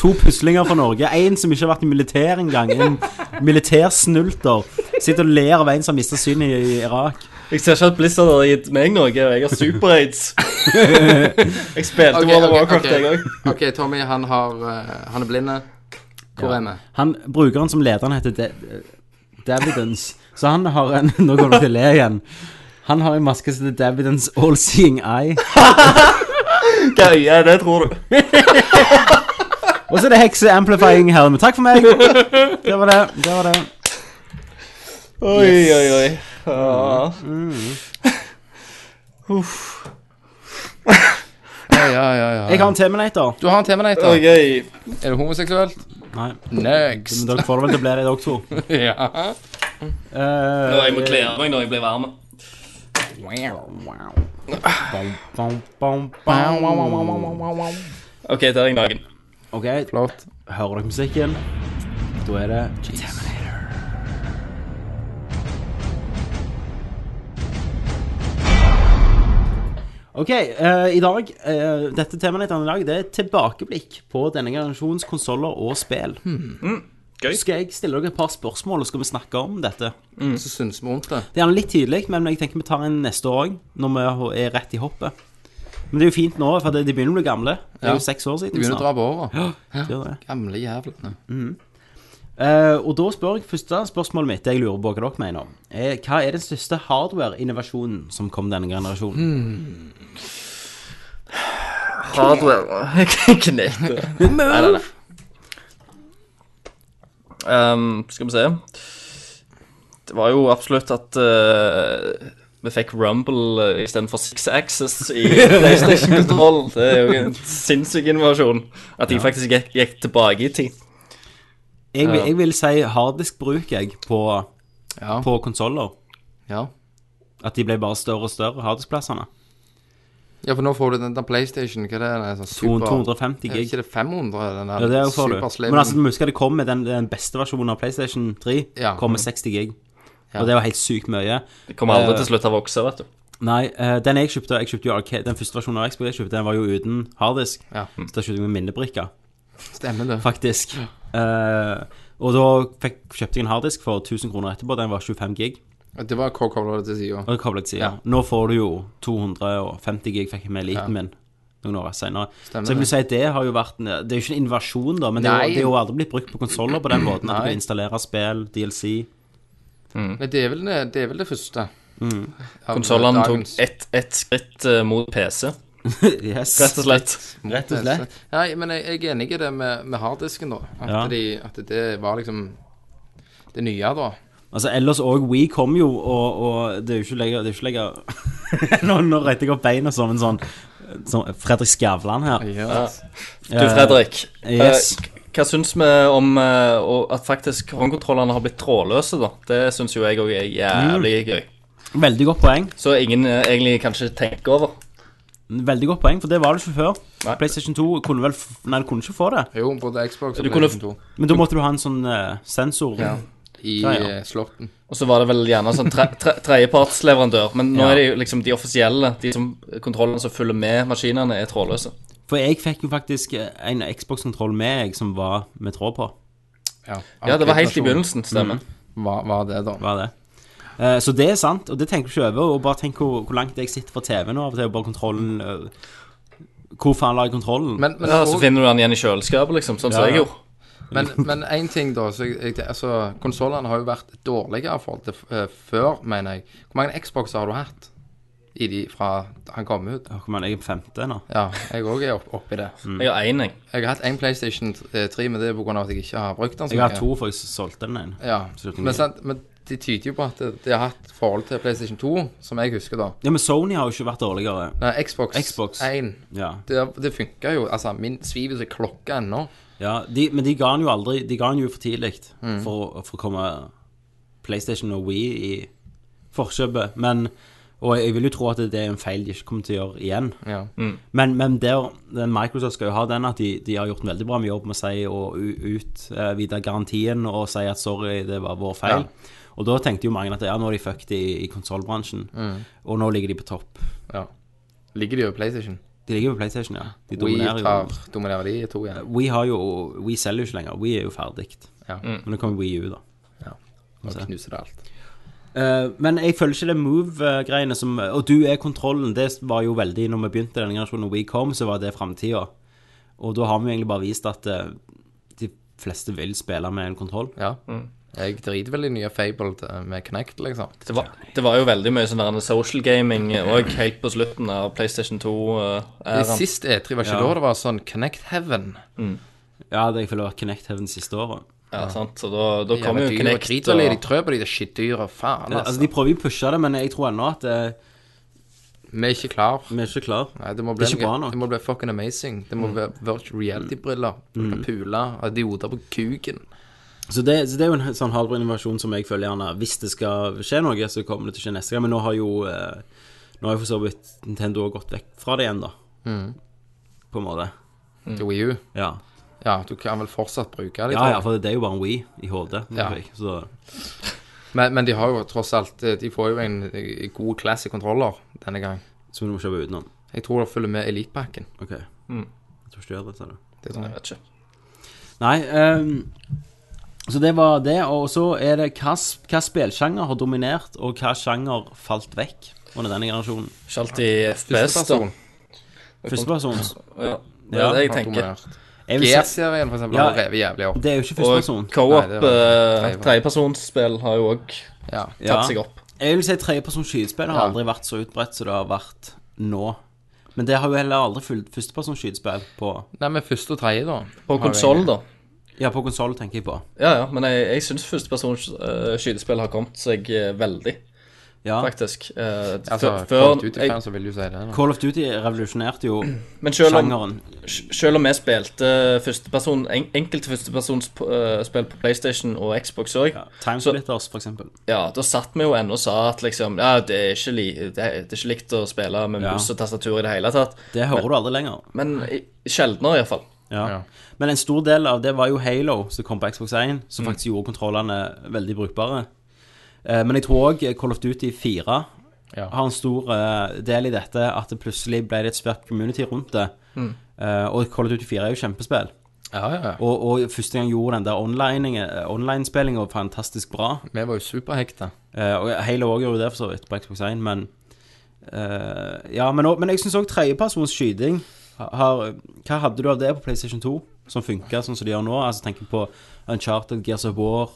Speaker 4: To puslinger fra Norge. En som ikke har vært i militær engang. En militærsnulter. Sitter og ler av en som har mista synet i Irak.
Speaker 3: Jeg ser ikke at Blizzard har gitt meg noe, og jeg har *laughs* super-aids. jeg spilte
Speaker 5: Ok,
Speaker 3: World of
Speaker 5: ok,
Speaker 3: Warcraft,
Speaker 5: ok.
Speaker 3: jeg òg.
Speaker 5: Ok, Tommy, han har eh, Han er blinde. Hvor er vi?
Speaker 4: Han, brukeren som lederen heter De Davidens. Så han har en Nå kommer du til å le igjen. Han har en maske som heter Davidens All Seeing Eye.
Speaker 3: Hva øye er det, tror du?
Speaker 4: Og så er det hekse amplifying her. Men takk for meg. Det var det. det, var det.
Speaker 3: Oi, oi, oi. Ah. Ja.
Speaker 5: Ja, ja, ja,
Speaker 4: Jeg har en Terminator.
Speaker 5: Du har en Terminator.
Speaker 3: Ok.
Speaker 5: Er du homoseksuelt?
Speaker 4: Nei, men
Speaker 5: Next.
Speaker 4: dere får det vel til å bli det, dere to. Eh,
Speaker 5: ja.
Speaker 3: Nå, jeg må kle av meg når jeg blir varm.
Speaker 4: Bom, bom, bom.
Speaker 3: OK, der er jeg naken.
Speaker 4: Ok,
Speaker 5: Flott.
Speaker 4: hører dere musikken? Da er det Terminator. Ok, eh, i dag, eh, dette temaet ditt i dag, det er tilbakeblikk på denne generasjons konsoller og spill.
Speaker 5: Hmm.
Speaker 3: Gøy.
Speaker 4: Så skal jeg stille dere et par spørsmål, og skal vi snakke om dette.
Speaker 5: Mm. Så syns vi vondt det.
Speaker 4: Det er gjerne litt tidlig, men jeg tenker vi tar en neste år òg, når vi er rett i hoppet. Men det er jo fint nå, for det- de begynner å bli gamle. Det er jo
Speaker 5: Ja.
Speaker 4: seks år siden.
Speaker 5: De begynner å
Speaker 4: snart.
Speaker 5: dra på året.
Speaker 4: Ja, det gjør det.
Speaker 5: Gamle jævlene.
Speaker 4: Eh, og da spør jeg første spørsmålet mitt, det jeg lurer på hva dere mener, er hva er den største hardware-innovasjonen som kom denne
Speaker 5: Hmm.
Speaker 4: generasjonen?
Speaker 3: *laughs* Hardware Knete. Nei, nei, nei. Ehm, skal vi se Det var jo absolutt at eh, vi fikk Rumble eh, istedenfor Six Axis *laughs* i PlayStation Control. Det er jo en sinnssyk innovasjon. At de faktisk gikk, gikk tilbake i tid.
Speaker 4: Jeg, vil-
Speaker 3: Ja.
Speaker 4: jeg vil si harddisk-bruk, jeg, på,
Speaker 5: Ja.
Speaker 4: på konsoller.
Speaker 5: Ja.
Speaker 4: At de ble bare større og større, harddiskplassene.
Speaker 5: ja, for nå får du den der PlayStation Hva er det? Den er sånn super,
Speaker 4: 250
Speaker 5: Er
Speaker 4: gig.
Speaker 5: ikke det 500? Den der
Speaker 4: Ja, det er jo for du.
Speaker 5: superslim?
Speaker 4: Men altså, du må huske at det kom med den, den beste versjonen av PlayStation 3.
Speaker 5: Ja.
Speaker 4: Kom med 60 gig.
Speaker 5: Ja.
Speaker 4: Og det var helt sykt mye.
Speaker 3: Det kommer aldri
Speaker 4: Eh,
Speaker 3: til slutt å vokse, vet du.
Speaker 4: Nei, eh, den jeg kjøpte, jeg kjøpte jo arcade, den første versjonen av Xbox jeg kjøpte, den var jo uten harddisk.
Speaker 5: Ja.
Speaker 4: Så da kjøpte jeg med minnebrikker,
Speaker 5: Stemmer det.
Speaker 4: faktisk. Eh, og da fikk, kjøpte jeg en harddisk for 1000 kroner etterpå, den var 25 gig.
Speaker 5: Det var K-kobla til sida.
Speaker 4: Og det koblet siden.
Speaker 5: Ja.
Speaker 4: Nå får du jo 250 gig, fikk jeg med eliten
Speaker 5: Ja.
Speaker 4: min noen år senere.
Speaker 5: Stemmer
Speaker 4: så jeg vil
Speaker 5: det.
Speaker 4: si at det har jo vært, en- det er jo ikke en invasjon da, men det er,
Speaker 5: Nei.
Speaker 4: jo, det er jo aldri blitt brukt på konsoler på den måten, at du
Speaker 5: Nei.
Speaker 4: kan installere spill, DLC.
Speaker 5: *laughs* Nei, det er vel det, det, er vel det første.
Speaker 4: Mm.
Speaker 5: Av eh,
Speaker 3: Konsollene tok
Speaker 5: dagens-
Speaker 3: ett ett skritt eh, mot PC,
Speaker 4: yes.
Speaker 3: rett og slett.
Speaker 4: Rett og slett.
Speaker 5: Nei, men jeg, jeg er enig i det med, med harddisken, da. At,
Speaker 4: Ja.
Speaker 5: de, at det var liksom det nye, da.
Speaker 4: Altså, ellers òg We kom jo, og, og det er jo ikke lenger, det er jo ikke lenger. *laughs* nå, nå retter jeg opp beina som en sånn som Fredrik Skavlan her.
Speaker 5: Ja.
Speaker 3: Du, Fredrik.
Speaker 4: Eh, yes.
Speaker 3: eh, k- Hva syns vi om eh, og at faktisk håndkontrollene har blitt trådløse, da? Det syns jo jeg òg er jævlig
Speaker 4: Mm.
Speaker 3: gøy.
Speaker 4: Veldig godt poeng.
Speaker 3: Så ingen eh, egentlig kanskje tenker over.
Speaker 4: Veldig godt poeng, for det var det ikke før.
Speaker 3: Nei.
Speaker 4: PlayStation 2 kunne vel f Nei, du kunne ikke få det.
Speaker 5: Jo, både Xbox og
Speaker 3: Du kunne-
Speaker 5: PlayStation 2
Speaker 4: Men da måtte du ha en sånn eh, sensor.
Speaker 5: Ja. i
Speaker 4: Ja, ja.
Speaker 5: eh, slåtten.
Speaker 3: Og så var det vel gjerne sånn tre, tre, tredjepartsleverandør. Men nå
Speaker 4: Ja.
Speaker 3: er det jo liksom de offisielle, de som kontrollene som følger med maskinene, er trådløse.
Speaker 4: For jeg fikk jo faktisk eh, en Xbox-kontroll med jeg som var med tråd på.
Speaker 5: Ja,
Speaker 3: Ja, det var helt i
Speaker 5: Arkivversjonen
Speaker 3: begynnelsen, stemmer.
Speaker 4: Mm.
Speaker 5: Var, var det, da.
Speaker 4: Var det. Eh, så det er sant, og det tenker du ikke over. Og bare tenk hvor, hvor langt jeg sitter fra TV-en og av og til, og bare kontrollen eh, Hvor faen la jeg kontrollen?
Speaker 5: Men, men,
Speaker 3: Ja,
Speaker 5: og-
Speaker 3: Så finner du den igjen i kjøleskapet, liksom. Sånn som
Speaker 4: Ja, ja.
Speaker 3: jeg gjorde.
Speaker 5: Men, men en ting da, så jeg, jeg- altså, konsolene har jo vært dårligere i forhold til eh, før, mener jeg. Hvor mange Xboxer har du hatt i de fra han kom ut?
Speaker 4: Åh, Kom igjen, jeg er på femte nå.
Speaker 5: Ja, jeg òg er opp, oppi det.
Speaker 3: Jeg har én, jeg.
Speaker 5: Jeg har hatt en PlayStation 3, men det er pga. at jeg ikke har brukt den. så
Speaker 4: Jeg har
Speaker 5: mye.
Speaker 4: to, for jeg solgte den ene.
Speaker 5: Ja,
Speaker 4: Absolutt mye.
Speaker 5: men, sant, men de tyder jo på at de har hatt forhold til PlayStation 2, som jeg husker da.
Speaker 4: Ja, men Sony har jo ikke vært dårligere.
Speaker 5: Nei, Xbox,
Speaker 4: Xbox.
Speaker 5: 1.
Speaker 4: Ja,
Speaker 5: Det, det funka jo. Altså, min sviver som klokka ennå.
Speaker 4: ja de, Men de ga den jo aldri De ga den jo for tidlig for, å- for å komme PlayStation og Wii i forkjøpet. Men Og jeg vil jo tro at det er en feil de ikke kommer til å gjøre igjen.
Speaker 5: Ja.
Speaker 4: Men, men der, den Microsoft skal jo ha den at de, de har gjort en veldig bra jobb med å si og utvide garantien og si at sorry, det var vår feil. Og da tenkte jo mange at ja, nå er de fucked i, i konsollbransjen. Og nå ligger de på topp.
Speaker 5: ja. Ligger de jo i PlayStation?
Speaker 4: De ligger på PlayStation, ja. De
Speaker 5: We
Speaker 4: dominerer
Speaker 5: tar,
Speaker 4: jo. Mm.
Speaker 5: dominerer de i to igjen.
Speaker 4: We har jo We selger jo ikke lenger. We er jo ferdig.
Speaker 5: Ja.
Speaker 3: Mm.
Speaker 4: Men nå kommer We U, da.
Speaker 5: Og
Speaker 4: Altså.
Speaker 5: knuser det alt.
Speaker 4: Eh, men jeg føler ikke det move-greiene som Og du er kontrollen. Det var jo veldig Når vi begynte denne generasjonen, og We kom, så var det framtida. Og da har vi egentlig bare vist at eh, de fleste vil spille med en kontroll.
Speaker 5: Ja. Jeg driter vel i nye Fable til- med Connect, liksom.
Speaker 3: Mm. Det var, det var jo veldig mye sånn der social gaming òg, helt på slutten av PlayStation eh, 2-æraen.
Speaker 5: Det siste E3 var ikke
Speaker 4: Ja.
Speaker 5: da det var sånn Connect Heaven.
Speaker 4: Ja, det jeg føler var Connect Heaven siste året.
Speaker 3: Ja, sant, så da, da kommer jo
Speaker 5: Connect.
Speaker 3: Kinect
Speaker 5: Driter vel i de trøbbel i det skittdyret. Faen,
Speaker 4: Altså,
Speaker 5: altså.
Speaker 4: De prøver jo å pushe det, men jeg tror ennå at eh,
Speaker 5: Vi er ikke klar.
Speaker 4: vi er ikke klar.
Speaker 5: Nei, det må
Speaker 4: Det
Speaker 5: bli,
Speaker 4: er ikke
Speaker 5: noe-
Speaker 4: bra nok. Mm.
Speaker 5: Det må bli fucking amazing. Det må være virtual reality-briller. Mm. Puler. Dioder på kuken.
Speaker 4: Så det, så det er jo en sånn halv innovasjon som jeg føler gjerne Hvis det skal skje noe, så kommer det til å skje neste gang. Men nå har jo eh, Nå har jo for så vidt Nintendo gått vekk fra det igjen, da.
Speaker 5: Mm.
Speaker 4: På en måte.
Speaker 5: Til Wii U.
Speaker 4: Ja.
Speaker 5: Ja, du kan vel fortsatt bruke det.
Speaker 4: ja,
Speaker 5: tror
Speaker 4: ja,
Speaker 5: jeg.
Speaker 4: for det er jo bare en We i HD.
Speaker 5: Ja.
Speaker 4: Så
Speaker 5: Men, men de eh, har jo tross alt De får jo en eh, god classic controller denne gang.
Speaker 4: som du må kjøpe utenom.
Speaker 5: Jeg tror det følger med Elitepakken.
Speaker 4: Okay.
Speaker 3: Mm.
Speaker 4: Jeg tror ikke du gjør det, sa du.
Speaker 5: Det tror jeg.
Speaker 3: vet ikke.
Speaker 4: Nei, ehm, så det var det. Og så er det hva, s- hva spillsjanger har dominert, og hva sjanger falt vekk under denne generasjonen.
Speaker 3: Ikke alltid FPS, da.
Speaker 4: Førsteperson. Førstepersons. *laughs*
Speaker 3: Ja, det er det jeg tenker.
Speaker 4: Jeg vil si-
Speaker 5: G-serien, for eksempel, har revet jævlig opp.
Speaker 4: Det er jo ikke førsteperson.
Speaker 3: Og co-op,
Speaker 5: Nei, det var-
Speaker 3: eh, tredjepersonsspill, har jo òg
Speaker 4: Ja.
Speaker 3: tatt seg opp.
Speaker 4: Jeg vil si tredjepersons skytespill har
Speaker 3: Ja.
Speaker 4: aldri vært så utbredt som det har vært nå. Men det har jo heller aldri fulgt førstepersons skytespill på
Speaker 5: Nei, men første og tredje, da.
Speaker 3: På konsoll, da.
Speaker 4: Ja, på konsoll tenker jeg på.
Speaker 3: Ja, ja, men jeg, jeg syns førstepersons eh, skytespill har kommet seg eh, veldig,
Speaker 4: Ja.
Speaker 3: faktisk. Eh,
Speaker 5: Altså,
Speaker 3: før- før-
Speaker 5: Call of Duty-fan, så vil du si det. Da.
Speaker 4: Call of Duty revolusjonerte jo
Speaker 3: Men selv om,
Speaker 4: sjangeren.
Speaker 3: sj- selv om jeg spilte førsteperson, en, enkelte førstepersonsspill på PlayStation og Xbox òg
Speaker 4: Timesplitters, for eksempel.
Speaker 3: Ja, da satt vi jo ennå og sa at liksom Ja, det er ikke, li, det er, det er ikke likt å spille med
Speaker 4: Ja.
Speaker 3: mus og tastatur i det hele tatt.
Speaker 4: Det hører du aldri lenger.
Speaker 3: Men i- sjeldnere, iallfall.
Speaker 4: Ja. Men en stor del av det var jo Halo som kom på Xbox 1, som
Speaker 3: Mm.
Speaker 4: faktisk gjorde kontrollene veldig brukbare. Eh, Men jeg tror òg Call of Duty 4
Speaker 5: Ja.
Speaker 4: har en stor eh, del i dette, at det plutselig ble det et svært community rundt det.
Speaker 5: Mm.
Speaker 4: Eh, Og Call of Duty 4 er jo kjempespill.
Speaker 5: Ja, ja, ja.
Speaker 4: Og, og første gang gjorde den der online-spillinga online fantastisk bra.
Speaker 5: Vi var jo superhekta.
Speaker 4: Eh, og Halo òg gjorde det, for så vidt, på Xbox 1, men eh, Ja, men, også, men jeg syns òg tredjepersons skyting har Hva hadde du av det på PlayStation 2 som funka sånn som de gjør nå? Altså tenker på Uncharted, Gears of War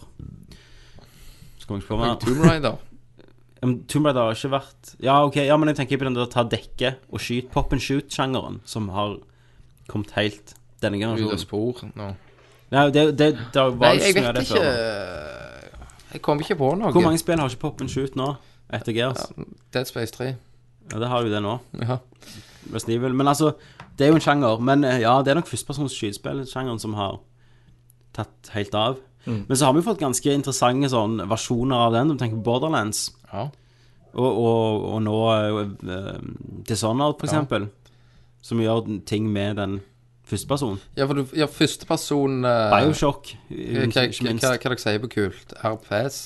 Speaker 4: Så kommer jeg ikke på mer.
Speaker 5: Tomb
Speaker 4: Ja,
Speaker 5: Raider.
Speaker 4: men Um, Tomb Raider har ikke vært Ja, ok, ja, men jeg tenker på den der ta dekke og skyt, pop and shoot-sjangeren, som har kommet helt denne
Speaker 5: Ut av
Speaker 4: generasjonen.
Speaker 5: spor. nå.
Speaker 4: Nei, det, det, det var
Speaker 5: Nei,
Speaker 4: jo
Speaker 5: jeg
Speaker 4: så mye av
Speaker 5: vet
Speaker 4: det
Speaker 5: ikke
Speaker 4: før.
Speaker 5: Jeg kom ikke på noe.
Speaker 4: Hvor mange spill har ikke pop and shoot nå, etter Gears?
Speaker 5: Dead Space 3.
Speaker 4: Ja, det har jo det nå.
Speaker 5: Ja.
Speaker 4: Resident Evil. Men altså, det er jo en sjanger. Men eh, ja, det er nok førstepersons skytespill-sjangeren som har tatt helt av.
Speaker 5: Mm.
Speaker 4: Men så har vi jo fått ganske interessante sånn versjoner av den. Du tenker på Borderlands.
Speaker 5: Ja.
Speaker 4: Og, og, og nå uh, Dishonored, for
Speaker 5: Ja.
Speaker 4: eksempel. Som gjør ting med den førstepersonen.
Speaker 5: Ja, for du, ja, førsteperson uh,
Speaker 4: Bioshock,
Speaker 5: Hva hva-
Speaker 4: ikke minst.
Speaker 5: hva- hva dere sier på kult? RPS?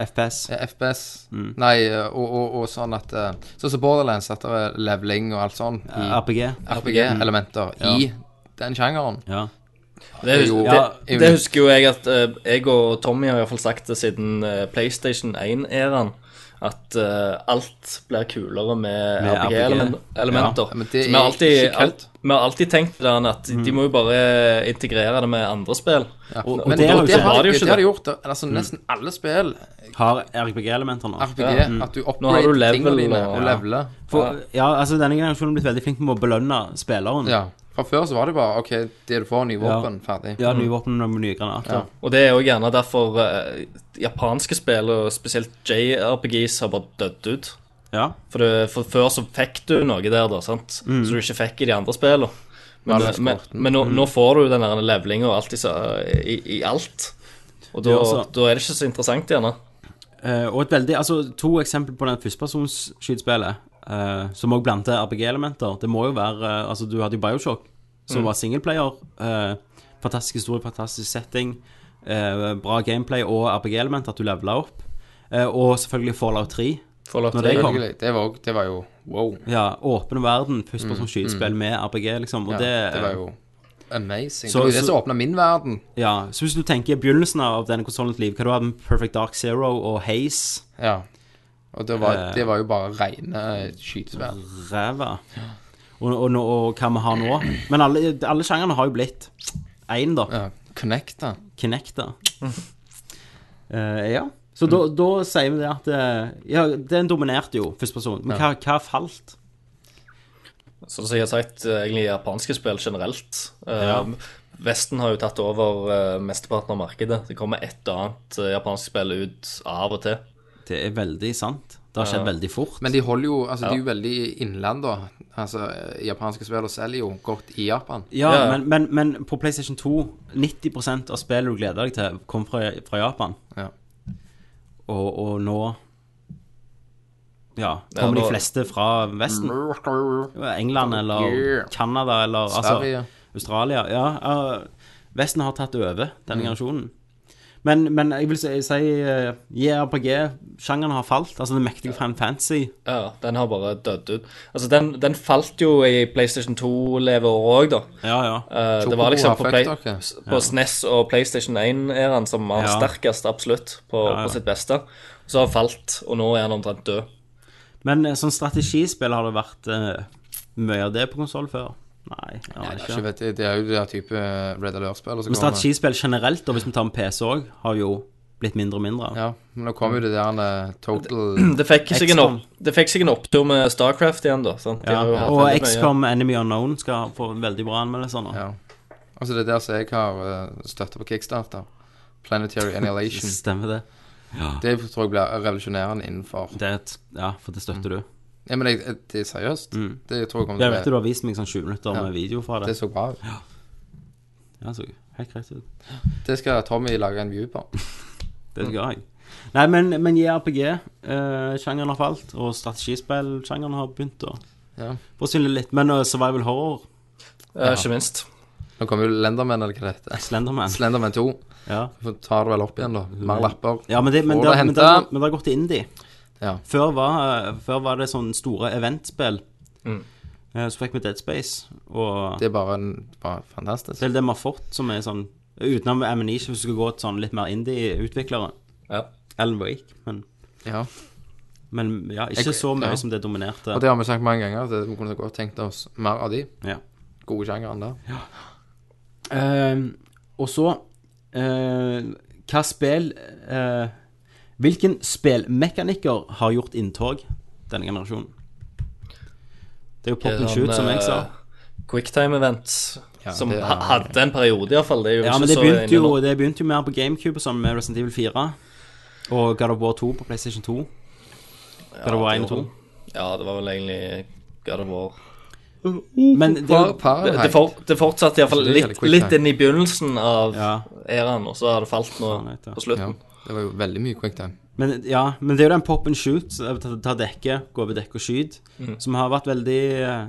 Speaker 4: FPS.
Speaker 5: Ja, FPS.
Speaker 4: Mm.
Speaker 5: Nei, eh, og, og, og sånn at eh, Sånn som Borderlands, at det er leveling og alt sånn. i-
Speaker 4: Ja, RPG.
Speaker 5: RPG-elementer
Speaker 4: Ja.
Speaker 5: i den sjangeren.
Speaker 4: Ja.
Speaker 3: Det, hus-
Speaker 5: Jo,
Speaker 3: det,
Speaker 5: jo.
Speaker 3: det husker jo jeg at eh, jeg og Tommy har i hvert fall sagt det siden eh, PlayStation 1-æraen. At eh, alt blir kulere med,
Speaker 5: Med
Speaker 3: RPG-elementer.
Speaker 5: RPG. Ja, men det
Speaker 3: Så
Speaker 5: er
Speaker 3: vi har alltid,
Speaker 5: ikke Mm. kødd.
Speaker 3: alt, vi har alltid tenkt på den at de må jo bare integrere det med andre spill.
Speaker 5: Men og det, har, det, har, de- det har de gjort. Altså,
Speaker 3: Mm.
Speaker 5: nesten alle spill
Speaker 4: Har RPG-elementer nå.
Speaker 5: RPG, Ja. Mm. at du upgrade tingene dine og leveler.
Speaker 4: For, ja, altså denne generasjonen har blitt veldig flink med å belønne spilleren.
Speaker 5: Ja. Fra før så var det bare OK, det du får, nye
Speaker 4: Ja.
Speaker 5: våpen, ferdig.
Speaker 4: Ja, nye våpen og nye granater.
Speaker 3: Ja. Og det er jo gjerne derfor eh, japanske spill, og spesielt JRPGs, har bare dødd ut.
Speaker 4: Ja.
Speaker 3: For, det, for før så fikk du noe der, da, sant?
Speaker 5: Mm.
Speaker 3: Så du ikke fikk i de andre spillene. Men, eh,
Speaker 5: Valve-korten.
Speaker 3: men, men nå,
Speaker 5: Mm.
Speaker 3: nå får du den der levelinga og alt i, sa- i, i alt. Og da,
Speaker 4: Ja, altså.
Speaker 3: da er det ikke så interessant, gjerne.
Speaker 4: Eh, og et veldig, altså To eksempler på den førstepersonsskytespillet, uh, som òg blander RPG-elementer. Det må jo være eh, altså Du hadde jo Bioshock, som
Speaker 3: Mm.
Speaker 4: var singleplayer. eh, fantastisk historie, fantastisk setting. eh, bra gameplay og RPG-elementer, at du levela opp. Eh, og selvfølgelig Fallout 3.
Speaker 3: Fallout
Speaker 4: når det kom.
Speaker 5: Selvfølgelig. Det var, også- det var jo wow.
Speaker 4: Ja, åpen verden, førstepersons
Speaker 5: Mm,
Speaker 4: skytespill med RPG, liksom. Og
Speaker 5: Ja,
Speaker 4: det,
Speaker 5: det var jo amazing.
Speaker 4: Så-
Speaker 5: det var jo det
Speaker 4: så-
Speaker 5: som åpna min verden.
Speaker 4: Ja, så hvis du tenker i begynnelsen av denne konsollens liv, hva du hadde med Perfect Dark Zero og Haze
Speaker 5: Ja. Og det var,
Speaker 4: Eh.
Speaker 5: det var jo bare rene eh, skytespill.
Speaker 4: Ræva. Og, og, nå- og hva vi har nå. Men alle, alle sjangerne har jo blitt én, da.
Speaker 5: Connecta.
Speaker 4: Connecta. Eh, ja. Så da, da sier vi det at eh, Ja, den dominerte jo, førsteperson. Men hva, hva falt?
Speaker 3: Sånn som jeg har sagt, eh, egentlig japanske spill generelt. Eh,
Speaker 4: Ja.
Speaker 3: Vesten har jo tatt over eh, mesteparten av markedet. Det kommer et og annet eh, japansk spill ut av og til.
Speaker 4: Det er veldig sant. Det har skjedd veldig fort.
Speaker 5: Men de holder jo Altså,
Speaker 3: Ja.
Speaker 5: de er jo veldig innland, da. Altså, japanske spillere selger jo godt i Japan.
Speaker 4: Ja, Men, men, men på PlayStation 2 90 av spillet du gleder deg til, kom fra, fra Japan.
Speaker 5: Ja.
Speaker 4: Og, og nå Ja, kommer
Speaker 3: nå-
Speaker 4: de fleste fra Vesten. England eller
Speaker 5: Yeah.
Speaker 4: Canada eller altså,
Speaker 5: Sverige.
Speaker 4: Australia. Ja, eh, Vesten har tatt over denne
Speaker 5: Mm.
Speaker 4: generasjonen. Men, men jeg vil si, si eh, JRPG-sjangeren har falt. Altså den mektige Fan Fantasy.
Speaker 3: Ja, den har bare dødd ut. Altså, den, den falt jo i PlayStation 2-leveåret òg, da.
Speaker 4: Ja, ja.
Speaker 3: Eh, det
Speaker 4: Chocobo
Speaker 3: var liksom
Speaker 4: har
Speaker 3: på,
Speaker 4: fucked
Speaker 3: Play,
Speaker 4: dere.
Speaker 3: på
Speaker 4: Ja.
Speaker 3: SNES og PlayStation 1-æraen som var
Speaker 4: Ja.
Speaker 3: sterkest, absolutt, på,
Speaker 4: Ja, ja.
Speaker 3: på sitt beste. Så har han falt, og nå er han omtrent død.
Speaker 4: Men eh, sånn strategispill har det vært eh, mye av det på konsoll før? Nei, jeg
Speaker 5: Nei,
Speaker 4: aner
Speaker 5: det, er
Speaker 4: ikke.
Speaker 5: ikke, vet, jeg, det er jo det der type eh, Red Alert-spill. og så
Speaker 4: Men
Speaker 5: kommer-
Speaker 4: strategispill generelt, og hvis vi tar med PC òg, har jo blitt mindre og mindre.
Speaker 5: Ja, men nå kom jo det der eh,
Speaker 4: *clears throat*
Speaker 5: Total
Speaker 3: Det fikk sikkert en,
Speaker 5: X-Com.
Speaker 3: opp, det fikk sikkert en opptur med Starcraft igjen, da. Sant? De
Speaker 4: Ja,
Speaker 3: har jo hatt
Speaker 4: og
Speaker 3: veldig mye-
Speaker 4: XCOM Enemy Unknown skal få veldig bra anmeldelser nå.
Speaker 5: Altså, det er der som jeg har eh, støtte på Kickstarter.
Speaker 4: *laughs*
Speaker 5: Planetary Annihilation.
Speaker 4: Stemmer det. Ja.
Speaker 5: Det tror jeg blir revolusjonerende innenfor
Speaker 4: Ja, for det
Speaker 5: Mm.
Speaker 4: støtter du.
Speaker 5: Ja, men jeg, jeg- det er seriøst. Det tror jeg kommer
Speaker 4: Jeg
Speaker 5: til å
Speaker 4: Mm. vet du, du har vist meg sånn 20 minutter
Speaker 5: Ja.
Speaker 4: med video fra det.
Speaker 5: Det så bra ut.
Speaker 4: Ja. Ja, så helt greit ut.
Speaker 5: Det skal Tommy lage en view på.
Speaker 4: Det skal jeg. Nei, men, men eh, JRPG-sjangeren har falt, og strategispill-sjangeren har begynt å
Speaker 5: Ja.
Speaker 4: forsvinne litt. Men uh, survival horror
Speaker 3: Ja, ikke minst.
Speaker 5: Nå kommer jo Lenderman, eller hva det heter.
Speaker 4: Slenderman.
Speaker 5: Slenderman 2.
Speaker 4: Ja.
Speaker 5: Så tar det vel opp igjen, da. Mer lapper.
Speaker 4: Ja, men det, men
Speaker 5: Får
Speaker 4: det, men
Speaker 5: hente.
Speaker 4: det, har- men det har gått til indie.
Speaker 5: Ja.
Speaker 4: Før, var, eh, før var det sånne store eventspill.
Speaker 5: Mm.
Speaker 4: Eh, Så fikk vi Dead Space, og
Speaker 5: Det er bare, en, bare fantastisk.
Speaker 4: Det er det vi har fått som er sånn Utenom Amnesia, hvis du skal gå til sånn litt mer indie-utviklere.
Speaker 3: Ja.
Speaker 4: Alan Wake, men
Speaker 5: Ja.
Speaker 4: Men ja, ikke
Speaker 5: Jeg-
Speaker 4: så mye
Speaker 5: ja.
Speaker 4: som det dominerte.
Speaker 5: Og det har vi sagt mange ganger, at vi kunne godt tenkt oss mer av de.
Speaker 4: Ja.
Speaker 5: Gode sjangeren der.
Speaker 4: Ehm, og så eh, Hva spill eh, Hvilken spillmekaniker har gjort inntog denne generasjonen? Det er jo pop and shoot, som jeg
Speaker 3: eh,
Speaker 4: sa.
Speaker 3: Quicktime Events,
Speaker 4: Ja,
Speaker 3: som
Speaker 4: det er-
Speaker 3: ha- hadde en periode, iallfall. Det er jo
Speaker 4: Ja,
Speaker 3: ikke
Speaker 4: men det
Speaker 3: så
Speaker 4: begynte
Speaker 3: inne
Speaker 4: jo,
Speaker 3: nå.
Speaker 4: det begynte jo mer på GameCube, som med Resident Evil 4. Og God of War 2 på PlayStation 2. God of War 1 og 2.
Speaker 3: Ja, det var vel egentlig God of War.
Speaker 4: Men det,
Speaker 3: Det, det, det, for, det fortsatte iallfall
Speaker 5: Det er
Speaker 3: litt,
Speaker 5: jævlig quick
Speaker 3: litt
Speaker 5: time.
Speaker 3: inn i begynnelsen av
Speaker 4: Ja.
Speaker 3: æraen, og så har det falt nå på
Speaker 5: Ja,
Speaker 3: slutten.
Speaker 5: det var jo veldig mye quicktime.
Speaker 4: men, ja, men det er jo den pop and shoot. så er det Ta, ta dekke, gå over dekk og skyt.
Speaker 5: Mhm.
Speaker 4: Som har vært veldig eh,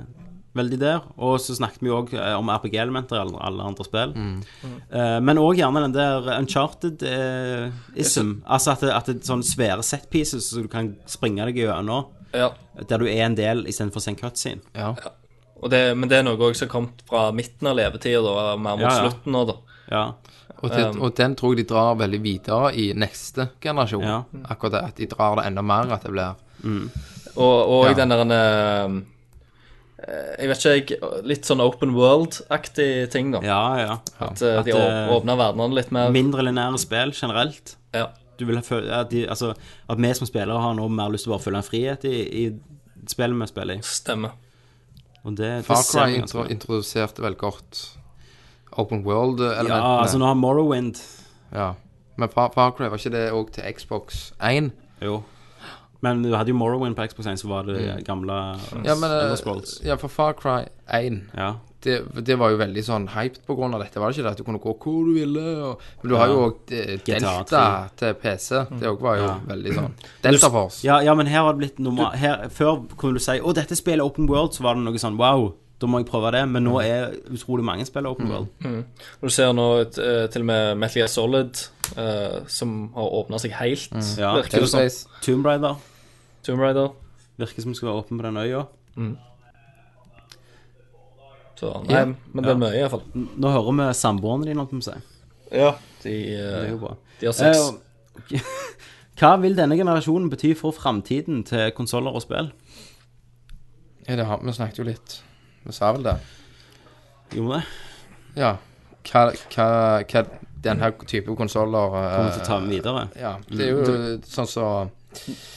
Speaker 4: Veldig der. Og så snakket vi jo òg om RPG-elementer i alle, alle andre spill. Eh, men òg gjerne den der uncharted-ism. altså at det, at det er sånne svære set pieces så du kan springe deg gjennom.
Speaker 3: Ja.
Speaker 4: Der du er en del istedenfor en cutscene.
Speaker 5: Ja.
Speaker 3: Og det, men det er noe også som har kommet fra midten av levetida, da, mer mot
Speaker 4: Ja, ja.
Speaker 3: slutten nå, da.
Speaker 5: Og, det,
Speaker 3: Um,
Speaker 5: og den tror jeg de drar veldig videre i neste generasjon.
Speaker 4: Ja.
Speaker 5: Akkurat det, at de drar det enda mer, at det blir
Speaker 3: Og, og
Speaker 5: Ja.
Speaker 3: den der eh, eh, Jeg vet ikke, jeg. Litt sånn open world-aktig ting, da.
Speaker 4: Ja, ja.
Speaker 3: At eh, de
Speaker 4: At, eh,
Speaker 3: åpna verdenene litt mer.
Speaker 4: Mindre lineære spill generelt.
Speaker 3: Ja.
Speaker 4: Du vil ha føl- at, de, altså, at vi som spillere har nå mer lyst til å bare føle en frihet i, i spillet vi spiller i.
Speaker 3: Stemmer.
Speaker 4: Og det, det
Speaker 5: Far
Speaker 4: ser
Speaker 5: Cry
Speaker 4: vi ganske
Speaker 5: intro,
Speaker 4: bra.
Speaker 5: introduserte vel godt open
Speaker 4: Ja,
Speaker 5: world-elementene.
Speaker 4: altså nå har Morrowind
Speaker 5: Ja. Men Far, Far Cry, var ikke det òg til Xbox 1?
Speaker 4: Jo. Men du hadde jo Morrowind på Xbox 1, så var det
Speaker 5: Mm.
Speaker 4: gamle
Speaker 5: Ja, men, eh,
Speaker 4: Elder Scrolls.
Speaker 5: ja, for Far Cry 1
Speaker 4: Ja.
Speaker 5: det, det var jo veldig sånn hyped på grunn av dette, var det ikke det? At du kunne gå hvor du ville. Og, men du har jo
Speaker 4: Ja.
Speaker 5: òg
Speaker 4: GTA Mm.
Speaker 5: Delta til PC. Det òg var jo
Speaker 4: Ja.
Speaker 5: veldig sånn Delta Force.
Speaker 4: Ja, ja, men her har det blitt normal her, Før kunne du si 'Å, dette spillet er Open World', så var det noe sånn 'Wow, da må jeg prøve det'. Men nå er utrolig mange spill Open
Speaker 3: *laughs*
Speaker 4: World.
Speaker 3: Mm. Og Du ser nå et, eh, til og med Metal Gear Solid, eh, som har åpna seg helt,
Speaker 4: Mm. Ja,
Speaker 3: virker sånn. det som.
Speaker 4: Tomb Raider
Speaker 3: Tomb Raider.
Speaker 4: virker som skal være åpen på den øya.
Speaker 3: Så nei,
Speaker 4: Ja.
Speaker 3: men det
Speaker 4: Ja.
Speaker 3: er mye, iallfall.
Speaker 4: N- Nå hører vi samboerne dine, holdt jeg på å si.
Speaker 3: Ja. De,
Speaker 4: Det er
Speaker 3: eh,
Speaker 4: jo bra.
Speaker 3: de har sex.
Speaker 4: Eh, *laughs* Hva vil denne generasjonen bety for framtiden til konsoller og spill?
Speaker 5: Ja, det har, vi snakket jo litt. Vi sa vel det.
Speaker 4: Gjorde vi det?
Speaker 5: Ja. Hva, hva, hva denne type konsoller eh,
Speaker 4: Kommer vi til å ta Mm. den videre?
Speaker 5: Ja. Det er jo sånn som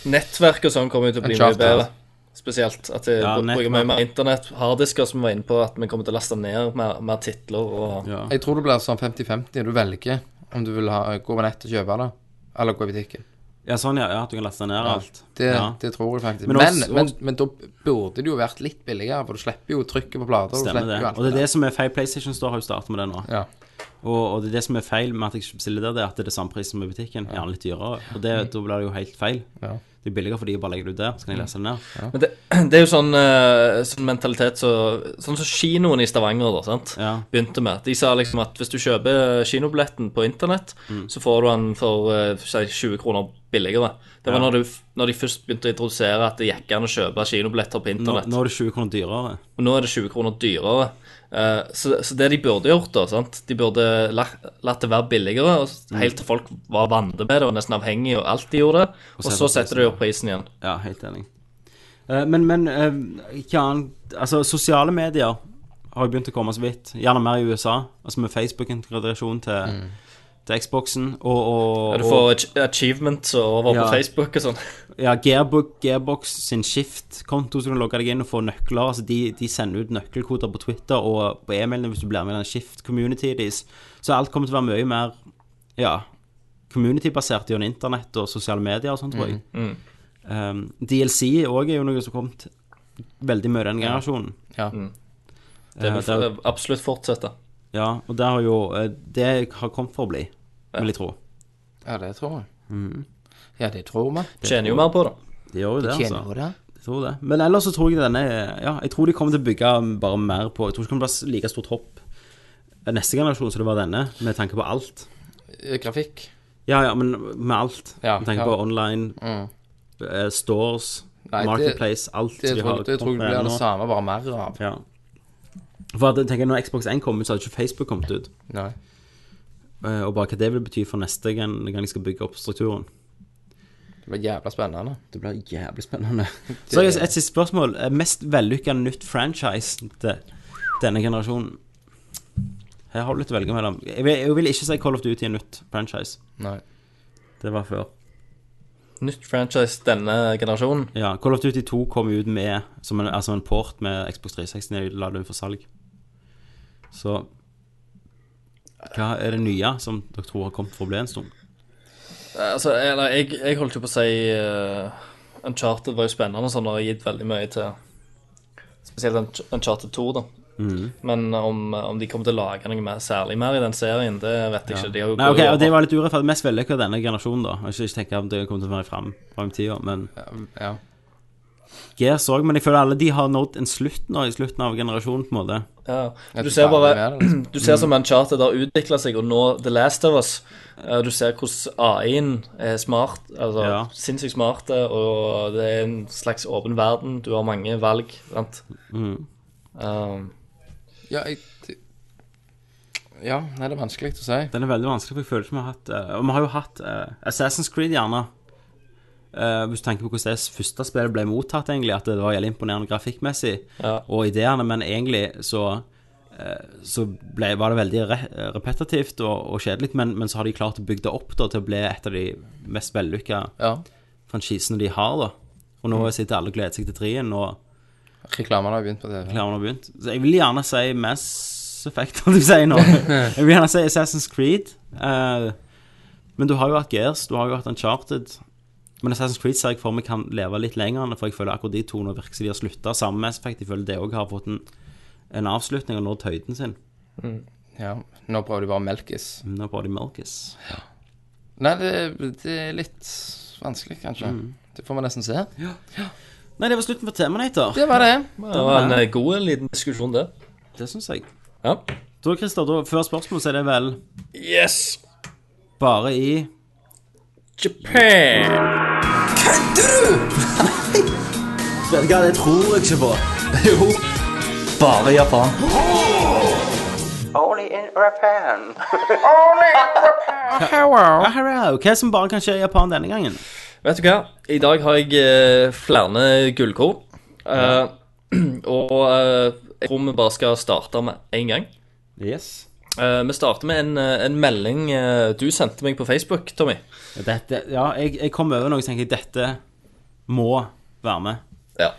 Speaker 3: Nettverk og sånn kommer jo til å bli mye
Speaker 5: Uncharted.
Speaker 3: bedre. Spesielt at de
Speaker 4: Ja,
Speaker 3: br- bruker
Speaker 4: nettverk.
Speaker 3: mye mer internett. Harddisker, som vi var inne på, at vi kommer til å laste ned mer, mer titler og
Speaker 4: Ja.
Speaker 5: Jeg tror det blir sånn 50-50. Du velger om du vil ha, gå på nett og kjøpe det, eller gå i butikken.
Speaker 4: ja, sånn, ja. ja. At du kan laste ned alt.
Speaker 5: Det,
Speaker 4: ja.
Speaker 5: det tror jeg faktisk.
Speaker 4: Men
Speaker 5: Men,
Speaker 4: også-
Speaker 5: men, men, da burde det jo vært litt billigere, for du slipper jo trykket på plater. og Du
Speaker 4: Stemmer
Speaker 5: slipper
Speaker 4: det.
Speaker 5: jo alt
Speaker 4: Og det er det som er feil. PlayStation Store har jo startet med det nå.
Speaker 5: Ja.
Speaker 4: Og, og det er det som er feil med at jeg ikke bestiller der, det er at det er samme pris som i butikken. Gjerne litt dyrere. Og det, da blir det jo helt feil.
Speaker 5: Ja.
Speaker 4: Det er billigere fordi jeg bare legger det ut der, så kan jeg lese det ned.
Speaker 3: Men det, *clears throat* det er jo sånn, eh, sånn mentalitet så, Sånn som kinoen i Stavanger da, sant? begynte med. De sa liksom at hvis du kjøper kinobilletten på internett,
Speaker 4: Mm.
Speaker 3: så får du den for eh, si 20 kroner billigere. Det var
Speaker 4: Ja.
Speaker 3: når, du, f- når de først begynte å introdusere at det gikk an å kjøpe kinobilletter på
Speaker 4: Nå,
Speaker 3: internett.
Speaker 4: nå er det 20 kroner dyrere.
Speaker 3: Og nå er det 20 kroner dyrere. Eh, så, så det de burde gjort, da sant? De burde la, latt det være billigere, og, s-
Speaker 4: Mm.
Speaker 3: helt til folk var vante med det og nesten avhengig og alt de gjorde. Og,
Speaker 4: så
Speaker 3: så
Speaker 4: setter
Speaker 3: setter de opp prisen igjen.
Speaker 4: Ja, helt enig. Eh, Men, men eh, hva annet Altså, sosiale medier har jo begynt å komme så vidt. Gjerne mer i USA. Altså med Facebook-integrasjon til, til Xboxen og, og
Speaker 3: Ja, du
Speaker 4: og-
Speaker 3: får ach- achievements og over på Facebook og sånn.
Speaker 4: Ja, Gearbox, Gearbox sin Shift-konto, så kan du logge deg inn og få nøkler. Altså, de, de sender ut nøkkelkoder på Twitter og på e-mailene hvis du blir med i den Shift-community deres. Så alt kommer til å være mye mer ja, community-basert gjennom internett og sosiale medier og sånt, tror jeg.
Speaker 3: Mm,
Speaker 4: Um, DLC òg er jo noe som har kommet veldig mye i den generasjonen.
Speaker 5: Ja.
Speaker 3: Mm. Det
Speaker 4: Eh,
Speaker 3: vil
Speaker 4: der-
Speaker 3: f- absolutt fortsette.
Speaker 4: ja, og det har jo eh, Det har kommet for å bli, vil jeg tro.
Speaker 5: Ja, det tror jeg. Ja, det tror vi.
Speaker 4: Det Tjener jo tror jeg. mer
Speaker 3: på det.
Speaker 4: De gjør jo
Speaker 5: De
Speaker 4: det,
Speaker 5: tjener
Speaker 4: altså.
Speaker 5: jo det.
Speaker 4: Jeg tror det. Men ellers så tror jeg denne Ja, jeg tror de kommer til å bygge bare mer på Jeg tror ikke det kommer til å bli like stort hopp neste generasjon som det var denne, med tanke på alt.
Speaker 5: Eh, Grafikk.
Speaker 4: Ja, ja, men med alt.
Speaker 5: Ja,
Speaker 4: med tanke
Speaker 5: ja. Mm.
Speaker 4: på online, eh, stores,
Speaker 5: Nei, det-
Speaker 4: marketplace, alt
Speaker 5: det
Speaker 4: de
Speaker 5: tror
Speaker 4: har
Speaker 5: jeg- det tror
Speaker 4: kommet
Speaker 5: jeg
Speaker 4: med
Speaker 5: blir det
Speaker 4: nå.
Speaker 5: samme, bare mer av.
Speaker 4: Ja. For at, jeg tenker, når Xbox 1 kom ut, så hadde ikke Facebook kommet ut.
Speaker 5: Nei.
Speaker 4: Eh, og bare hva det vil bety for neste gang, gang de skal bygge opp strukturen.
Speaker 5: Det blir jævla spennende.
Speaker 4: Det blir jævlig spennende. *laughs* Så har jeg et siste spørsmål. Eh, Mest vellykka nytt franchise til denne generasjonen? Her har du litt å velge mellom. Jeg vil, jeg vil ikke si Call of Duty er nytt franchise.
Speaker 5: Nei.
Speaker 4: Det var før.
Speaker 3: Nytt franchise denne generasjonen.
Speaker 4: Ja, Call of Duty 2 kom ut med som en, altså en port med Xbox 360 når de la det ut for salg. Så hva er det nye som dere tror har kommet for å bli en stund?
Speaker 3: Eh, Altså, eller, jeg, jeg holdt jo på å si eh, Uncharted var jo spennende, sånn har gitt veldig mye til Spesielt Unch- Uncharted 2, da.
Speaker 4: Mhm.
Speaker 3: Men om, om de kommer til å lage noe mer, særlig mer i den serien, det vet jeg ikke. De har jo
Speaker 4: Nei, ok,
Speaker 3: gått
Speaker 4: og Det var litt urettferdig. Mest vellykka denne generasjonen, da. Jeg skal ikke tenke om det kommer til å være fram, fram i tida, men
Speaker 5: Ja.
Speaker 4: Gears òg. Men jeg føler alle de har nådd en slutt nå, i slutten av generasjonen, på en måte.
Speaker 3: Ja.
Speaker 4: Jeg
Speaker 3: Du
Speaker 4: tror
Speaker 3: ser
Speaker 4: ferdig
Speaker 3: bare
Speaker 4: med det, liksom.
Speaker 3: Du ser som Uncharted har utvikla seg, og nå The Last of Us. eh, Du ser hvordan AI-en er smart, altså
Speaker 4: Ja.
Speaker 3: sinnssykt smart, eh, og det er en slags åpen verden. Du har mange valg, sant.
Speaker 4: Mhm.
Speaker 3: Um,
Speaker 5: Ja, jeg det- Ja, nei, det er vanskelig å si.
Speaker 4: Den er veldig vanskelig, for jeg føler ikke vi har hatt eh, Og vi har jo hatt eh, Assassin's Creed, gjerne. Eh, hvis du tenker på hvordan det første spillet ble mottatt, egentlig, at det var jævlig imponerende grafikkmessig, og ideene, men egentlig så eh, så ble, var det veldig re repetitivt og, og kjedelig, men, men så har de klart å bygge det opp da, til å bli et av de mest vellykka franchisene de har. da Og nå
Speaker 5: Mm.
Speaker 4: sitter alle og gleder seg til trien, og
Speaker 5: Reklamene har begynt på TV.
Speaker 4: Reklamene har begynt. Så jeg vil gjerne si Mass Effect, om du sier nå. Jeg vil gjerne si Assassin's Creed. eh, men du har jo hatt Gears, du har jo hatt Uncharted. Men Assassin's Creed ser jeg for meg kan leve litt lenger, for jeg føler akkurat de to nå virker som de har slutta sammen med Mass Effect. Jeg føler det òg har fått en, en avslutning og nådd høyden sin.
Speaker 5: Ja, nå prøver de bare å melkes.
Speaker 4: Nå prøver de melkes.
Speaker 5: Nei, det, det er litt vanskelig, kanskje.
Speaker 4: Mm.
Speaker 5: Det får vi nesten se. Ja.
Speaker 4: Nei, det var slutten på Terminator.
Speaker 5: Det var det.
Speaker 3: det var en eh, god liten diskusjon, det.
Speaker 4: Det syns jeg.
Speaker 3: Ja.
Speaker 4: Da, Christer, da, før spørsmålet så er det vel
Speaker 3: Yes!
Speaker 4: bare i
Speaker 3: Japan!
Speaker 4: Vet du hva, det tror jeg ikke på.
Speaker 3: Jo. Bare Japan.
Speaker 4: Only in Japan. Ja, hello. Hva som bare kan skje i Japan denne gangen?
Speaker 3: Vet du hva? I dag har jeg eh, flere gullkorn. Eh, *clears throat* og eh, jeg tror vi bare skal starte med én gang.
Speaker 4: Yes.
Speaker 3: Eh, vi starter med en, eh, en melding eh, du sendte meg på Facebook, Tommy.
Speaker 4: Dette, ja, jeg, jeg kom over noe og tenkte jeg, dette må være med.
Speaker 3: Ja.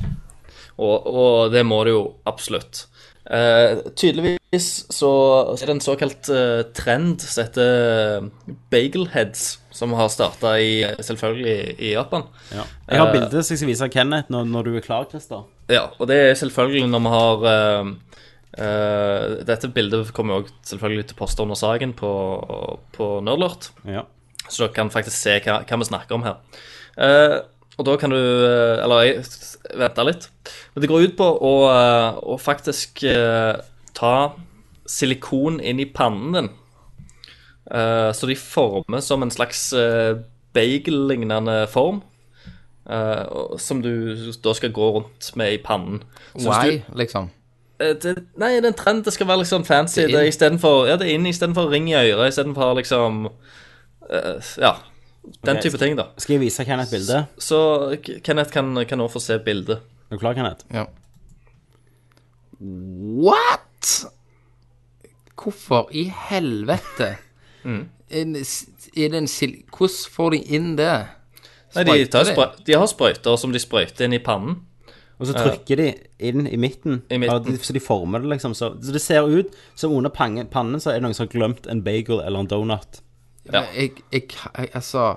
Speaker 3: Og, og det må det jo absolutt. Eh, tydeligvis så er det en såkalt eh, trend som heter eh, bagelheads, som har starta selvfølgelig i Japan.
Speaker 4: Ja. Jeg har
Speaker 3: Eh,
Speaker 4: bildet som jeg skal vise Kenneth når, når du er klar, Christer.
Speaker 3: Ja, og det er selvfølgelig når vi har eh, eh, Dette bildet kommer jo også selvfølgelig til å poste under saken på, på Nerdlort.
Speaker 4: Ja.
Speaker 3: Så dere kan faktisk se hva, hva vi snakker om her. Eh, Og da kan du eh, Eller jeg s- venter litt. Men det går ut på å, eh, å faktisk eh, ta silikon inn i pannen din. Eh, Så de former som en slags eh, bagel-lignende form. eh, og- Som du da skal gå rundt med i pannen. Så hvis
Speaker 5: Why,
Speaker 3: du-
Speaker 5: liksom?
Speaker 3: Eh, Det, nei, det er en trend. Det skal være liksom fancy.
Speaker 5: Det er
Speaker 3: Det
Speaker 5: inn.
Speaker 3: er, i stedet for, ja, det er inn istedenfor ring i øret. Istedenfor liksom eh, Ja. Den
Speaker 4: Ok,
Speaker 3: type ting, da.
Speaker 4: Skal jeg vise Kenneth bildet?
Speaker 3: Så K- Kenneth kan, kan nå få se bildet.
Speaker 4: Er du klar, Kenneth?
Speaker 5: Ja. What?! Hvorfor i helvete?
Speaker 3: Mm.
Speaker 5: En s- Er det en sil... Hvordan får de inn det?
Speaker 3: Nei, de, tar
Speaker 5: Sprøyter de?
Speaker 3: sprø- de har sprøyter som de sprøyter inn i pannen.
Speaker 4: Og så trykker de inn i midten,
Speaker 3: I midten.
Speaker 4: Eller de- så de former det, liksom. Så, så det ser ut som under pange, pannen så er det noen som har glemt en bagel eller en donut.
Speaker 5: Men Jeg, jeg, jeg, altså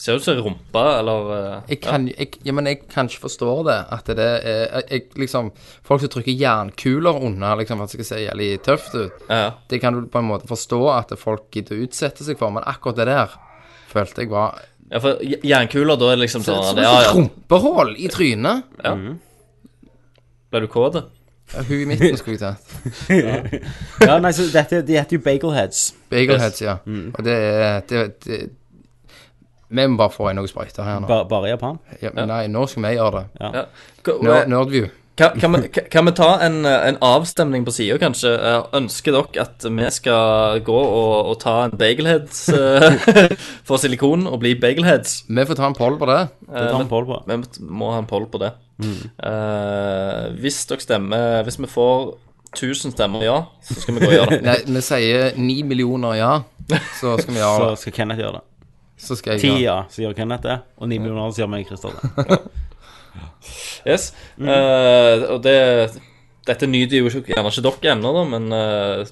Speaker 3: Ser ut som en rumpe, eller eh,
Speaker 5: jeg kan, jeg, ja, men jeg kan ikke forstå det. At det er jeg, jeg, liksom, Folk som trykker jernkuler under liksom, for at det skal se jævlig tøft ut,
Speaker 3: Ja.
Speaker 5: det kan du på en måte forstå at folk gidder å utsette seg for, men akkurat det der følte jeg var
Speaker 3: Ja, for j- jernkuler, da er det liksom
Speaker 5: Som
Speaker 3: sånn
Speaker 5: et
Speaker 3: ja, ja.
Speaker 5: rumpehull i trynet.
Speaker 3: ja. Ble du kåt?
Speaker 5: Ja, Hun i midten skulle jeg tatt.
Speaker 3: *laughs*
Speaker 4: Ja, nei, så dette, de heter jo bagelheads.
Speaker 5: Bagelheads, ja.
Speaker 3: Mm.
Speaker 5: Og det er det, det, Vi må bare få inn noen sprøyter her nå.
Speaker 4: Bare, bare i Japan.
Speaker 5: Ja, men nei, nå skal vi gjøre det.
Speaker 3: Ja. Hva-
Speaker 5: Nerd- Nerdview.
Speaker 3: Kan, kan, vi, kan- kan vi ta en, eh, en avstemning på sida, kanskje? Eh, Ønsker dere at vi skal gå og, og ta en bagelheads eh, for silikon og bli bagelheads? Eh,
Speaker 5: Vi får ta en poll på det.
Speaker 4: Det tar en poll på.
Speaker 3: Vi må ha en poll på det. Eh, hvis dere stemmer Hvis vi får 1000 stemmer ja, så skal vi gå og gjøre
Speaker 5: *laughs*
Speaker 3: det.
Speaker 5: Nei, vi sier ni millioner ja, så skal
Speaker 3: *laughs*
Speaker 5: vi gjøre
Speaker 4: Så
Speaker 5: det.
Speaker 4: skal Kenneth gjøre det.
Speaker 5: Så skal jeg
Speaker 4: Ti
Speaker 5: gjøre det.
Speaker 4: ja, så gjør Kenneth det. Og ni millioner, så gjør meg Christer det.
Speaker 3: Yes. Eh, og det Dette nyter jo ikke- gjerne ikke dere ennå, da, men eh,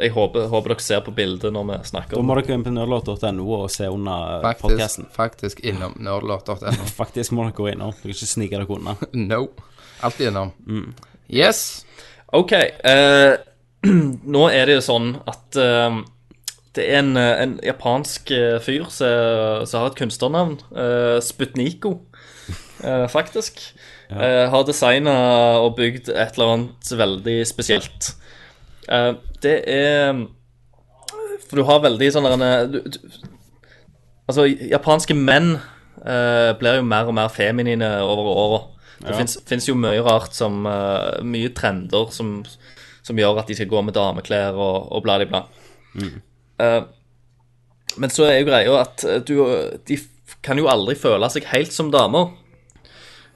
Speaker 3: jeg håper, håper dere ser på bildet når vi snakker
Speaker 4: Da
Speaker 3: om
Speaker 4: må
Speaker 3: det.
Speaker 4: dere inn på nerdlåt.no og se under
Speaker 5: Faktisk,
Speaker 4: podkasten.
Speaker 5: faktisk innom nerdlåt.no.
Speaker 4: Faktisk må dere gå innom. Dere kan ikke snike dere unna.
Speaker 5: No. Alltid innom.
Speaker 3: Mm.
Speaker 5: Yes.
Speaker 3: OK. eh, *clears throat* nå er det jo sånn at eh, det er en, eh, en japansk eh, fyr som som har et kunstnernavn. eh, Sputniko, eh, faktisk. eh, har designa og bygd et eller annet veldig spesielt. Eh, det er For du har veldig sånn der en, du- du- Altså, japanske menn eh, blir jo mer og mer feminine over åra. Det finnes fins jo mye rart som eh, Mye trender som, som gjør at de skal gå med dameklær og, og bla, bla, bla. Eh, men så er jo greia at eh, du, de f- kan jo aldri føle seg helt som damer.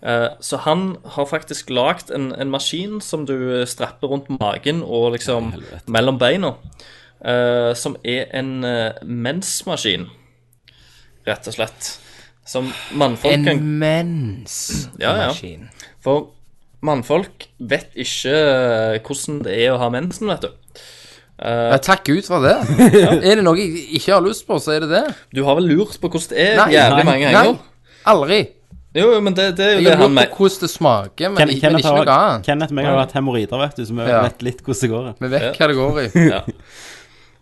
Speaker 3: Eh, Så han har faktisk lagd en, en maskin som du eh, strapper rundt magen og liksom mellom beina. eh, som er en eh, mensmaskin, rett og slett. Som mannfolk
Speaker 5: En
Speaker 3: kan
Speaker 5: mens
Speaker 3: Ja, ja.
Speaker 5: maskin.
Speaker 3: for mannfolk vet ikke eh, hvordan det er å ha mensen, vet du.
Speaker 5: Ja, takk Gud for
Speaker 3: *laughs*
Speaker 5: det. Er det noe jeg ikke har lyst på, så er det det.
Speaker 3: Du har vel lurt på hvordan det er
Speaker 5: Nei,
Speaker 3: jævlig
Speaker 5: nei,
Speaker 3: mange
Speaker 5: nei.
Speaker 3: ganger?
Speaker 5: Aldri.
Speaker 3: Jo, jo, men det, det er jo
Speaker 5: Jeg
Speaker 3: det
Speaker 5: har
Speaker 3: han
Speaker 5: lurt
Speaker 3: mener.
Speaker 5: på hvordan det smaker, men,
Speaker 4: Ken,
Speaker 5: ikke- men
Speaker 4: Kenneth,
Speaker 5: ikke noe
Speaker 4: har,
Speaker 5: annet.
Speaker 4: Kenneth og meg har hatt hemoroider, vet du, så vi
Speaker 5: Ja.
Speaker 4: vet litt hvordan det går.
Speaker 5: Vi vet hva det går i.
Speaker 3: Ja.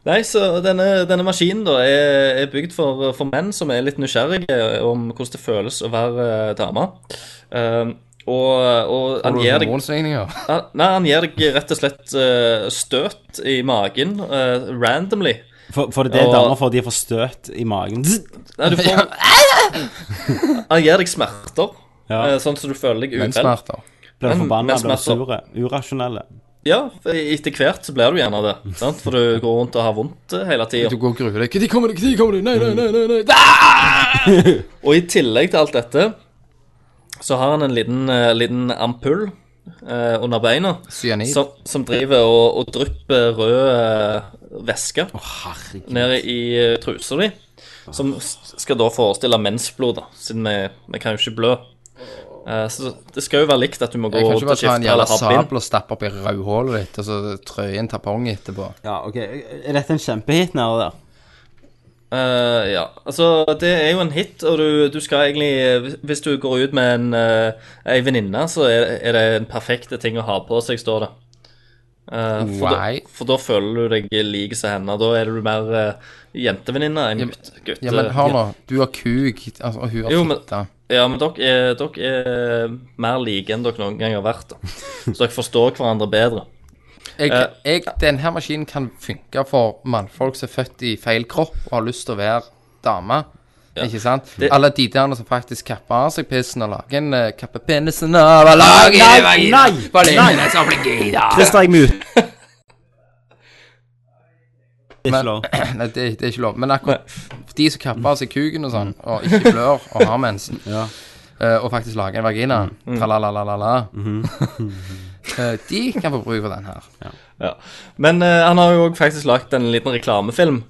Speaker 3: Nei, så denne, denne maskinen da er, er bygd for, for menn som er litt nysgjerrige om hvordan det føles å være eh, dame. Eh, og, og han gir deg
Speaker 5: Hormonsvingninger.
Speaker 3: han, Nei, han gir deg rett og slett eh, støt i magen eh, randomly.
Speaker 4: For, for det er
Speaker 3: Og-
Speaker 4: damer for de får støt i magen.
Speaker 3: Nei,
Speaker 5: *laughs*
Speaker 3: du får Han gir deg smerter,
Speaker 4: Ja.
Speaker 3: eh, sånn som du føler deg
Speaker 5: Men
Speaker 3: uvel.
Speaker 5: smerter.
Speaker 4: Blir
Speaker 3: Men-
Speaker 4: du forbanna,
Speaker 3: men
Speaker 4: blir du
Speaker 3: smerter.
Speaker 4: sure, urasjonelle.
Speaker 3: Ja, for etter hvert så blir du gjerne det, sant? for du går rundt og har vondt eh, hele tida.
Speaker 5: Du går og gruer deg. Når kommer det? Når kommer det? Nei, nei, nei, nei, nei.
Speaker 3: Og i tillegg til alt dette, så har han en liten, eh, liten ampull eh, under beina
Speaker 5: Cyanid.
Speaker 3: som, som driver og, og drypper rød eh, væske
Speaker 4: Herregud.
Speaker 3: ned i eh, trusa di. Som s- skal da forestille mensblod, da, siden vi, vi kan jo ikke blø. Eh, så det skal jo være likt at du må gå
Speaker 5: Jeg kan
Speaker 3: og
Speaker 5: ikke bare ta
Speaker 3: skifte
Speaker 5: en jævla
Speaker 3: eller ha bind.
Speaker 5: sabel og stappe opp i rødhålet ditt, og så trø inn tampong etterpå.
Speaker 4: Ja, ok. Er dette en kjempehit nede der?
Speaker 3: Eh, ja, altså det er jo en hit, og du, du skal egentlig Hvis du går ut eh, med en uh, ei venninne, så er, er det en perfekt ting å ha på seg, står det. Eh, for, da,
Speaker 5: Why?
Speaker 3: for da føler du deg lik som henne. Da er du mer eh, jentevenninne enn gutt. gutte-
Speaker 5: Ja, men hør nå. Du har kuk, altså, og hun har
Speaker 3: Jo, men-
Speaker 5: fitte.
Speaker 3: Ja, men dere er, dere er mer like enn dere noen gang har vært. Da.
Speaker 5: *laughs*
Speaker 3: Så dere forstår hverandre bedre.
Speaker 5: Jeg,
Speaker 3: Eh,
Speaker 5: jeg, denne maskinen kan funke for mannfolk som er født i feil kropp og har lyst til å være dame. Ikke sant? Alle de der som faktisk kapper av seg pissen og lager en uh, kapper penisen av og lager
Speaker 4: Nei,
Speaker 5: en vagina.
Speaker 4: nei,
Speaker 5: Var det
Speaker 4: nei.
Speaker 5: ingen som ble gay, da?
Speaker 4: Christer, jeg mute.
Speaker 5: *laughs* Men- *clears throat* Nei, det, det er ikke lov. Men akkurat de som kapper av seg kuken og sånn, og ikke blør og har
Speaker 4: *laughs*
Speaker 5: mensen, eh, og faktisk lager en vagina,
Speaker 3: Mm.
Speaker 5: tralalalalala,
Speaker 4: Mm-hmm.
Speaker 5: *laughs* eh, de kan få bruk for den her.
Speaker 3: Ja. Men eh, han har jo også faktisk lagt en liten reklamefilm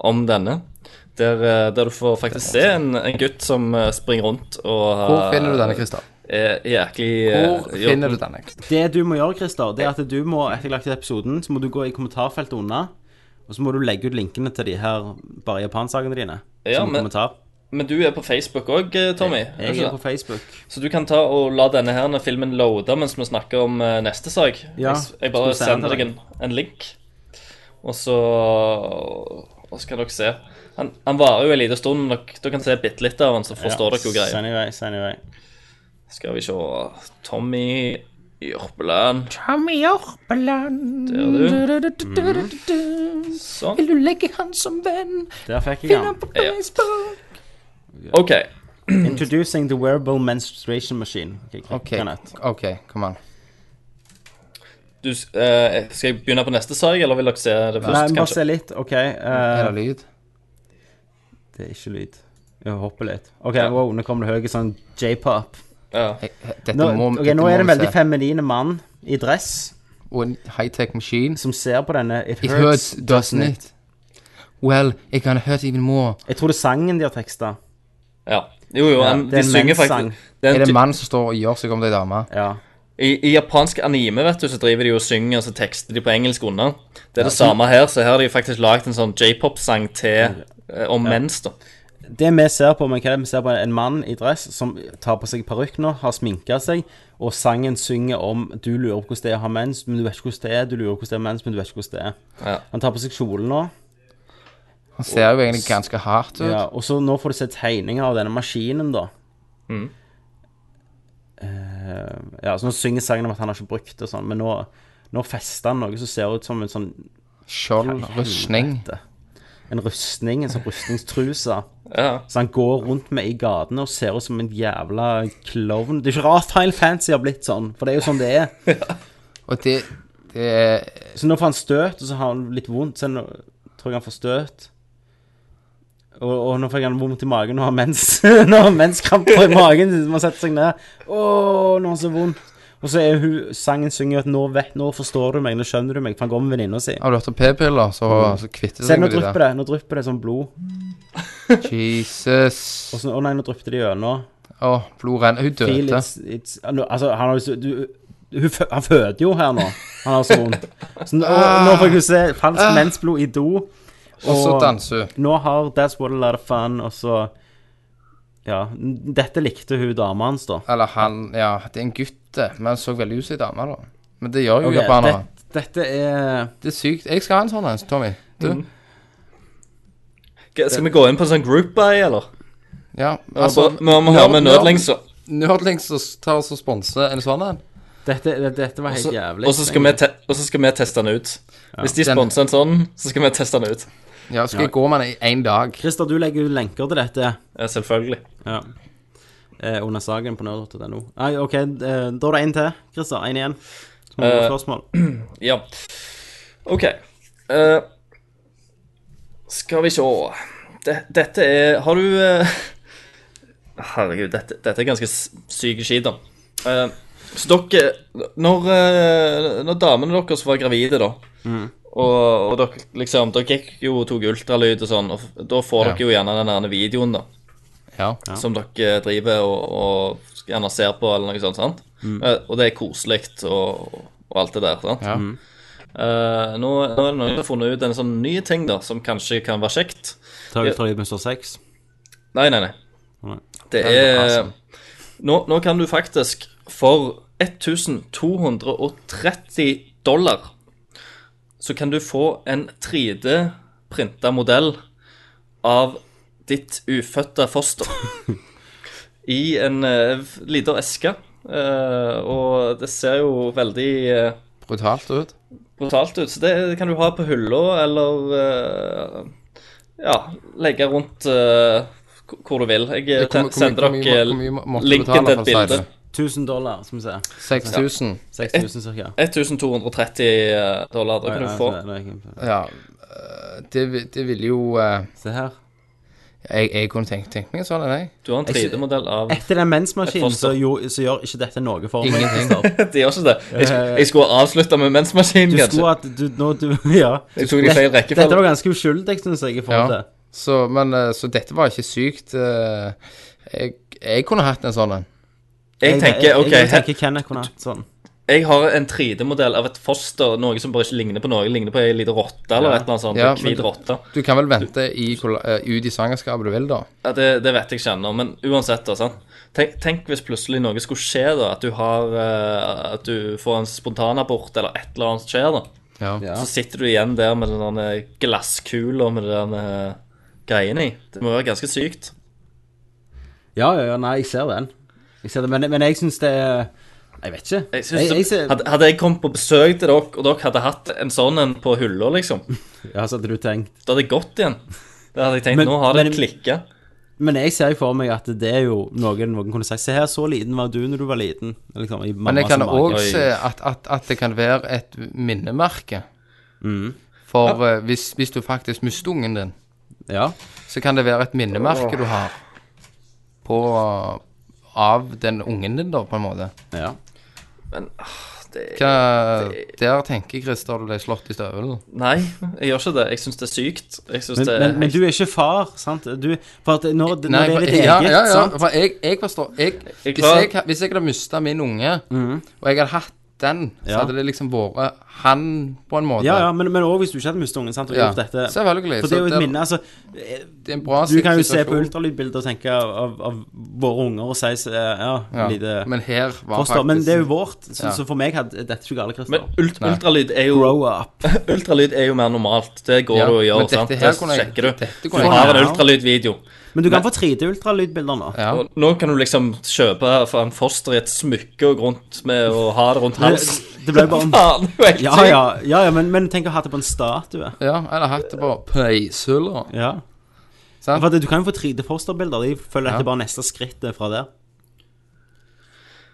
Speaker 3: om denne. Der, eh, der du får faktisk se en, en gutt som eh, springer rundt og eh,
Speaker 5: Hvor
Speaker 4: Ah,
Speaker 5: finner du denne, Christer?
Speaker 3: Er jæklig eh,
Speaker 5: Hvor finner du denne?
Speaker 4: Det du må gjøre, Christer, det er at du må etter jeg har lagt ut episoden, så må du gå i kommentarfeltet unna, og så må du legge ut linkene til de her bare japansakene dine.
Speaker 3: Ja,
Speaker 4: som
Speaker 3: men-
Speaker 4: kommentar.
Speaker 3: Men du er på Facebook òg, Tommy?
Speaker 4: Jeg er på Facebook.
Speaker 3: Så du kan ta og la denne her filmen loade mens vi snakker om eh, neste sak.
Speaker 4: Ja,
Speaker 3: Jeg s- jeg bare
Speaker 4: skal vi sende
Speaker 3: sender deg
Speaker 4: den?
Speaker 3: en, en link, og så Og så kan dere se. Han, han varer jo en liten stund, men dere, dere kan se bitte litt av han, så forstår dere jo greia.
Speaker 4: Send i vei, send i vei.
Speaker 3: Skal vi se Tommy Jørpeland.
Speaker 9: Tommy Jørpeland.
Speaker 3: Der, du.
Speaker 4: Mm-hmm.
Speaker 3: Sånn.
Speaker 9: Vil du legge han som venn?
Speaker 4: Der fikk jeg
Speaker 9: Finn
Speaker 4: den.
Speaker 9: han på Facebook.
Speaker 3: OK.
Speaker 4: Introducing the wearable menstruation machine. Ok,
Speaker 5: Ok, ok, kom an.
Speaker 3: Du, s- eh, skal jeg begynne på neste sak, eller vil dere se det
Speaker 4: Nei,
Speaker 3: først?
Speaker 4: men bare
Speaker 3: kanskje?
Speaker 4: se litt. OK.
Speaker 5: Er
Speaker 4: eh,
Speaker 5: det lyd?
Speaker 4: det er ikke lyd. Jeg hopper litt. OK, wow, nå kommer det høy sånn j-pop.
Speaker 5: Dette
Speaker 4: Nå,
Speaker 5: må
Speaker 4: ok,
Speaker 5: dette
Speaker 4: nå
Speaker 5: må
Speaker 4: er det en
Speaker 5: vi
Speaker 4: veldig
Speaker 5: se.
Speaker 4: feminine mann i dress
Speaker 5: Og en high-tech machine.
Speaker 4: som ser på denne It,
Speaker 5: It hurts, doesn't it? Well, it can hurt even more.
Speaker 4: Jeg tror det er sangen de har teksta.
Speaker 3: Ja. Jo, jo,
Speaker 4: Ja,
Speaker 3: han,
Speaker 4: det er
Speaker 3: de
Speaker 4: en
Speaker 3: synger
Speaker 4: menssang.
Speaker 3: faktisk
Speaker 5: Er det
Speaker 3: ty-
Speaker 5: en mann som står og gjør seg om til ei dame?
Speaker 4: Ja.
Speaker 3: I, I japansk anime vet du, så driver de jo og synger, og så tekster de på engelsk under. Det er det samme her, så her har de faktisk lagd en sånn j-pop-sang til eh, om mens, da.
Speaker 4: Det vi ser på, men hva er det vi ser på en mann i dress som tar på seg parykk nå, har sminka seg, og sangen synger om du lurer på hvordan det er å ha mens, men du vet ikke hvordan det er, du lurer på hvordan det er mens, men du vet ikke hvordan det er.
Speaker 3: Ja.
Speaker 4: Han tar på seg kjolen nå,
Speaker 5: Han ser jo egentlig ganske hardt ut.
Speaker 4: ja, og så nå får du se tegninger av denne maskinen, da.
Speaker 3: Mhm.
Speaker 4: Eh, ja, så nå synger sangen om at han har ikke brukt det og sånn, men nå, nå fester han noe som ser ut som en sånn
Speaker 5: Skjold, rustning.
Speaker 4: en rustning, en sånn rustningstruse.
Speaker 3: Ja.
Speaker 4: Så han går rundt med i gatene og ser ut som en jævla klovn. Det er ikke rart Final Fantasy har blitt sånn, for det er jo sånn det er.
Speaker 5: Og det, det er
Speaker 4: Så nå får han støt, og så har han litt vondt. Så nå tror jeg han får støt. Og, og nå fikk han vondt i magen og har mens, *laughs* nå har han menskramper i magen. så Man setter seg ned. Å, nå har han så vondt. Og så er hun, sangen synger jo at nå, vet, nå forstår du meg, nå skjønner du meg. For han går med venninna si.
Speaker 5: Har du hørt om p-piller, så,
Speaker 4: Mm.
Speaker 5: så kvitter
Speaker 4: Se,
Speaker 5: seg
Speaker 4: nå
Speaker 5: med de
Speaker 4: drypper
Speaker 5: der.
Speaker 4: det. Nå drypper det sånn blod.
Speaker 5: Jesus.
Speaker 4: Og så, å nei, nå drypper det gjennom.
Speaker 5: Å, blod renner. Hun
Speaker 4: Feel
Speaker 5: døde.
Speaker 4: it's, it's, altså, han har jo så- du, hun, fø- Han føder jo her nå. Han har så vondt. Så nå,
Speaker 3: Ah.
Speaker 4: nå får jeg jo se falskt mensblod i do.
Speaker 5: Og så danser hun.
Speaker 4: Nå har That's What A Lot Of Fun, og så Ja. n- Dette likte hun dama hans, da.
Speaker 5: Eller han Ja, det er en gutt, det. Men han så veldig ut som ei dame, da. Men det gjør jo
Speaker 4: Ok,
Speaker 5: japanere.
Speaker 4: det- dette er
Speaker 5: Det er sykt. Jeg skal ha en sånn en, Tommy. Du.
Speaker 4: Mm.
Speaker 3: Skal skal vi gå inn på en sånn group buy, eller?
Speaker 5: Ja,
Speaker 3: Altså, vi må vi høre med nødlengs, så.
Speaker 5: Nødlengs og tar oss og sponser en sånn en.
Speaker 4: Dette, det- dette var helt
Speaker 3: så-
Speaker 4: jævlig.
Speaker 3: Og så skal, vi te- og så skal vi teste den ut. Hvis de
Speaker 5: Den-
Speaker 3: sponser en sånn, så skal vi teste den ut.
Speaker 5: Ja, skal jeg gå med den i én dag?
Speaker 4: Christer, du legger ut lenker til dette
Speaker 3: Ja, selvfølgelig.
Speaker 4: ja. eh, under saken på nerd.no. Nei, OK, eh, da er det én til, Christer. Én igjen. Så må vi
Speaker 3: Eh,
Speaker 4: ha spørsmål.
Speaker 3: Ja. OK. Eh, skal vi se Det- Dette er Har du eh, Herregud, dette, dette er ganske s- syke skit, da. Eh, så dere Når, eh, når damene deres var gravide, da, og, og dere liksom Dere gikk jo og tok ultralyd og sånn, og f- da får
Speaker 5: Ja.
Speaker 3: dere jo gjerne den der videoen, da
Speaker 5: Ja.
Speaker 3: som dere driver og, og gjerne ser på, eller noe sånt. sant? Eh, og det er koselig og, og alt det der. sant?
Speaker 5: Ja.
Speaker 3: Eh, nå, nå er det noen som har funnet ut en sånn ny ting da, som kanskje kan være kjekt.
Speaker 4: Tar du ultralyd med står seks?
Speaker 3: Nei, nei, nei.
Speaker 4: Nei.
Speaker 3: Det er nå, nå kan du faktisk for 1230 dollar så kan du få en 3D-printa modell av ditt ufødte foster i en uh, liten eske. Eh, og det ser jo veldig eh,
Speaker 5: Brutalt ut.
Speaker 3: brutalt ut. Så det kan du ha på hylla, eller eh, ja, legge rundt eh, hvor du vil. Jeg eh,
Speaker 4: Det kommer-
Speaker 3: sender
Speaker 4: hvor mye-
Speaker 3: dere
Speaker 4: hvor mye må- måtte
Speaker 3: linken
Speaker 4: betale
Speaker 3: til et
Speaker 4: for å si
Speaker 3: bilde.
Speaker 4: det? 1000 dollar, som vi sier.
Speaker 5: 6000.
Speaker 4: 6000 cirka.
Speaker 3: 1230 eh, dollar. Det
Speaker 4: Oi,
Speaker 3: kan du
Speaker 4: nei,
Speaker 3: få.
Speaker 4: det- det er ikke-
Speaker 5: Ja, eh, det, vi- det ville jo Se
Speaker 4: her.
Speaker 5: Jeg, jeg kunne tenkt, tenkt meg en sånn, jeg.
Speaker 3: Du har en 3D-modell
Speaker 4: *laughs*
Speaker 3: av
Speaker 4: Etter den mensmaskinen
Speaker 3: Et foster.
Speaker 4: så, jo, så gjør ikke dette noe for meg.
Speaker 5: Ingenting.
Speaker 4: Kristian.
Speaker 3: Det gjør ikke det. Jeg, sk- jeg skulle avslutta med mensmaskinen,
Speaker 4: Du
Speaker 3: kanskje.
Speaker 4: skulle at du, nå, du *laughs* Ja.
Speaker 5: Jeg tok det i feil rekkefølge.
Speaker 4: Dette var ganske uskyldig, syns jeg, i forhold til
Speaker 5: Ja. Så, men, eh, så dette var ikke sykt. eh, Jeg, jeg kunne hatt en sånn en.
Speaker 3: Jeg tenker, ok,
Speaker 4: Jeg,
Speaker 3: her-
Speaker 4: tenker Kenneth kunne hatt sånn.
Speaker 3: Jeg har en 3D-modell av et foster, noe som bare ikke ligner på noe. Ligner på ei lita rotte eller
Speaker 5: Ja.
Speaker 3: et eller annet sånt.
Speaker 5: Ja,
Speaker 3: en
Speaker 5: men
Speaker 3: Hvit
Speaker 5: du-
Speaker 3: rotte.
Speaker 5: Du kan vel vente i, kolla- eh, ut i svangerskapet du vil, da.
Speaker 3: Ja, det, det vet jeg ikke ennå, men uansett, da. sant? Tenk, tenk hvis plutselig noe skulle skje, da. At du, har, eh, at du får en spontanabort, eller et eller annet skjer, da.
Speaker 5: Ja.
Speaker 3: Så sitter du igjen der med den der glasskula med den eh, greien i. Det må være ganske sykt.
Speaker 4: Ja, ja, ja, nei, jeg ser den. Jeg ser det, men, men jeg syns det er- Jeg vet ikke.
Speaker 3: Jeg synes, hadde, hadde jeg kommet på besøk til dere, og dere hadde hatt en sånn en på hylla, liksom,
Speaker 4: Ja, så hadde du tenkt
Speaker 3: da hadde jeg gått igjen. Da hadde jeg tenkt
Speaker 4: Men-
Speaker 3: nå har det
Speaker 4: men-
Speaker 3: klikka.
Speaker 4: Men jeg ser jo for meg at det er jo noen noen kunne sagt Se her, så liten var du når du var liten. Liksom, i
Speaker 5: Men jeg
Speaker 4: mammas
Speaker 5: kan
Speaker 4: mage.
Speaker 5: òg se at, at, at det kan være et minnemerke. For eh, hvis, hvis du faktisk mister ungen din, så kan det være et minnemerke du har på av den ungen din, da, på en måte.
Speaker 4: Ja.
Speaker 3: Men ah, det,
Speaker 5: Hva,
Speaker 3: det
Speaker 5: der tenker Chris da du ble slått i støvelen.
Speaker 3: Nei, jeg gjør ikke det. Jeg syns det er sykt. Jeg synes
Speaker 4: Men,
Speaker 3: det
Speaker 5: eh,
Speaker 3: er
Speaker 4: men, men du er ikke far, sant? Du, for at når, når det er
Speaker 5: for-
Speaker 4: ditt eget,
Speaker 5: ja, ja, ja,
Speaker 4: sant?
Speaker 5: for jeg, jeg forstår jeg,
Speaker 3: Jeg
Speaker 5: hvis,
Speaker 3: klarer-
Speaker 5: jeg, hvis jeg hadde mista min unge, og jeg hadde hatt den, så
Speaker 4: Mhm. Ja.
Speaker 5: hadde det liksom vært han, på en måte.
Speaker 4: Ja, ja, men, men også hvis du ikke hadde mistet ungen, sant? Og
Speaker 5: Ja,
Speaker 4: gjort dette.
Speaker 5: selvfølgelig,
Speaker 4: For det er jo
Speaker 5: så
Speaker 4: et
Speaker 5: det-
Speaker 4: minne, altså.
Speaker 5: Det er en bra
Speaker 4: Du kan jo se
Speaker 5: situasjon.
Speaker 4: på ultralydbilder og tenke av, av, av våre unger og si så, ja,
Speaker 5: Ja,
Speaker 4: lite
Speaker 5: men her var
Speaker 4: foster. eh, Men
Speaker 5: faktisk-
Speaker 4: det er jo vårt, så,
Speaker 5: Ja.
Speaker 4: så for meg hadde dette ikke galt, Christer.
Speaker 3: Men ult, ultralyd er jo
Speaker 4: Grow up.
Speaker 3: Ultralyd er jo mer normalt. Det går
Speaker 4: Ja,
Speaker 3: du og gjør,
Speaker 4: men dette
Speaker 3: sant.
Speaker 4: her
Speaker 3: Det
Speaker 4: kunne jeg-
Speaker 3: sjekker du.
Speaker 4: dette
Speaker 3: Du
Speaker 4: kunne jeg-
Speaker 3: har en
Speaker 4: Ja.
Speaker 3: ultralydvideo.
Speaker 4: Men du kan få 3D-ultralydbilder nå.
Speaker 3: Og Nå kan du liksom kjøpe for en foster i et smykke og gå rundt med å ha det rundt halsen. *laughs*
Speaker 4: Det, det ble bare
Speaker 5: *laughs*
Speaker 3: Faen, det er jo helt
Speaker 4: ja,
Speaker 3: sykt.
Speaker 4: ja, ja, ja, men, men tenk å ha det på en statue.
Speaker 5: Ja, eller hatt det på peishylla.
Speaker 4: Ja. For at du kan jo få 3D-fosterbilder. De følger etter bare neste skritt eh, fra der.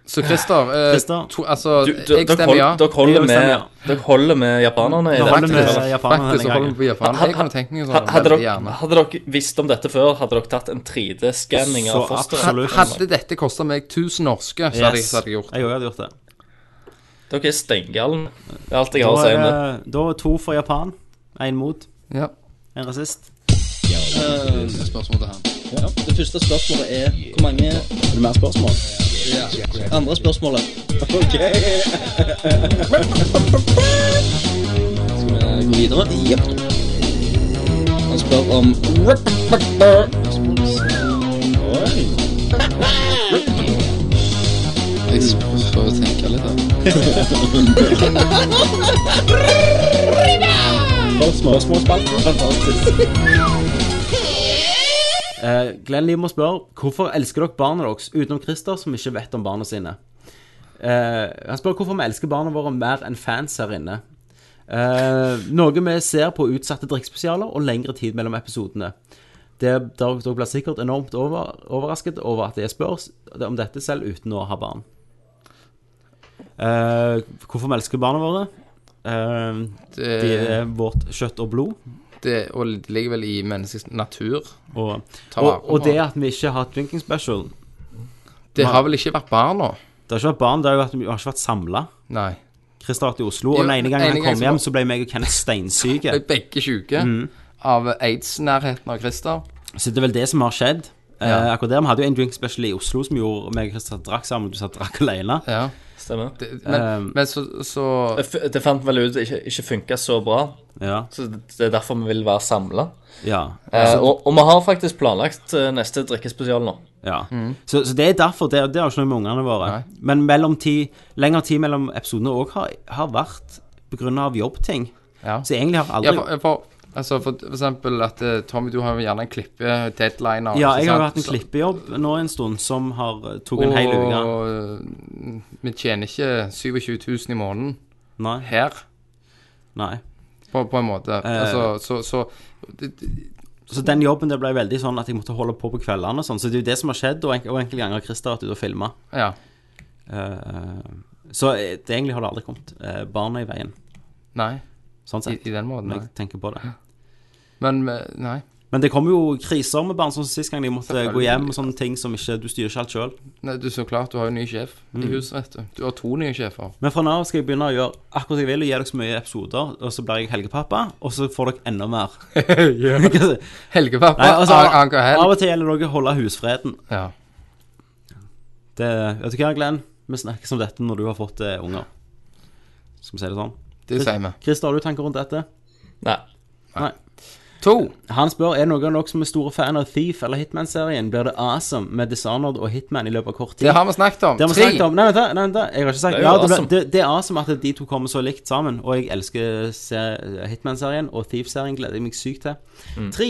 Speaker 5: Så Christer, eh,
Speaker 4: Christer.
Speaker 5: to, altså,
Speaker 3: Du- du-
Speaker 5: jeg
Speaker 3: dere
Speaker 5: stemmer
Speaker 3: hold-
Speaker 5: ja.
Speaker 3: Dere holder
Speaker 5: Jeg
Speaker 3: med,
Speaker 5: stemmer
Speaker 3: dere holder med japanerne i
Speaker 4: Vi
Speaker 3: dette.
Speaker 4: holder med
Speaker 3: Faktisk.
Speaker 4: japanerne denne
Speaker 5: Faktisk så holder
Speaker 4: gangen.
Speaker 5: vi på japanerne. Jeg kunne tenkt meg en sånn
Speaker 3: Hadde dere,
Speaker 5: veldig gjerne.
Speaker 3: hadde dere visst om dette før, hadde dere tatt en 3D-skanning av
Speaker 4: Så
Speaker 3: fosteret?
Speaker 5: Hadde dette kosta meg 1000 norske, så hadde jeg,
Speaker 4: Yes.
Speaker 5: så hadde jeg gjort
Speaker 4: Jeg òg hadde gjort det.
Speaker 3: Dere er steingalen. Det er alt jeg
Speaker 4: Da
Speaker 3: har å si
Speaker 4: er,
Speaker 3: om det.
Speaker 4: det- da er to for Japan, én mot.
Speaker 5: Ja.
Speaker 4: En rasist.
Speaker 5: Spørsmål til han.
Speaker 12: Det første spørsmålet er hvor mange
Speaker 4: Er det mer spørsmål?
Speaker 12: andre spørsmålet? Skal vi gå videre? Jepp. Han spør om
Speaker 6: um,
Speaker 5: Jeg prøver å tenke litt,
Speaker 4: Spørsmålsspalten. Eh, Glenn Limo spør hvorfor elsker dere barna deres utenom Christer, som ikke vet om barna sine. Eh, han spør hvorfor vi elsker barna våre mer enn fans her inne. Eh, noe vi ser på utsatte drikkspesialer og lengre tid mellom episodene. Det, dere dere blir sikkert enormt over, overrasket over at jeg spør om dette selv uten å ha barn. Eh, hvorfor vi elsker barna våre? Eh,
Speaker 5: Det-
Speaker 4: de er vårt kjøtt og blod.
Speaker 5: Det, og det ligger vel i menneskets natur.
Speaker 4: Og,
Speaker 5: Ta vare
Speaker 4: og,
Speaker 5: på
Speaker 4: og det
Speaker 5: barn.
Speaker 4: at vi ikke har drinking special
Speaker 5: Det har vel ikke vært barna?
Speaker 4: Det har ikke vært barn, det har jo vært, vi har ikke vært samla.
Speaker 5: Nei.
Speaker 4: Christer har vært i Oslo,
Speaker 5: Jo,
Speaker 4: og den ene gangen
Speaker 5: ene
Speaker 4: han kom
Speaker 5: gang så
Speaker 4: hjem,
Speaker 5: var-
Speaker 4: så ble meg og Kenneth steinsyke.
Speaker 5: *laughs* Ble begge syke
Speaker 4: Mhm.
Speaker 5: av aids-nærheten av Christer.
Speaker 4: Så det er vel det som har skjedd. Eh,
Speaker 5: Ja.
Speaker 4: akkurat der, Vi hadde jo en drink special i Oslo som gjorde meg og Christer drakk sammen, og du satt og drakk alene.
Speaker 5: Ja.
Speaker 3: Stemmer.
Speaker 5: Det, men,
Speaker 4: Um,
Speaker 5: men så, så
Speaker 3: Det f- Det fant vel ut at ikke, ikke funka så bra.
Speaker 4: Ja.
Speaker 3: Så det er derfor vi vil være samla.
Speaker 4: ja.
Speaker 3: Eh,
Speaker 4: Så,
Speaker 3: og, og vi har faktisk planlagt eh, neste drikkespesial nå.
Speaker 4: ja.
Speaker 5: Mm.
Speaker 4: Så, så det er derfor. Det, det har ikke noe med ungene våre. Men mellom ti, lengre tid mellom episodene òg har, har vært på grunn av jobbting. Så egentlig har aldri
Speaker 5: Ja, for, for, altså, for, for eksempel at eh, Tommy, du har jo gjerne en klippe deadliner.
Speaker 4: Ja, jeg har jo
Speaker 5: jo
Speaker 4: hatt en klippejobb nå en stund som har eh, tok en hel uke.
Speaker 5: Og mm, vi tjener ikke 27 000 i måneden
Speaker 4: Nei.
Speaker 5: her.
Speaker 4: Nei.
Speaker 5: På, på en måte.
Speaker 4: Eh.
Speaker 5: altså, så, så
Speaker 4: Så den jobben det ble veldig sånn at jeg måtte holde på på kveldene og sånn. Så det er jo det som har skjedd, og, enk og enkelte ganger har Christer vært ute og filma.
Speaker 5: Ja.
Speaker 4: så eh, det egentlig har det aldri kommet eh, barna i veien.
Speaker 5: Nei.
Speaker 4: Sånn sett.
Speaker 5: I- i den måten,
Speaker 4: Når
Speaker 5: nei.
Speaker 4: jeg tenker på det.
Speaker 5: Men eh, nei.
Speaker 4: Men det kommer jo kriser med barn, sånn som sist gang de måtte
Speaker 5: Selvfølgelig.
Speaker 4: gå hjem og sånne ting som ikke Du styrer ikke alt sjøl.
Speaker 5: nei du, så klart, du har jo ny sjef
Speaker 4: Mm.
Speaker 5: i huset, vet du. Du har to nye *laughs* sjefer.
Speaker 4: Men fra nå av skal jeg begynne å gjøre akkurat som jeg vil, og gi dere så mye episoder, og så blir jeg helgepappa, og så får dere enda mer. *laughs*
Speaker 5: helgepappa?
Speaker 4: Nei, altså,
Speaker 5: An- Anker Hell?
Speaker 4: Av og til gjelder det å holde husfreden.
Speaker 5: Ja.
Speaker 4: Det, vet du hva, Glenn? Vi snakkes om dette når du har fått eh, unger. Skal vi si det sånn?
Speaker 5: Det sier vi.
Speaker 4: Christer, har du tanker rundt dette?
Speaker 3: Nei.
Speaker 4: Nei.
Speaker 5: To.
Speaker 4: Han spør er det noen av dere som er store fan av Thief eller Hitman-serien. Blir det awesome med Dishonored og Hitman i løpet av kort tid?
Speaker 5: Det har vi snakket om.
Speaker 4: Det har vi
Speaker 5: Tre.
Speaker 4: snakket om. Nei, vent, da, nei, vent da. Jeg har ikke sagt
Speaker 5: Det er
Speaker 4: det.
Speaker 5: jo
Speaker 4: Ja, det, ble,
Speaker 5: awesome.
Speaker 4: det, det er awesome at de to kommer så likt sammen. Og jeg elsker se- Hitman-serien, og Thief-serien gleder jeg meg sykt til.
Speaker 5: Mm.
Speaker 4: Tre.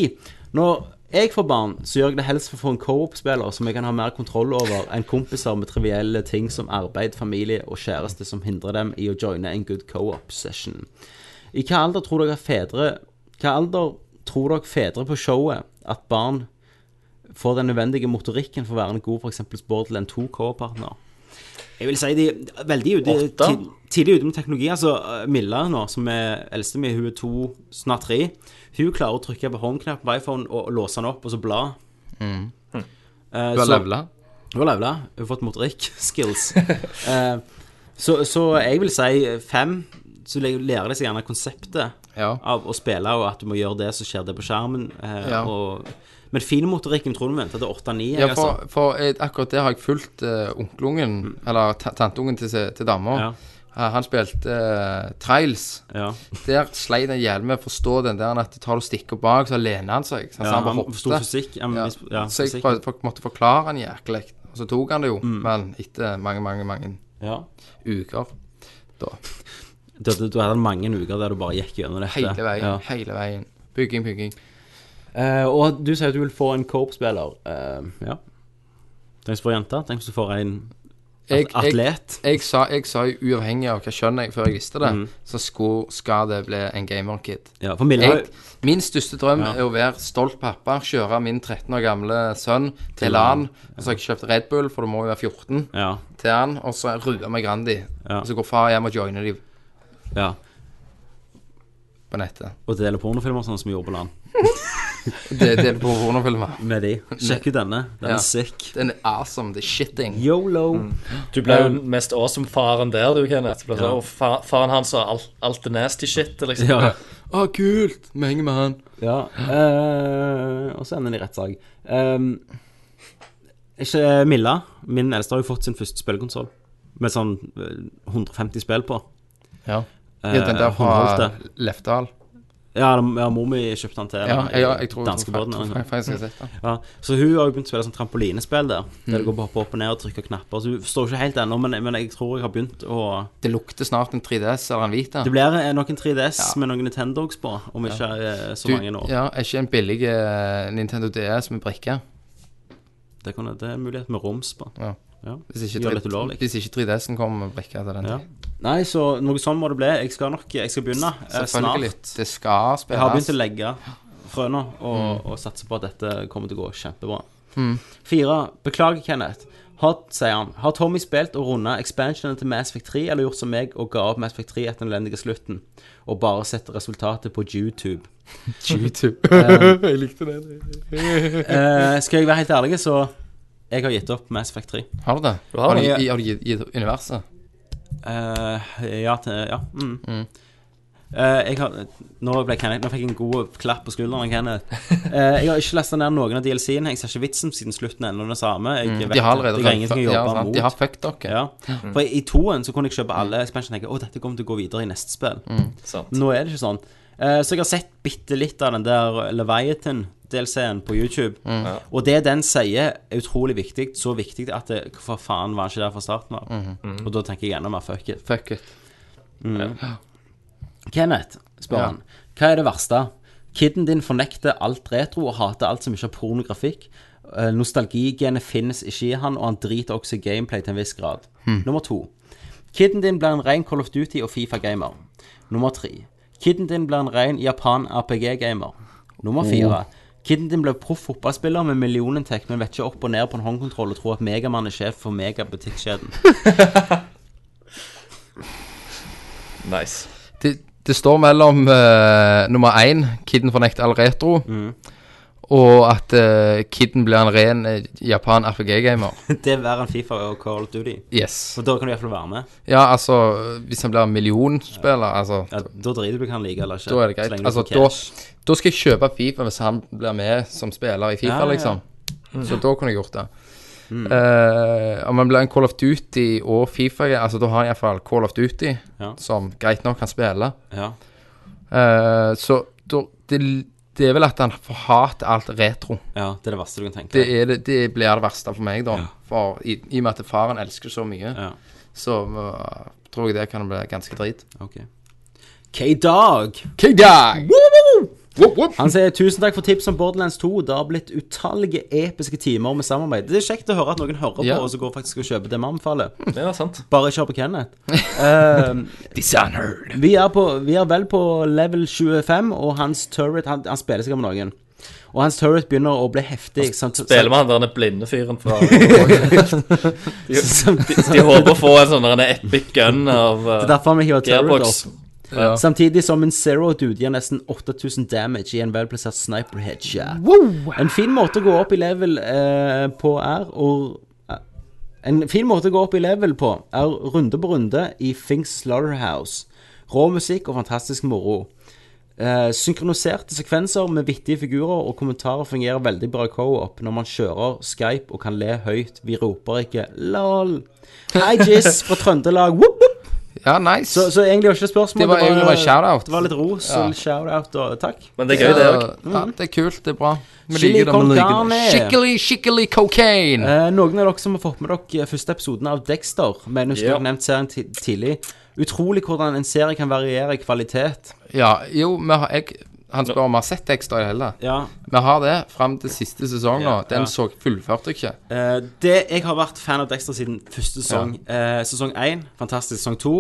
Speaker 4: Når jeg får barn, så gjør jeg det helst for å få en co-op-spiller som jeg kan ha mer kontroll over enn kompiser med trivielle ting som arbeid, familie og kjæreste som hindrer dem i å joine en good co-op-session. I hva alder tror dere fedre Hva alder tror dere fedre på showet at barn får den nødvendige motorikken for å være en god f.eks. spår til en 2K-partner? Jeg vil si de er veldig ute,
Speaker 3: Åtte.
Speaker 4: tid, tidlig ute med teknologi. Altså eh, Milla nå, som er eldste mi, hun er to, snart tre. Hun klarer å trykke på home-knapp på iPhone og, og låse den opp, og så bla.
Speaker 5: Mm.
Speaker 4: Eh,
Speaker 5: Du har
Speaker 4: så-
Speaker 5: levela?
Speaker 4: Hun har levela. Hun har fått motorikk. *laughs* Skills. Eh, så, så jeg vil si fem. Så le- lærer de seg gjerne konseptet av å spille, og at du må gjøre det, så skjer det på skjermen. eh,
Speaker 5: Ja.
Speaker 4: og, men finmotorikken tror du vi venter til åtte-ni. altså.
Speaker 5: Ja, for, for jeg, akkurat det har jeg fulgt eh, onkelungen,
Speaker 4: Mm.
Speaker 5: eller ta- tanteungen til, se- til dama. Eh, han spilte eh, Trials. Der sleit han jævlig med å forstå den der at tar du stikker bak, så lener han seg.
Speaker 4: Ja,
Speaker 5: sant? så Altså, han
Speaker 4: han
Speaker 5: bare hoppte.
Speaker 4: forsto fysikk, han mis- ja,
Speaker 5: så jeg
Speaker 4: fysikken.
Speaker 5: prøvde- for, måtte forklare han jæklig. Og så tok han det jo,
Speaker 4: Mm.
Speaker 5: men etter mange, mange, mange uker. Da.
Speaker 4: Du, du, du hadde mange uker der du bare gikk gjennom dette.
Speaker 5: Hele veien,
Speaker 4: Ja.
Speaker 5: hele veien. Bygging, bygging.
Speaker 4: Eh, og du sier at du vil få en Coop-spiller. Eh, ja. Tenk hvis du får jente. Tenk hvis du får en
Speaker 5: Jeg,
Speaker 4: at-
Speaker 5: jeg,
Speaker 4: atlet.
Speaker 5: jeg, sa, jeg sa jo uavhengig av hva skjønner jeg før jeg visste det,
Speaker 4: Mhm.
Speaker 5: så sko- skal det bli en gamer-kid.
Speaker 4: Ja, for Milla-
Speaker 5: Jeg- Min største drøm
Speaker 4: Ja.
Speaker 5: er å være stolt pappa, kjøre min 13 år gamle sønn
Speaker 4: Til
Speaker 5: til LAN. Og så har jeg kjøpt Red Bull, for du må jo være 14, til han. Og så ruer meg Grandi. Og så går far hjem og joiner de
Speaker 4: Ja.
Speaker 5: på nettet.
Speaker 4: Og deler pornofilmer sånn som vi gjorde på land.
Speaker 5: Det det er på pornofilmer.
Speaker 4: Med de. Sjekk ut denne. Den er sick. Mm.
Speaker 5: Den er awesome. Det er shitting.
Speaker 4: Yolo.
Speaker 3: Du ble jo mest awesome-faren der, du, Kenneth. Du ble
Speaker 5: Ja.
Speaker 3: sånn, «Å, fa faren hans har alt, alt det nasty shit, liksom.
Speaker 4: Ja.
Speaker 5: Å, kult! Vi henger med han.
Speaker 4: Ja. eh, og så ender det i rettssak. Ehm, ikke Milla. Min eldste har jo fått sin første spillkonsoll. Med sånn eh, 150 spill på.
Speaker 5: Ja.
Speaker 4: Eh,
Speaker 5: Ja, den der fra Lefdal.
Speaker 4: Ja, den- ja, mor mi kjøpte den til
Speaker 5: Ja,
Speaker 4: meg,
Speaker 5: ja, jeg tror-
Speaker 4: danskebåten,
Speaker 5: tror- tror
Speaker 4: eller noe.
Speaker 5: faktisk jeg har sett den.
Speaker 4: Ja, så hun har jo begynt å spille sånn trampolinespill der. Der
Speaker 5: Mm.
Speaker 4: det går bare på opp og ned og trykker knapper. Så hun forstår ikke helt ennå, men, men jeg tror jeg har begynt å
Speaker 5: Det lukter snart en 3DS eller en Vita.
Speaker 4: Det blir eh, noen 3DS med noen Nintendogs på, om ikke eh, så
Speaker 5: Du-
Speaker 4: mange nå.
Speaker 5: Ja, er ikke en billig eh, Nintendo DS med brikke?
Speaker 4: Det, kan, det er en mulighet med roms på.
Speaker 5: Ja. Hvis ikke,
Speaker 4: Gjør dette
Speaker 5: 3,
Speaker 4: ulovlig.
Speaker 5: hvis ikke 3DS-en kommer med brikke til den.
Speaker 4: Ja. Nei, så noe sånn må det bli. Jeg skal nok jeg skal begynne eh,
Speaker 5: Selvfølgelig.
Speaker 4: snart.
Speaker 5: Det skal
Speaker 4: Jeg
Speaker 5: spilles.
Speaker 4: har begynt å legge frøna og, og satse på at dette kommer til å gå kjempebra.
Speaker 5: Mm.
Speaker 4: Fire. Beklager, Kenneth. Har, sier han, har Tommy spilt og runda expansionen til Mass Effect 3, eller gjort som meg og ga opp Mass Effect 3 etter den elendige slutten, og bare sett resultatet på YouTube?
Speaker 5: *laughs* YouTube.
Speaker 4: *laughs* Eh,
Speaker 5: jeg likte det.
Speaker 4: eh, skal jeg være helt ærlig, så jeg har gitt opp Mass Effect 3.
Speaker 5: Har du det?
Speaker 4: Du har
Speaker 5: du,
Speaker 4: det.
Speaker 5: gi- har du gitt, gitt universet?
Speaker 4: Eh, ja. Til, ja. Mm. Eh, jeg har, nå, ble Kenneth, nå fikk jeg en god klapp på skulderen. av Kenneth. Eh, jeg har ikke lasta ned noen av DLC-ene. Jeg ser ikke vitsen siden slutten er ennå den samme. Jeg
Speaker 5: Mm, de
Speaker 4: vet
Speaker 5: har
Speaker 4: at
Speaker 5: allerede
Speaker 4: det er ingenting å
Speaker 5: fucked- ja,
Speaker 4: jobbe
Speaker 5: sant,
Speaker 4: mot.
Speaker 5: de har fucked dere.
Speaker 4: Ja.
Speaker 5: Mm.
Speaker 4: For i toen så kunne jeg kjøpe alle expansion og tenke å, dette kommer til å gå videre i neste spill.
Speaker 5: Mm, sant.
Speaker 4: Nå er det ikke sånn. Eh, så jeg har sett bitte litt av den der Leviathan-DLC-en på YouTube.
Speaker 5: Mm. Ja.
Speaker 4: Og det den sier, er utrolig viktig. Så viktig at det, hvorfor faen var han ikke der fra starten av?
Speaker 5: Mhm.
Speaker 4: Og da tenker jeg enda mer fuck it.
Speaker 5: Fuck it.
Speaker 4: Mm.
Speaker 5: Ja.
Speaker 4: Kenneth, spør han. Hva er det verste? Kidden din fornekter alt retro og hater alt som ikke har pornografikk. Eh, Nostalgigenet finnes ikke i han, og han driter også i gameplay til en viss grad.
Speaker 13: Hmm.
Speaker 4: Nummer to. Kidden din blir en ren Call of Duty og Fifa-gamer. Nummer tre. Kidden din blir en ren Japan-RPG-gamer. Nummer
Speaker 13: Oh.
Speaker 4: fire. Kidden din blir proff fotballspiller med millioninntekt, men vet ikke opp og ned på en håndkontroll og tror at Megamann er sjef for megabutikkkjeden.
Speaker 3: Nice.
Speaker 5: Det, det står mellom eh, nummer én, Kidden fornekter all retro,
Speaker 4: Mm.
Speaker 5: og at eh, Kidden blir en ren eh, Japan RPG-gamer.
Speaker 4: Det er verre enn Fifa og Call of Duty.
Speaker 5: Yes.
Speaker 4: For da kan du iallfall være med.
Speaker 5: Ja, altså, hvis han blir en millionspiller, altså
Speaker 4: Ja, da driter du i hva han liker eller ikke.
Speaker 5: Da er det
Speaker 4: så
Speaker 5: greit.
Speaker 4: lenge du
Speaker 5: Altså,
Speaker 4: får
Speaker 5: da,
Speaker 4: cash.
Speaker 5: da skal jeg kjøpe Fifa hvis han blir med som spiller i Fifa,
Speaker 4: Ja, Mm. ja, ja.
Speaker 5: liksom.
Speaker 4: Mm.
Speaker 5: Så da kunne jeg gjort det. Eh, om han blir en Call of Duty og Fifa, altså da har han iallfall Call of Duty, som greit nok kan spille.
Speaker 4: Ja.
Speaker 5: Eh, så da, det, det er vel at han hater alt retro.
Speaker 4: Ja, det er det verste du kan tenke
Speaker 5: Det, er det, det blir det verste for meg, da. For, i, I og med at faren elsker så mye, så eh, tror jeg det kan bli ganske drit.
Speaker 4: K-Dog.
Speaker 5: K-Dog.
Speaker 4: Han sier tusen takk for tips om Borderlands 2. Det har blitt utallige episke timer med samarbeid. Det er kjekt å høre at noen hører
Speaker 3: Ja.
Speaker 4: på og så går faktisk og kjøper det vi anbefaler.
Speaker 3: Det var *laughs* sant.
Speaker 4: Bare ikke hør på Kenneth. Eh, Vi er, på, vi er vel på level 25, og hans turret Han, han spiller seg med noen. Og hans turret begynner å bli heftig. sånn sant-
Speaker 3: Spiller med han der den blinde fyren
Speaker 4: *laughs*
Speaker 3: fra de,
Speaker 4: Samtidig-
Speaker 3: de håper å få en sånn der en epic gun av uh,
Speaker 4: Det er altså. derfor han vil hive turret
Speaker 3: Gearbox.
Speaker 4: opp.
Speaker 3: Ja.
Speaker 4: Samtidig som en zero dude gir nesten 8000 damage i en velplassert sniper headshot. En fin måte å gå opp i level eh, på er å eh, En fin måte å gå opp i level på er runde på runde i Things Slaughterhouse. Rå musikk og fantastisk moro. Eh, synkroniserte sekvenser med vittige figurer og kommentarer fungerer veldig bra i co-op når man kjører Skype og kan le høyt. Vi roper ikke 'lol'. Hei, Jizz fra Trøndelag. Whoop, whoop.
Speaker 5: Ja, nice.
Speaker 4: Så, så egentlig var det ikke et spørsmål.
Speaker 5: Det var egentlig bare shout-out.
Speaker 4: Det var litt ros
Speaker 5: Ja.
Speaker 4: og litt shout-out og takk.
Speaker 3: Men det er gøy, det òg.
Speaker 5: Ja, det er kult, det er bra. Vi
Speaker 4: Chili
Speaker 5: liker det,
Speaker 4: con
Speaker 5: vi liker
Speaker 4: carne.
Speaker 5: det. Skikkelig, skikkelig cocaine!
Speaker 4: Eh, noen av dere som har fått med dere første episoden av Dexter, men husker
Speaker 5: Ja.
Speaker 4: dere nevnt serien ti- tidlig. Utrolig hvordan en serie kan variere i kvalitet.
Speaker 5: Ja, jo, vi har, jeg, han spør om vi har sett Dexter i hele.
Speaker 4: Ja.
Speaker 5: Vi har det fram til siste sesong nå.
Speaker 4: Ja, ja.
Speaker 5: Den så fullførte jeg ikke.
Speaker 4: Eh, det, jeg har vært fan av Dexter siden første sesong. Eh, sesong 1, fantastisk. Sesong 2,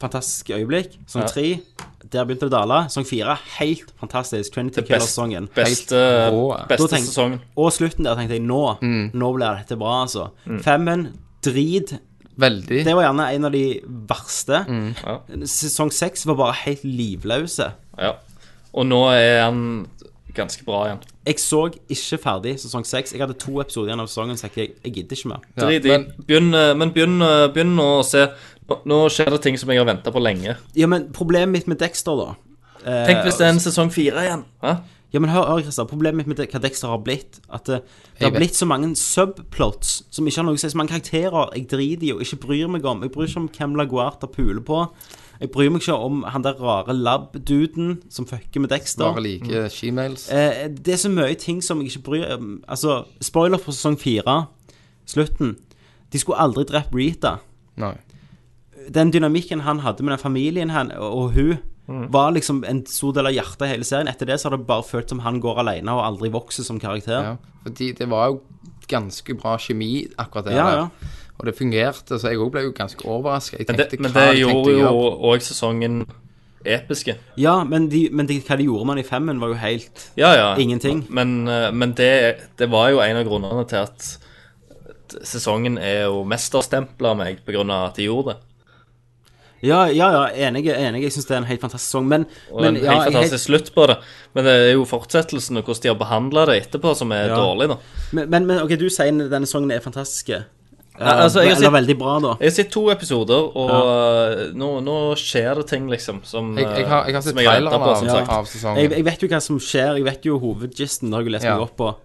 Speaker 4: fantastisk øyeblikk. Sesong
Speaker 3: Ja.
Speaker 4: 3, der begynte det å dale. Sesong 4, helt fantastisk. Trinity
Speaker 3: Det best-
Speaker 4: Killer-sesongen.
Speaker 3: beste-
Speaker 4: Helt rå.
Speaker 3: beste
Speaker 4: Da tenkte-
Speaker 3: sesongen.
Speaker 4: Og slutten der tenkte jeg nå.
Speaker 5: Mm.
Speaker 4: Nå blir dette bra, altså.
Speaker 3: Mm.
Speaker 4: Femmen, drit.
Speaker 5: Veldig.
Speaker 4: Det var gjerne en av de verste.
Speaker 3: Mm, ja.
Speaker 4: Sesong 6 var bare helt livløse.
Speaker 3: Ja. Og nå er han ganske bra igjen.
Speaker 4: Jeg så ikke ferdig sesong 6. Jeg hadde to episoder igjen av sesongen, så jeg, tenkte, jeg gidder ikke mer.
Speaker 3: Drit i. Begynn, eh, men begynn, eh, begynn å se. Nå, nå skjer det ting som jeg har venta på lenge.
Speaker 4: Ja, men problemet mitt med Dexter, da eh,
Speaker 3: Tenk hvis det er en sesong fire igjen. Hæ?
Speaker 4: Ja, men hør, hør Christer, problemet mitt med det- hva Dexter har blitt, at eh, det
Speaker 3: Jeg
Speaker 4: har
Speaker 3: vet.
Speaker 4: blitt så mange subplots som ikke har noe å si, så mange karakterer jeg driter i og ikke bryr meg om. Jeg bryr ikke om hvem Laguarta puler på. Jeg bryr meg ikke om han der rare lab-duden som fucker med Dexter.
Speaker 5: Bare
Speaker 4: Mm.
Speaker 5: like shemales.
Speaker 4: Eh, det er så mye ting som jeg ikke bryr um, Altså, spoiler for sesong fire, slutten. De skulle aldri drept Rita.
Speaker 5: Nei.
Speaker 4: Den dynamikken han hadde med den familien han, og, og hun,
Speaker 3: Mm.
Speaker 4: var liksom en stor del av hjertet i hele serien. Etter det så har det bare følt som han går alene og aldri vokser som karakter.
Speaker 5: Ja, fordi det var jo ganske bra kjemi akkurat der.
Speaker 4: Ja, ja.
Speaker 5: Og det fungerte, så jeg òg ble jo ganske overraska.
Speaker 3: Men det, men det gjorde jo òg sesongen episke.
Speaker 4: Ja, men, de, men de, hva de gjorde med han i femmen, var jo helt
Speaker 3: Ja, ja.
Speaker 4: ingenting.
Speaker 3: Men, eh, men det, det var jo en av grunnene til at sesongen er jo mesterstempla meg på grunn av at de gjorde det.
Speaker 4: Ja, ja, ja, enig. enig. Jeg syns det er en helt fantastisk sesong, men,
Speaker 3: Og
Speaker 4: men
Speaker 3: en
Speaker 4: ja,
Speaker 3: helt
Speaker 4: jeg er
Speaker 3: fantastisk slutt på det. Men det er jo fortsettelsen og hvordan de har behandla det etterpå, som er
Speaker 4: Ja.
Speaker 3: dårlig, da.
Speaker 4: Men, men, men OK, du sier denne sangen er fantastisk. Eh,
Speaker 3: Nei, altså, jeg har
Speaker 4: Eller
Speaker 3: sett-
Speaker 4: veldig bra, da.
Speaker 3: Jeg har sett to episoder, og eh, nå, nå skjer det ting, liksom, som
Speaker 5: Jeg- jeg har- jeg har
Speaker 3: eh,
Speaker 5: sett
Speaker 3: som har ventet
Speaker 5: traileren
Speaker 3: på,
Speaker 5: av-
Speaker 3: som sagt.
Speaker 5: av sesongen.
Speaker 4: Jeg, jeg vet jo hva som skjer, jeg vet jo hovedgisten. Det har jeg jo lest
Speaker 5: Ja.
Speaker 4: meg opp på.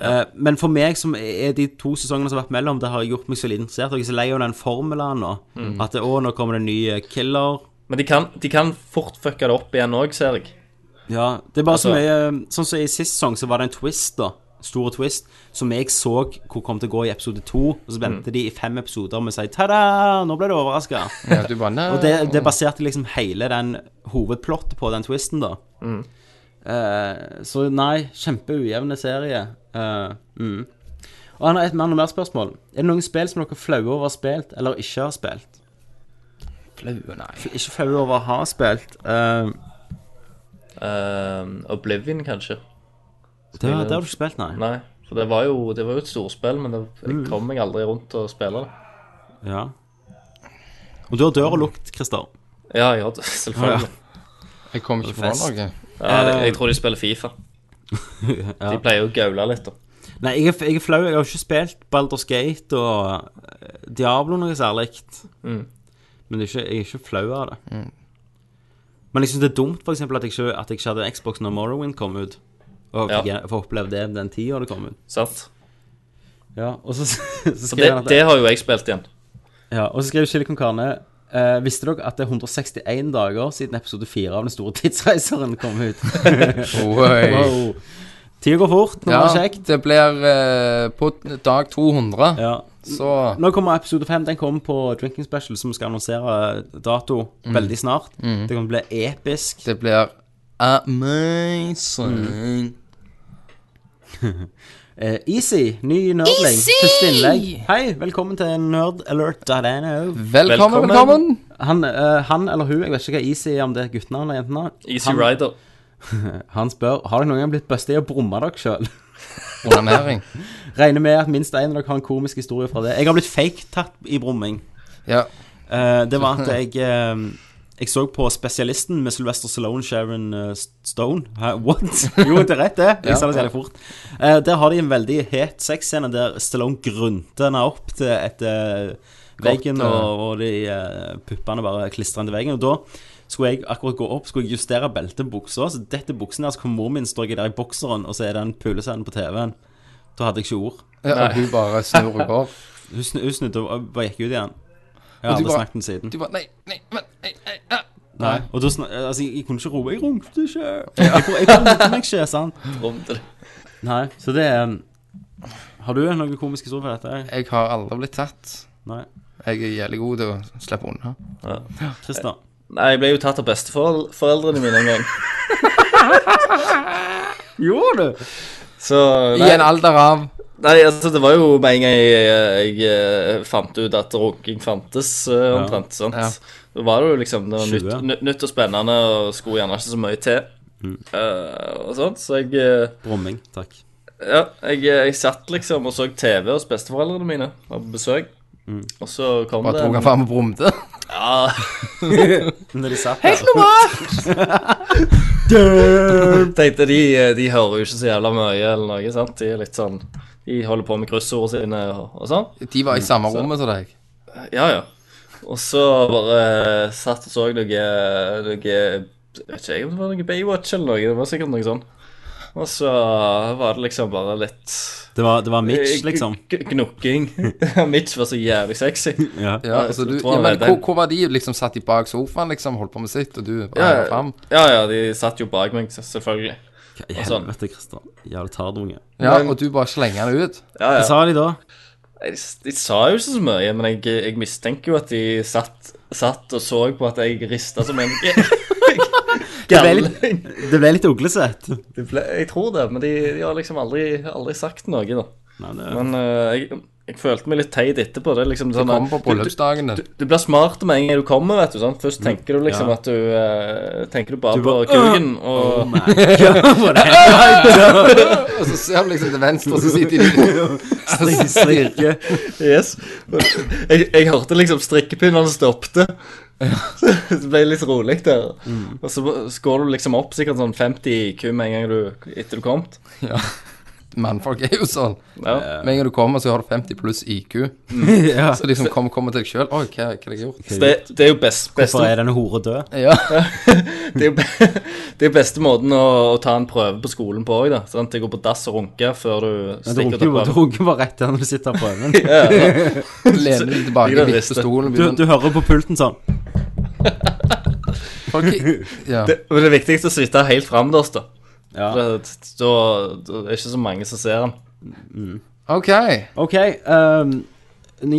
Speaker 4: Eh, men for meg, som er de to sesongene som har vært mellom, det har gjort meg så lite interessert. Og jeg er så lei av den formelen nå.
Speaker 3: Mm.
Speaker 4: At å, nå kommer det en ny eh, killer.
Speaker 3: Men de kan, de kan fort fucke det opp igjen òg, ser jeg.
Speaker 4: Ja, det er bare eh,
Speaker 3: Altså-
Speaker 4: så mye Sånn som i sist sesong, så var det en twist, da. store twist som jeg så hvor kom til å gå i episode to, og så
Speaker 3: Mm.
Speaker 4: vente de i fem episoder med å si ta-da, nå ble du overraska.
Speaker 5: Ja, du bare, «Nei».
Speaker 4: *laughs* og det, det baserte liksom hele den hovedplottet på den twisten, da.
Speaker 5: Mm.
Speaker 4: Eh, så nei, kjempeujevne serie. Eh, mm. Og han har et mer og mer spørsmål. Er det noen spill som dere er flaue over å ha spilt, eller ikke har spilt?
Speaker 3: Flaue, nei.
Speaker 4: Ikke flaue over å ha spilt. eh,
Speaker 3: Eh, Oblivion, kanskje.
Speaker 4: det, har- det har du ikke spilt, nei.
Speaker 3: Nei. For det var jo, det var jo et storspill, men det, jeg kom meg aldri rundt til å spille det.
Speaker 4: Ja. Og du har døra lukt, Christer.
Speaker 3: Ja, jeg har det, selvfølgelig.
Speaker 5: Jeg kom ikke fra
Speaker 4: Fest.
Speaker 5: noe.
Speaker 3: Ja, det, jeg tror de spiller Fifa.
Speaker 4: Ja.
Speaker 3: De pleier jo å gaule litt, da.
Speaker 4: Nei, jeg er, jeg er flau. Jeg har ikke spilt Baldur's Gate og eh, Diablo noe særlig.
Speaker 3: Mm.
Speaker 4: Men det er ikke, jeg er ikke flau av det. Men jeg syns det er dumt for eksempel, at, jeg ikke, at jeg ikke hadde Xbox når Morrowind kom ut. Og fikk jeg- få oppleve det den tida det kom ut.
Speaker 3: Sant.
Speaker 4: Ja, og så, *laughs* så
Speaker 3: For det,
Speaker 4: skriver han at-
Speaker 3: det har jo jeg spilt igjen.
Speaker 4: Ja, og så skrev Chili Con Carne eh, Visste dere at det er 161 dager siden episode 4 av Den store tidsreiseren kom
Speaker 3: *laughs*
Speaker 4: ut?
Speaker 5: Oi.
Speaker 4: wow. Tida går fort når
Speaker 5: Ja,
Speaker 4: man er kjekt.
Speaker 5: det blir eh, på dag 200.
Speaker 4: Ja.
Speaker 5: Så
Speaker 4: Nå kommer episode 5. Den kommer på Drinking Special, som skal annonsere dato
Speaker 5: Mm.
Speaker 4: veldig snart.
Speaker 5: Mm.
Speaker 4: Det kommer til å bli episk.
Speaker 5: det blir
Speaker 4: Mm.
Speaker 5: amazing.
Speaker 4: Eh, Easy, ny nerdling.
Speaker 5: Easy!
Speaker 4: Første innlegg. Hei, velkommen til nerdalert.no.
Speaker 5: Velkommen, velkommen.
Speaker 4: Han, eh, han eller hun, jeg vet ikke hva Easy er, om det er guttenavn eller jentenavn.
Speaker 3: Easy
Speaker 4: Han-
Speaker 3: Rider.
Speaker 4: Han spør Har dere noen gang blitt busta i å brumme dere sjøl?
Speaker 3: *laughs*
Speaker 5: Onanering.
Speaker 4: *laughs* Regner med at minst én av dere har en komisk historie fra det. Jeg har blitt fake-tatt i brumming.
Speaker 5: Ja.
Speaker 4: Eh, det
Speaker 5: *laughs*
Speaker 4: var at jeg eh, Jeg så på Spesialisten med Sylvester Stallone, Sharon eh, Stone. Hæ, what? *laughs* Jo, det er rett, det. Jeg sa det så jævlig fort. Eh, der har de en veldig het sexscene der Stallone grunter henne opp til etter veggen,
Speaker 5: Godt, eh.
Speaker 4: og, og de eh, puppene bare klistrer henne til veggen. Og da skulle jeg akkurat gå opp, skulle jeg justere beltet og buksa, så dette buksen der, så kom mor min, står jeg der i bokseren, og så er det en pulescene på TV-en. Da hadde jeg ikke ord.
Speaker 5: Ja, og hun bare snur og
Speaker 3: *laughs*
Speaker 5: går.
Speaker 4: Hun snu- hun snudde og bare gikk ut igjen. Jeg har
Speaker 5: Og du
Speaker 4: aldri
Speaker 5: bare-
Speaker 4: snakket med henne siden.
Speaker 5: Du bare Nei, nei, men nei, nei, ah.
Speaker 4: Nei. Og da snak, altså, jeg, jeg kunne ikke roe Jeg runkte ikke. Jeg, jeg runkte meg ikke, sant?
Speaker 3: Brumte det.
Speaker 4: Nei, så det er Har du noen komisk historie for dette?
Speaker 5: Jeg har aldri blitt tatt.
Speaker 4: Nei.
Speaker 5: Jeg er jævlig god til å slippe unna.
Speaker 4: Christer?
Speaker 3: Nei, jeg ble jo tatt av besteforeldrene mine en gang.
Speaker 4: Gjorde du?
Speaker 3: Så
Speaker 5: I en alder av
Speaker 3: Nei, altså, det var jo med en gang jeg, jeg, eh, fant ut at runking fantes, eh, omtrent. sant?
Speaker 5: Ja.
Speaker 3: Da var det jo liksom det var nytt,
Speaker 4: 20.
Speaker 3: nytt- nytt og spennende, og skulle gjerne ikke så mye til. eh, og sånt, så jeg eh,
Speaker 4: Brumming. Takk.
Speaker 3: Ja, jeg, jeg satt liksom og så TV hos besteforeldrene mine var på besøk.
Speaker 4: Mm.
Speaker 3: Og så kom
Speaker 5: Bare
Speaker 3: det
Speaker 5: tok han fram og
Speaker 3: *laughs*
Speaker 5: brumte.
Speaker 3: Ja,
Speaker 4: Når de satt der.
Speaker 3: tenkte de, eh, de hører jo ikke så jævla mye eller noe, sant? De er litt sånn De holder på med kryssordene sine og, og sånn.
Speaker 5: De var i samme rommet som deg.
Speaker 3: Ja, ja. Og så bare eh, satt og så noe, noe Jeg vet ikke jeg om det var noe Baywatch eller noe. Det var sikkert noe sånn. Og så var det liksom bare litt
Speaker 4: Det var, det var Mitch,
Speaker 3: eh,
Speaker 4: liksom.
Speaker 3: gn- Gnukking. *laughs* Mitch var så jævlig sexy.
Speaker 4: *laughs* Ja.
Speaker 5: Ja,
Speaker 3: Ja,
Speaker 5: altså
Speaker 3: jeg
Speaker 5: du,
Speaker 3: tror
Speaker 5: ja,
Speaker 3: han
Speaker 5: men
Speaker 3: vet det.
Speaker 5: hvor, hvor var de? Liksom satt de bak sofaen, liksom, holdt på med sitt, og du bare
Speaker 3: Ja,
Speaker 5: ja, fram?
Speaker 3: ja, ja, de satt jo bak meg, selvfølgelig.
Speaker 4: Hva i
Speaker 3: Og sånn.
Speaker 4: helvete, Christer? Jævlig tardunge.
Speaker 5: Ja, og du bare slenger den ut?
Speaker 3: Ja,
Speaker 4: Hva
Speaker 3: ja.
Speaker 4: sa de da?
Speaker 3: De, de sa jo ikke så mye, men jeg, jeg mistenker jo at de satt, satt og så på at jeg rista som
Speaker 5: *laughs*
Speaker 3: en
Speaker 4: ble
Speaker 3: galning.
Speaker 4: litt- Det ble litt uglesett.
Speaker 3: Det ble- Jeg tror det, men de, de har liksom aldri, aldri sagt noe, da.
Speaker 4: Nei, det
Speaker 3: Men eh, jeg, jeg følte meg litt teit etterpå. Det er liksom
Speaker 5: Du
Speaker 3: sånn
Speaker 5: kom på
Speaker 3: du- du-
Speaker 5: bryllupsdagen
Speaker 3: du,
Speaker 5: din.
Speaker 3: du blir smart med en gang du kommer, vet du. sant?
Speaker 5: Mm.
Speaker 3: Først tenker du liksom
Speaker 4: Ja.
Speaker 3: at du eh, Tenker du bare
Speaker 4: Du bare,
Speaker 3: på kuken og
Speaker 4: Oh my God, what happened?
Speaker 5: Og så ser du liksom til venstre, og så sitter
Speaker 3: *laughs*
Speaker 5: de
Speaker 4: Stri- Strikke.
Speaker 3: Yes. Jeg, jeg hørte liksom strikkepinnene stoppte. *laughs* Det ble litt rolig der.
Speaker 4: Mm.
Speaker 3: Og så, så går du liksom opp sikkert sånn 50 IQ med en gang du, etter du kom.
Speaker 5: Mannfolk er jo sånn.
Speaker 3: Ja.
Speaker 5: Med en gang du kommer, så har du 50 pluss IQ.
Speaker 4: Ja.
Speaker 5: Så
Speaker 3: *laughs*
Speaker 5: liksom kom, kommer til deg sjøl. Oi, hva, hva har jeg gjort?
Speaker 3: Så det, det er jo best,
Speaker 4: Hvorfor
Speaker 3: beste,
Speaker 4: er denne hore død?
Speaker 5: Ja.
Speaker 3: det er jo, be- *laughs* det er jo beste måten å, å ta en prøve på skolen på òg, da. Sånn at det går på dass og runke før du
Speaker 4: Ja, Du
Speaker 3: stikker
Speaker 4: runker
Speaker 3: til
Speaker 4: jo du
Speaker 3: prøven.
Speaker 4: runker bare rett der når du sitter på øven.
Speaker 5: Lener deg tilbake
Speaker 3: Begynner å
Speaker 5: i
Speaker 3: riste.
Speaker 5: stolen.
Speaker 4: Du, du hører på pulten sånn.
Speaker 5: Folk, ja.
Speaker 3: *laughs* Det, men det er viktigst å sitte helt framdørs, da. For det, da, da er det ikke så mange som ser den.
Speaker 5: OK.
Speaker 4: OK. Um,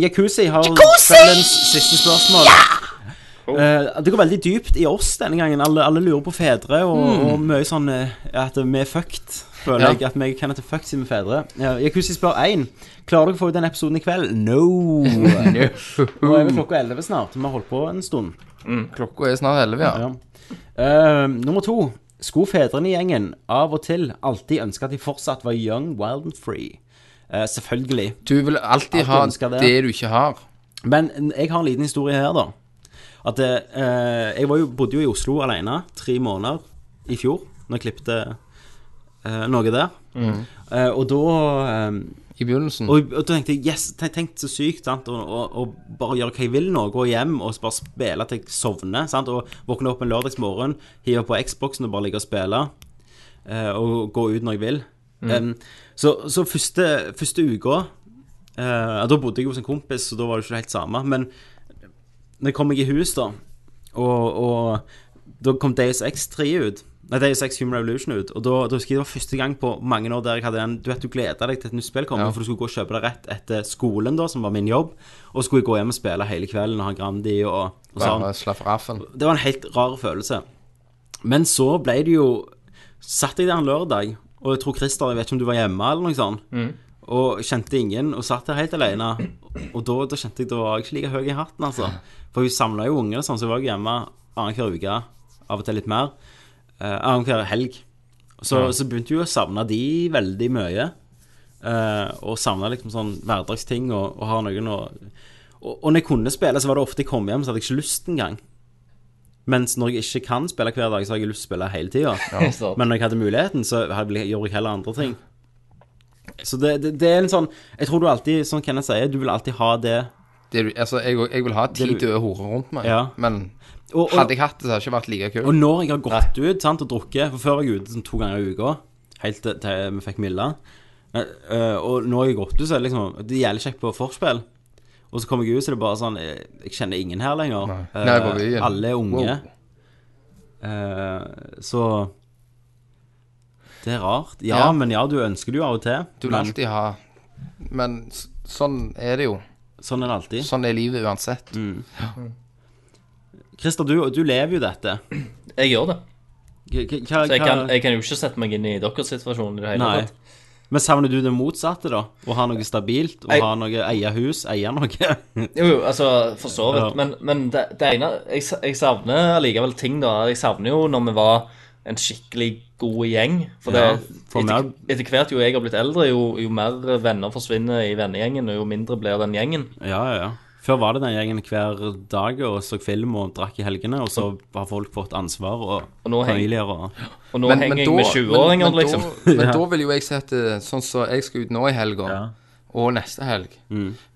Speaker 4: Jacuzzi har
Speaker 3: Jacuzzi!
Speaker 4: kveldens siste spørsmål. Eh, det går veldig dypt i oss denne gangen. Alle, alle lurer på fedre, og,
Speaker 5: Mm.
Speaker 4: og mye sånn eh, at vi er fucked. Føler
Speaker 5: Ja.
Speaker 4: jeg at vi kan hete fucked siden vi er fedre. Eh, Jacuzzi spør én. Klarer dere å få ut den episoden i kveld?
Speaker 5: *laughs*
Speaker 4: No. Nå er vi klokka elleve snart. Vi har holdt på en stund.
Speaker 5: Klokka er snart elleve, ja.
Speaker 4: Eh, nummer to. Skulle fedrene i gjengen av og til alltid ønske at de fortsatt var young, wild and free? Eh, selvfølgelig.
Speaker 5: Du vil alltid ha
Speaker 4: ønske
Speaker 5: det du ikke har.
Speaker 4: Men jeg har en liten historie her, da. At eh, Jeg var jo, bodde jo i Oslo alene tre måneder i fjor, når jeg klippte eh, noe der.
Speaker 5: Mhm.
Speaker 4: Eh, og da eh,
Speaker 5: I begynnelsen.
Speaker 4: Og, og da tenkte jeg yes, tenk, tenk så sykt sant? Og, og, og bare gjøre hva jeg vil nå. Gå hjem og bare spille til jeg sovner. Sant? Og våkne opp en lørdagsmorgen, hive på Xboxen og bare ligge og spille. eh, og gå ut når jeg vil.
Speaker 5: Mhm.
Speaker 4: Eh, så, så første, første uka eh, Da bodde jeg hos en kompis, så da var det ikke helt samme. Men når jeg kom jeg i hus, da, og, og da kom Deus X 3 ut. Nei, Deus X Human Revolution ut. Og da, da husker jeg det var første gang på mange år der jeg hadde den Du vet du gleda deg til et nytt spill kommer,
Speaker 5: Ja.
Speaker 4: for du skulle gå og kjøpe det rett etter skolen, da, som var min jobb. Og skulle jeg gå hjem og spille hele kvelden og ha Grandi og, og sånn.
Speaker 5: Bare slapp raffen.
Speaker 4: Det var en helt rar følelse. Men så ble det jo Satt jeg der en lørdag, og jeg tror Christer, jeg vet ikke om du var hjemme eller noe sånt,
Speaker 5: Mhm.
Speaker 4: og kjente ingen, og satt der helt alene. Og da, da kjente jeg da var jeg ikke like høy i hatten, altså. For hun samla jo unger, og sånn, så jeg var jo hjemme annenhver uke, av og til litt mer. Eh, annenhver helg. Så,
Speaker 5: Ja.
Speaker 4: så begynte jeg jo å savne de veldig mye. eh, og savne liksom sånn hverdagsting og, og ha noen å og, og når jeg kunne spille, så var det ofte jeg kom hjem, så hadde jeg ikke lyst engang. Mens når jeg ikke kan spille hver dag, så har jeg lyst til å spille hele tida.
Speaker 3: Ja, sant.
Speaker 4: Men når jeg hadde muligheten, så hadde jeg- gjorde jeg heller andre ting. Så det, det, det er en sånn Jeg tror du alltid, som Kenneth sier, du vil alltid ha det
Speaker 5: Det, du- altså, jeg, jeg vil ha ti
Speaker 4: Det du-
Speaker 5: døde horer rundt meg,
Speaker 4: Ja.
Speaker 5: men
Speaker 4: Og- og-
Speaker 5: hadde jeg hatt det, så hadde det ikke vært like kult.
Speaker 4: Og når jeg har gått ut sant, og drukket For før var jeg ute sånn to ganger i uka, helt til, til vi fikk Milla. Eh, eh, og når jeg har gått ut, så er det liksom Det gjelder kjekt på forspill. Og så kommer jeg ut, så er det bare sånn eh, Jeg kjenner ingen her lenger. Eh,
Speaker 5: Nei, på byen.
Speaker 4: alle er unge.
Speaker 5: Wow.
Speaker 4: Eh, så Det er rart. Ja,
Speaker 5: Ja.
Speaker 4: men ja, du ønsker det jo av og til.
Speaker 5: Du vil
Speaker 4: men
Speaker 5: alltid ha Men s- sånn er det jo.
Speaker 4: Sånn er det alltid.
Speaker 5: Sånn er livet uansett.
Speaker 3: Mm.
Speaker 4: Christer, du, du lever jo dette.
Speaker 3: Jeg gjør det.
Speaker 4: Hva- hva-
Speaker 3: Så jeg
Speaker 4: hva-
Speaker 3: kan, jeg kan jo ikke sette meg inn i deres situasjon i det hele
Speaker 4: Nei.
Speaker 3: tatt.
Speaker 4: Men savner du det motsatte, da? Å ha noe stabilt? Å
Speaker 3: Jeg-
Speaker 4: ha noe eie hus? Eie noe?
Speaker 3: Jo, jo, altså, for så vidt.
Speaker 4: Ja.
Speaker 3: Men, men det, det ene jeg, sa- jeg savner allikevel ting, da. Jeg savner jo når vi var en skikkelig god gjeng. For, det,
Speaker 4: Ja, for
Speaker 3: etter,
Speaker 4: meg-
Speaker 3: etter hvert jo jeg har blitt eldre, jo, jo mer venner forsvinner i vennegjengen, og jo mindre blir den gjengen.
Speaker 4: Ja, ja, ja. Før var det den gjengen hver dag og så film og drakk i helgene, og så har folk fått ansvar og,
Speaker 3: Og nå heng-
Speaker 4: familier og
Speaker 3: Og nå henger jeg med 20-åringer,
Speaker 5: men, men,
Speaker 3: liksom.
Speaker 5: da, men
Speaker 4: *laughs* Ja.
Speaker 5: da vil jo jeg sette sånn som jeg skal ut nå i helga, og neste helg.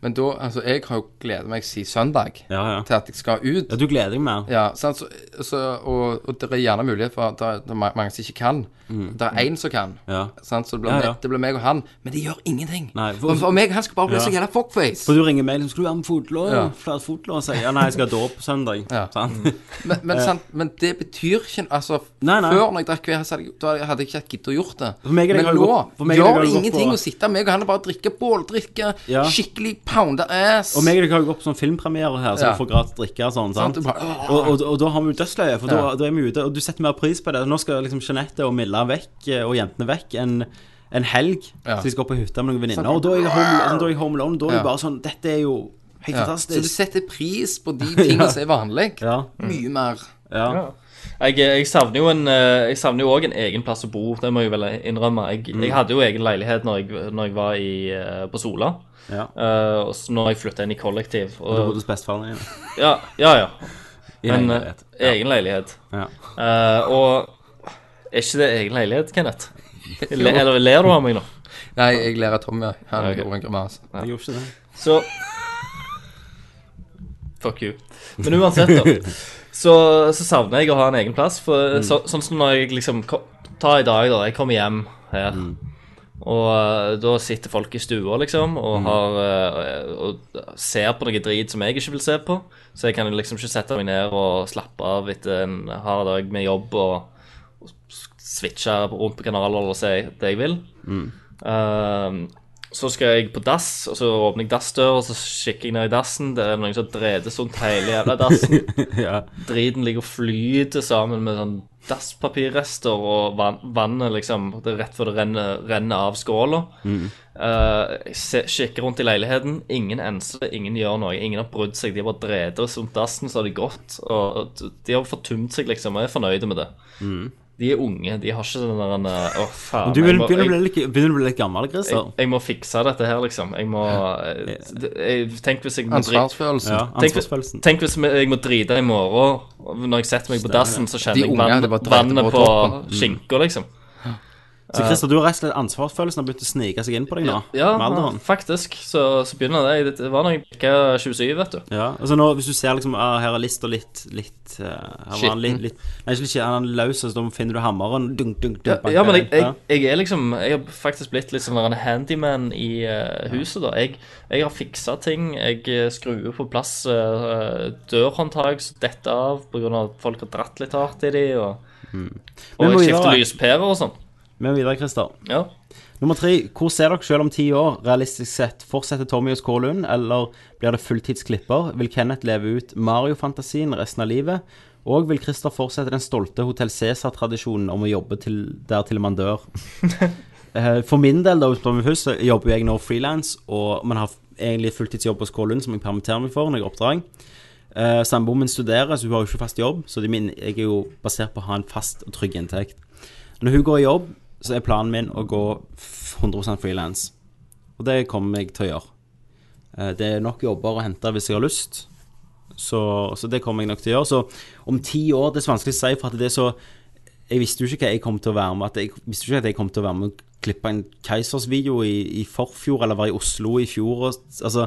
Speaker 5: Men da Altså, jeg har jo gleda meg siden søndag
Speaker 4: Ja, Mm. ja.
Speaker 5: til at jeg skal ut.
Speaker 4: ja, du gleder deg mer.
Speaker 5: Ja, sant? Så, så, og, og det er gjerne mulighet for at det er- det er ma- mange som ikke kan. Det er én som kan.
Speaker 4: Mm. Ja.
Speaker 5: Sant? Så det blir,
Speaker 4: Ja, ja.
Speaker 5: meg- det blir meg og han. Men de gjør ingenting.
Speaker 4: Nei,
Speaker 5: for, for meg han skal bare bli
Speaker 4: Ja.
Speaker 5: så jævla fuckface.
Speaker 4: For du ringer meg liksom 'Skal du være med fotlår?' Ja.
Speaker 5: Ja.
Speaker 4: Flere fotlår? Sier jeg ja, 'Nei, jeg skal ha dåp på søndag'.
Speaker 5: Ja.
Speaker 4: Sant?
Speaker 5: Men, men,
Speaker 4: Eh.
Speaker 5: sant, men det betyr ikke Altså,
Speaker 4: Nei, nei.
Speaker 5: før når jeg drakk hver, så hadde jeg- da hadde jeg ikke giddet å gjort det.
Speaker 4: For meg er det
Speaker 5: men
Speaker 4: jeg har
Speaker 5: nå
Speaker 4: gått- for meg er det jeg
Speaker 5: gjør
Speaker 4: har gått
Speaker 5: ingenting
Speaker 4: på-
Speaker 5: å sitte meg og han og bare drikke båldrikke,
Speaker 4: Ja.
Speaker 5: skikkelig pounder ass.
Speaker 4: Og meg og deg har jo gått på sånn filmpremiere her, så
Speaker 5: Ja.
Speaker 4: vi får gratis drikke og sånn.
Speaker 5: Sant,
Speaker 4: sant?
Speaker 5: du bare-
Speaker 4: og, og, og da har vi jo dødsløye, for da,
Speaker 5: Ja.
Speaker 4: da er vi ute. Og du setter mer pris på det. Nå skal liksom Jeanette og Milla vekk, eh, og jentene vekk, en, en helg.
Speaker 5: Ja.
Speaker 4: Så de skal opp på hytta med noen venninner.
Speaker 5: Sant.
Speaker 4: Og da er jeg home, altså, da er jeg home alone. Da er
Speaker 5: Ja.
Speaker 4: det bare sånn Dette er jo helt
Speaker 5: Ja. Så du
Speaker 4: fantastisk.
Speaker 5: setter pris på
Speaker 4: *laughs*
Speaker 5: de tingene
Speaker 4: Ja.
Speaker 5: som er vanlig.
Speaker 4: Ja.
Speaker 5: Mye mer.
Speaker 4: Ja.
Speaker 3: Ja. Jeg, jeg savner jo en eh, Jeg savner jo òg en egen plass å bo, det må jeg vel innrømme. Jeg,
Speaker 5: Mm.
Speaker 3: jeg hadde jo egen leilighet når jeg, når jeg var i, eh, på Sola.
Speaker 4: Ja.
Speaker 3: Eh, og så når jeg flytta inn i kollektiv.
Speaker 4: Og da bodde hos bestefaren din.
Speaker 3: Ja, ja. ja.
Speaker 4: I
Speaker 3: Men,
Speaker 4: leilighet.
Speaker 3: eh, Egen leilighet.
Speaker 4: Ja.
Speaker 3: Eh, og er ikke det egen leilighet, Kenneth? Le, eller ler du av meg nå?
Speaker 5: Nei, jeg ler av Tommy. Han
Speaker 3: Ok.
Speaker 5: gjorde en grimas.
Speaker 3: Ja.
Speaker 4: Jeg gjorde ikke det.
Speaker 3: Så Fuck you. Men uansett, da. Så, så savner jeg å ha en egen plass. For så, sånn som når jeg liksom ko- Ta i dag, da. Jeg kommer hjem her. Og eh, da sitter folk i stua, liksom, og, har, eh, og ser på noe drit som jeg ikke vil se på. Så jeg kan liksom ikke sette meg ned og slappe av etter en hard dag med jobb og, og s- switche rundt på kanaler eller si det jeg vil.
Speaker 4: Mm.
Speaker 3: Ehm, så skal jeg på dass, og så åpner jeg dassdøra, og så kikker jeg ned i dassen. Det er noen som dreter sånt hele jævla dassen.
Speaker 4: *laughs* Ja.
Speaker 3: Driten ligger og flyter sammen med sånn dasspapirrester og vann, vannet, liksom. Det er rett før det renner, renner av skåla.
Speaker 4: Mm.
Speaker 3: Eh, jeg se- kikker rundt i leiligheten. Ingen ensler, ingen gjør noe. Ingen har brydd seg. De har bare dreter rundt dassen, så har de gått. Og og d- de har fortumt seg, liksom. Og jeg er fornøyd med det.
Speaker 4: Mm.
Speaker 3: De er unge. De har ikke den der eh, Å, faen.
Speaker 4: Men Du vil,
Speaker 3: jeg må-
Speaker 4: begynner, å bli
Speaker 3: jeg-
Speaker 4: litt, begynner å bli litt gammel,
Speaker 3: jeg,
Speaker 4: Christer.
Speaker 3: jeg må fikse dette her, liksom. Jeg må jeg, jeg, Tenk hvis jeg må dri-
Speaker 5: Ansvarsfølelsen.
Speaker 4: Ja,
Speaker 3: Tenk,
Speaker 4: ansvarsfølelsen.
Speaker 3: tenk hvis jeg må drite i morgen, og når jeg setter meg på
Speaker 4: Stemmer
Speaker 3: dassen,
Speaker 4: det.
Speaker 3: så
Speaker 4: De
Speaker 3: kjenner jeg
Speaker 4: unge,
Speaker 3: vann,
Speaker 4: det bare driter
Speaker 3: vannet
Speaker 4: på
Speaker 3: på
Speaker 4: toppen. Mm.
Speaker 3: skinka, liksom.
Speaker 4: Så Christer, du har rett og slett ansvarsfølelsen har begynt å snike seg inn på deg nå?
Speaker 3: Ja,
Speaker 4: med alderen.
Speaker 3: faktisk. Så, så begynner det. Det var når jeg bikka 27, vet du.
Speaker 4: Ja, altså nå, Hvis du ser liksom, ah, her er lista litt litt, eh, her var han litt,
Speaker 3: Skitten.
Speaker 4: litt Nei, ikke litt skitten, han er løs, og så da finner du hammeren dunk, dunk, dunk,
Speaker 3: Ja,
Speaker 4: banker
Speaker 3: ja men jeg,
Speaker 4: deg.
Speaker 3: jeg, jeg er liksom Jeg har faktisk blitt litt sånn en handyman i eh, huset, da. Jeg, jeg har fiksa ting. Jeg eh, skrur på plass eh, dørhåndtak som detter av pga. at folk har dratt litt hardt i de, og,
Speaker 4: Mm.
Speaker 3: og
Speaker 4: Men
Speaker 3: jeg
Speaker 4: må
Speaker 3: skifter
Speaker 4: videre.
Speaker 3: lyspærer og sånn.
Speaker 4: Men videre, Christer.
Speaker 3: Ja.
Speaker 4: Nummer tre. Hvor ser dere selv om ti år, realistisk sett? Fortsetter Tommy hos K. Lund, eller blir det fulltidsklipper? Vil Kenneth leve ut Mario-fantasien resten av livet? Og vil Christer fortsette den stolte Hotell Cæsar-tradisjonen om å jobbe til, der til man dør? Eh, For min del, da, utenom hus, så jobber jeg nå frilans, og man har egentlig fulltidsjobb hos K. Lund, som jeg permitterer meg for når jeg har oppdrag. Eh, Samboeren min studerer, så hun har jo ikke fast jobb, så de min, jeg er jo basert på å ha en fast og trygg inntekt. Når hun går i jobb, så er planen min å gå f- 100 frilans. Og det kommer jeg til å gjøre. Eh, Det er nok jobber å hente hvis jeg har lyst. Så, så det kommer jeg nok til å gjøre. Så om ti år Det er så vanskelig å si, for at det er så Jeg visste jo ikke hva jeg kom til å være med at Jeg visste jo ikke at jeg kom til å være med å klippe en Keisers-video i, i forfjor, eller være i Oslo i fjor. Og, altså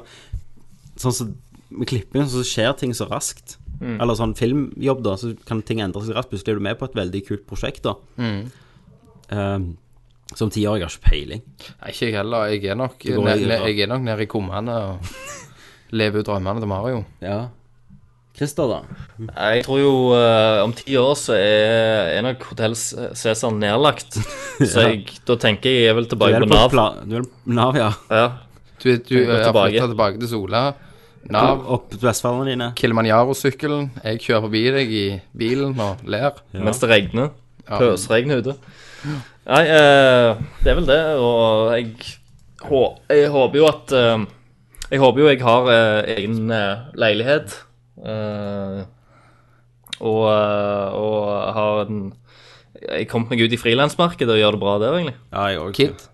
Speaker 4: Sånn som med klipping, så skjer ting så raskt.
Speaker 5: Mm.
Speaker 4: Eller sånn filmjobb, da, så kan ting endre seg raskt. Plutselig er du med på et veldig kult prosjekt, da.
Speaker 5: Mm.
Speaker 4: Um, som tiåring har jeg ikke peiling.
Speaker 5: Nei, ikke jeg heller. Jeg er nok,
Speaker 4: Det går
Speaker 5: ne-
Speaker 4: i-
Speaker 5: ne- jeg er nok nede i kummene og *laughs* lever ut drømmene til Mario.
Speaker 4: Ja. Christer, da?
Speaker 3: Nei, Jeg tror jo eh, om ti år så er, er nok Hotell Cæsar
Speaker 4: *laughs*
Speaker 3: nedlagt. Så
Speaker 4: Ja.
Speaker 3: jeg, da tenker jeg jeg vil tilbake
Speaker 4: Du er
Speaker 3: på
Speaker 4: på
Speaker 3: Nav.
Speaker 4: pla- Du er på Nav, ja.
Speaker 3: Ja.
Speaker 5: Du, du
Speaker 3: Jeg går
Speaker 5: er
Speaker 3: tilbake.
Speaker 5: flytta tilbake til Sola. Nav.
Speaker 4: Opp til bestefedrene dine.
Speaker 5: Kilimanjaro-sykkelen. Jeg kjører forbi deg i bilen og ler.
Speaker 3: Ja. Mens det regner.
Speaker 5: Ja.
Speaker 3: Pøsregn ute. Nei, eh, det er vel det, og jeg, hå, jeg håper jo at eh, Jeg håper jo jeg har eh, egen eh, leilighet. eh, og, eh, og har en Jeg kom meg ut i frilansmarkedet og gjør det bra der, egentlig.
Speaker 4: Ja, jeg òg.
Speaker 5: Kid.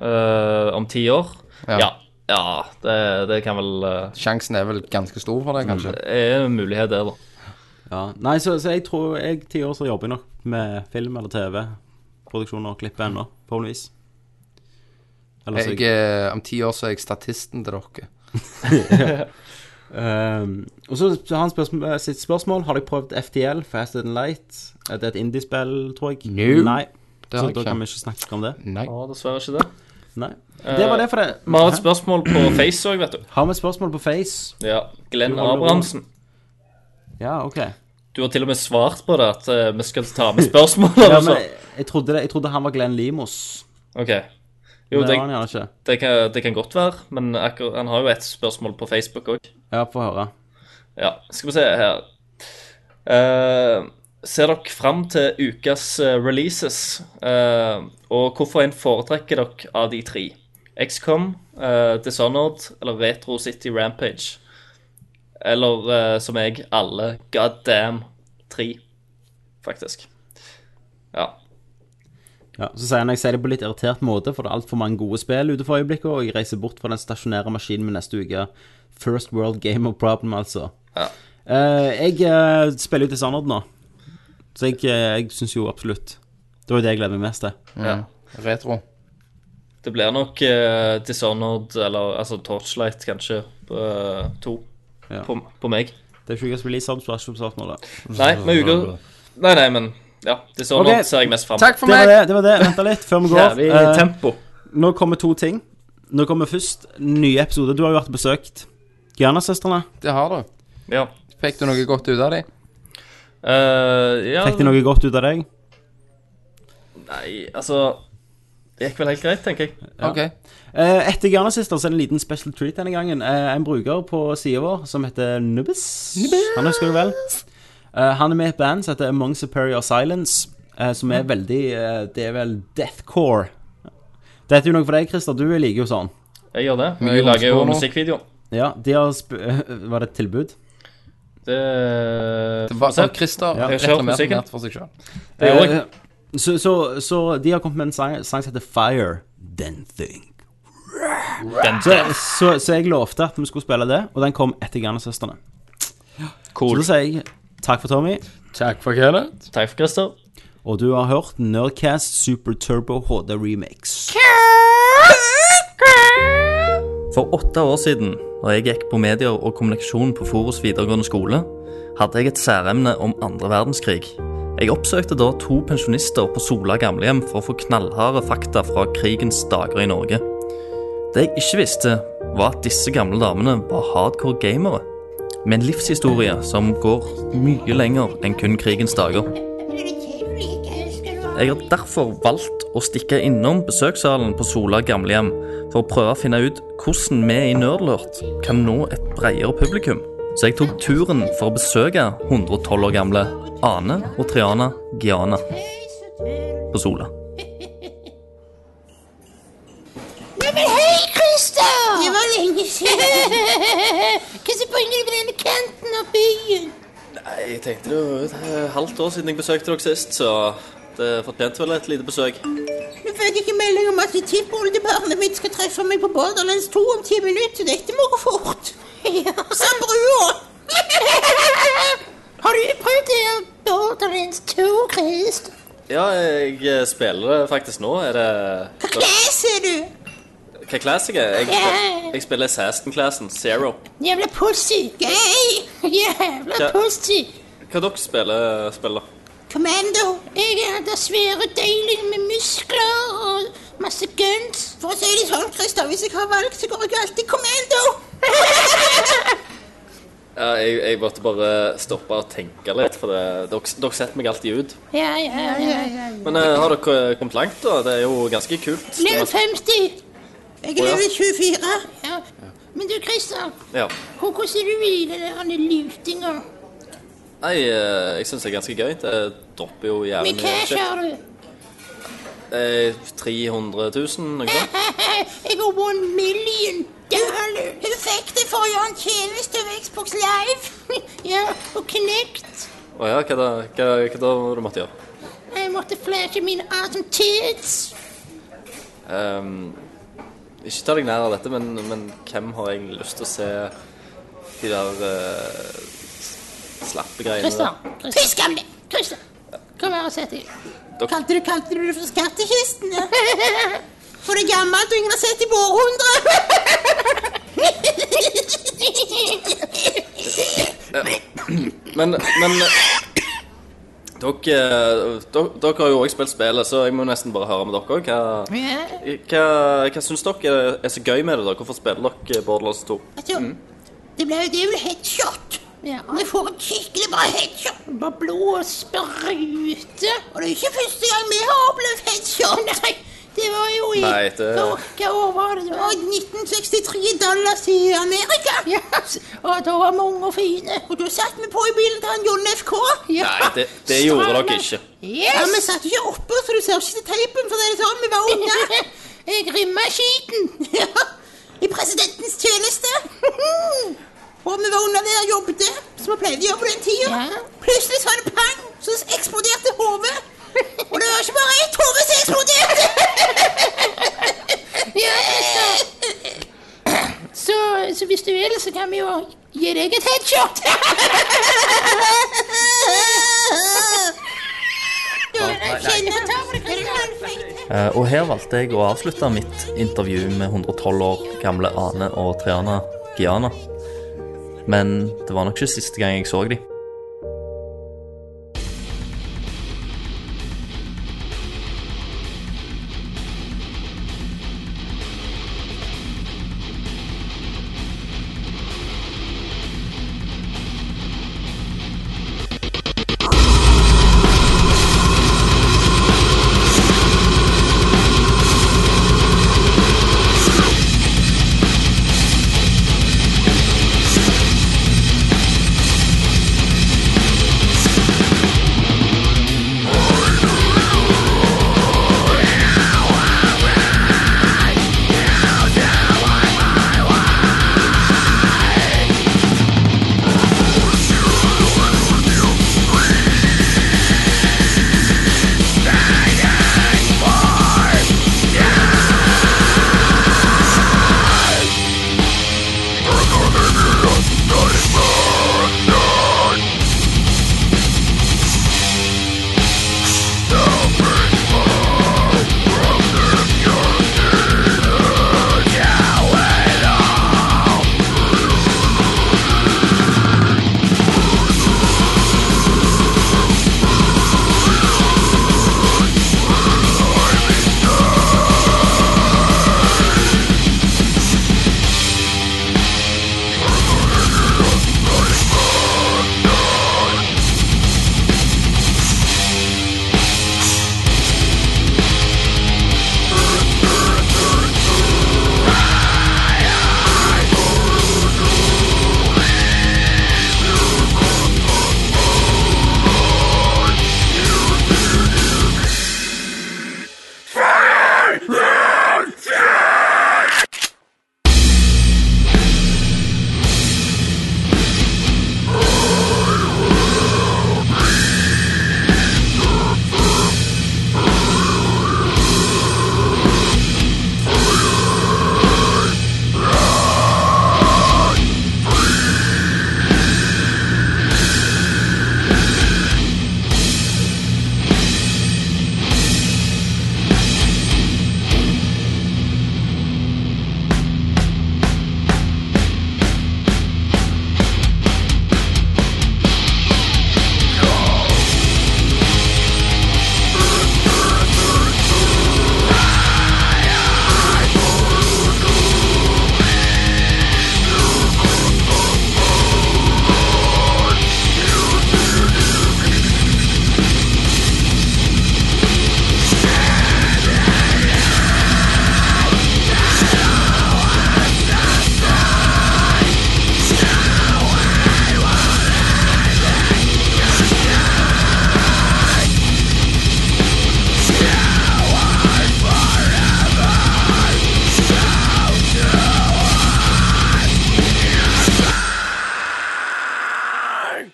Speaker 3: Eh, om ti år?
Speaker 5: Ja.
Speaker 3: Ja. ja. det, det kan vel eh,
Speaker 5: Sjansen er vel ganske stor for deg, kanskje.
Speaker 3: Det er en mulighet der, da.
Speaker 4: Ja. Nei, så, så jeg tror jeg ti år så jobber jeg nok med film eller TV. Produksjoner og klippe ennå, forhåpentligvis. Eller så
Speaker 5: Jeg, eh, om ti år så er jeg statisten til dere.
Speaker 4: um, og så har han spørsmål, sitt spørsmål Har dere prøvd FTL, Fast and Light? Er det et indiespill, tror jeg?
Speaker 5: No.
Speaker 4: Nei.
Speaker 5: Det
Speaker 4: Så
Speaker 5: har jeg
Speaker 4: da
Speaker 5: ikke.
Speaker 4: kan vi ikke snakke om det.
Speaker 5: Nei.
Speaker 3: Ja, dessverre ikke det.
Speaker 4: Nei. Det var det for det.
Speaker 3: Eh, Vi har et
Speaker 4: Hæ?
Speaker 3: spørsmål på Face òg, vet du.
Speaker 4: Har vi et spørsmål på Face?
Speaker 3: Ja, Glenn
Speaker 4: Du holder
Speaker 3: Abrahamsen.
Speaker 4: Ja, OK.
Speaker 3: Du har til og med svart på det, at eh, vi skal ta med spørsmål.
Speaker 4: Ja,
Speaker 3: altså.
Speaker 4: men jeg, jeg, trodde det, jeg trodde han var Glenn Limos.
Speaker 3: OK. Jo,
Speaker 4: Men det
Speaker 3: det,
Speaker 4: var han gjerne ikke.
Speaker 3: det, kan, det kan godt være, men akkur han har jo et spørsmål på Facebook òg.
Speaker 4: Ja, få høre.
Speaker 3: Ja, skal vi se her Eh, Ser dere fram til ukas eh, releases? Eh, og hvorfor en foretrekker dere av de tre? XCOM, eh, Dishonored eller Retro City Rampage? Eller eh, som jeg, alle God damn tre, faktisk. Ja.
Speaker 4: Ja, så sier han jeg sier det på litt irritert måte, for det er altfor mange gode spill ute for øyeblikket, og jeg reiser bort fra den stasjonære maskinen min neste uke. First World Gamer Problem, altså.
Speaker 3: Ja.
Speaker 4: Eh, jeg eh, spiller jo Dishonored nå, så jeg, eh, jeg syns jo absolutt Det var jo det jeg gleder meg mest til.
Speaker 3: ja.
Speaker 5: Retro.
Speaker 3: Det blir nok eh, Dishonored eller altså Torchlight, kanskje, på, eh, to
Speaker 4: Ja.
Speaker 3: på, på meg.
Speaker 4: Det er ikke ukas release, du har ikke oppsvart nå, da.
Speaker 3: Nei, men uka Nei, nei, men ja. Det er sånn
Speaker 4: Ok.
Speaker 3: nå ser jeg mest fram
Speaker 5: Takk for
Speaker 4: det
Speaker 5: meg!
Speaker 4: var det. det, var det. Vent da litt før vi går.
Speaker 3: Jævlig
Speaker 4: Eh,
Speaker 3: tempo.
Speaker 4: Nå kommer to ting. Nå kommer først nye episoder. Du har jo vært og besøkt Gjerna-søstrene.
Speaker 5: Det har du.
Speaker 3: Ja.
Speaker 5: Fikk du noe godt ut av dem?
Speaker 3: Eh, ja
Speaker 4: Fikk de noe godt ut av deg?
Speaker 3: Nei, altså Det gikk vel helt greit, tenker jeg.
Speaker 4: Ja. Eh, Etter Garnasister så er det en liten special treat denne gangen. Eh, En bruker på sida vår som heter Nubbis. Han husker du vel? Eh, Han er med i et band som heter Among Superior Silence, eh, som er veldig eh, Det er vel deathcore. Dette er jo noe for deg, Christer. Du liker jo sånn.
Speaker 3: Jeg gjør det.
Speaker 4: Mye
Speaker 3: Jeg lager jo
Speaker 4: romspor nå.
Speaker 3: musikkvideo.
Speaker 4: Ja, de har sp *laughs* Var det et tilbud?
Speaker 3: Det,
Speaker 5: Det var sånn Christer
Speaker 3: Ja.
Speaker 5: reklamerte
Speaker 3: Musikken.
Speaker 5: mer for seg selv.
Speaker 3: Det gjorde jeg.
Speaker 4: Eh, Så, så, så de har kommet med en sang, sang som heter Fire Then Thing.
Speaker 3: Den-
Speaker 4: Så, så, så jeg lovte at vi skulle spille det, og den kom etter Garnesøstrene.
Speaker 3: Cool.
Speaker 4: Så da sier jeg takk for Tommy.
Speaker 5: Takk for Kenneth.
Speaker 3: Takk for Christer.
Speaker 4: Og du har hørt Nerdcast Super Turbo HD Remix.
Speaker 13: For åtte år siden, da jeg gikk på medier og kommunikasjon på Forus videregående skole, hadde jeg et særemne om andre verdenskrig. Jeg oppsøkte da to pensjonister på Sola gamlehjem for å få knallharde fakta fra krigens dager i Norge. Det jeg ikke visste, var at disse gamle damene var hardcore gamere. Med en livshistorie som går mye lenger enn kun krigens dager. Jeg har derfor valgt å stikke innom besøkssalen på Sola gamlehjem for å prøve å finne ut hvordan vi i Nerdlurt kan nå et bredere publikum. Så jeg tok turen for å besøke 112 år gamle Ane og Triana Giana på Sola.
Speaker 1: Neimen, hei, Christer! Det var *laughs* lenge siden. Hva som bringer deg på denne kanten av byen?
Speaker 3: Nei, jeg tenkte det var et halvt år siden jeg besøkte dere sist, så det fortjente vel et lite besøk.
Speaker 2: Nå fikk jeg melding om at tippoldebarnet mitt skal treffe meg på Borderlands 2 om ti minutter. er Dette må gå fort. Ja. Samme brua!
Speaker 1: *laughs* Har du prøvd det her Borderlands 2, Christer?
Speaker 3: Ja, jeg eh, spiller det faktisk nå. Er det
Speaker 1: Der ser du!
Speaker 3: Hva class jeg er? Jeg, jeg spiller Saston-classen, Zero.
Speaker 1: Jævla pussy! Gay! *laughs* Jævla
Speaker 3: Ja.
Speaker 1: pussy!
Speaker 3: Hva dere spiller, spiller?
Speaker 1: Commando! Jeg er der svære deilige med muskler og masse guns.
Speaker 2: For å si det sånn, Christer, hvis jeg har valgt, så går jeg jo alltid kommando.
Speaker 3: Ja, jeg, jeg måtte bare stoppe og tenke litt, for det, dere, dere setter meg alltid ut.
Speaker 1: *laughs* Ja, ja, ja.
Speaker 3: Men eh, har dere kommet langt, da? Det er jo ganske kult.
Speaker 1: Level 50!
Speaker 3: Jeg er level
Speaker 1: 24. Ja. Men du, Christer,
Speaker 3: Ja.
Speaker 1: hvor- hvordan er du i det der andre lutinga?
Speaker 3: Nei, eh, jeg syns det er ganske gøy. Det dropper jo jævlig
Speaker 1: Med
Speaker 3: mye
Speaker 1: cash
Speaker 3: shit.
Speaker 1: har du? *laughs*
Speaker 3: Eh, 300 000, noe
Speaker 2: *laughs*
Speaker 3: sånt.
Speaker 2: Jeg har one million dollar. Hun fikk det for å gjøre en tjeneste over Xbox Live.
Speaker 1: *laughs* Ja, og Kinect.
Speaker 3: Å ja, hva da, hva, hva da var det du måtte gjøre?
Speaker 1: Jeg måtte flashe mine awesome tits.
Speaker 3: Ehm, ikke ta deg nær av dette, men, men hvem har egentlig lyst til å se de der eh, s- slappe greiene
Speaker 1: Christer,
Speaker 3: der?
Speaker 1: Christer. Christer, kom her og sett deg.
Speaker 2: Kalte du, kalte du det for skattkisten? ja? *laughs* For det er gammelt og ingen har sett i på århundrer.
Speaker 1: *laughs*
Speaker 3: Men, men eh, dere, eh, dere, dere har jo også spilt spillet, så jeg må nesten bare høre med dere òg. Hva,
Speaker 2: Ja.
Speaker 3: hva, hva syns dere er så gøy med det? da? Hvorfor spiller dere Borderlands 2?
Speaker 2: Altså, det ble jo det er vel headshot. Ja. Vi får en skikkelig bra headshot. Bare blod og sprute. Og det er ikke første gang vi har opplevd headshot. Nei, det var jo i
Speaker 3: Nei, det-
Speaker 2: Hva- Hva år var det? Det var 1963 dollars i Amerika. Ja, og da var vi unge og fine. Og da satt vi på i bilen til han Jon FK.
Speaker 3: Nei, det, det gjorde dere ikke.
Speaker 2: Ja, vi satt jo ikke oppe, så du ser ikke til teipen, for det er sånn vi var
Speaker 1: *laughs*
Speaker 2: unge. Jeg rimma skiten. *laughs* Ja, I presidentens tjeneste. *laughs* Og vi var under der og jobbet, som vi pleide å gjøre på den tida. Plutselig sa det pang, så eksploderte hodet. Og det var ikke bare ett hode som
Speaker 1: *laughs*
Speaker 2: eksploderte.
Speaker 1: altså.
Speaker 2: *laughs*
Speaker 1: Så, så hvis du vil, så kan vi jo gi deg et headshot.
Speaker 2: Kjenner på tavlen,
Speaker 13: Eh, Og her valgte jeg å avslutte mitt intervju med 112 år gamle Ane og Triana Giana. Men det var nok ikke siste gang jeg så dem.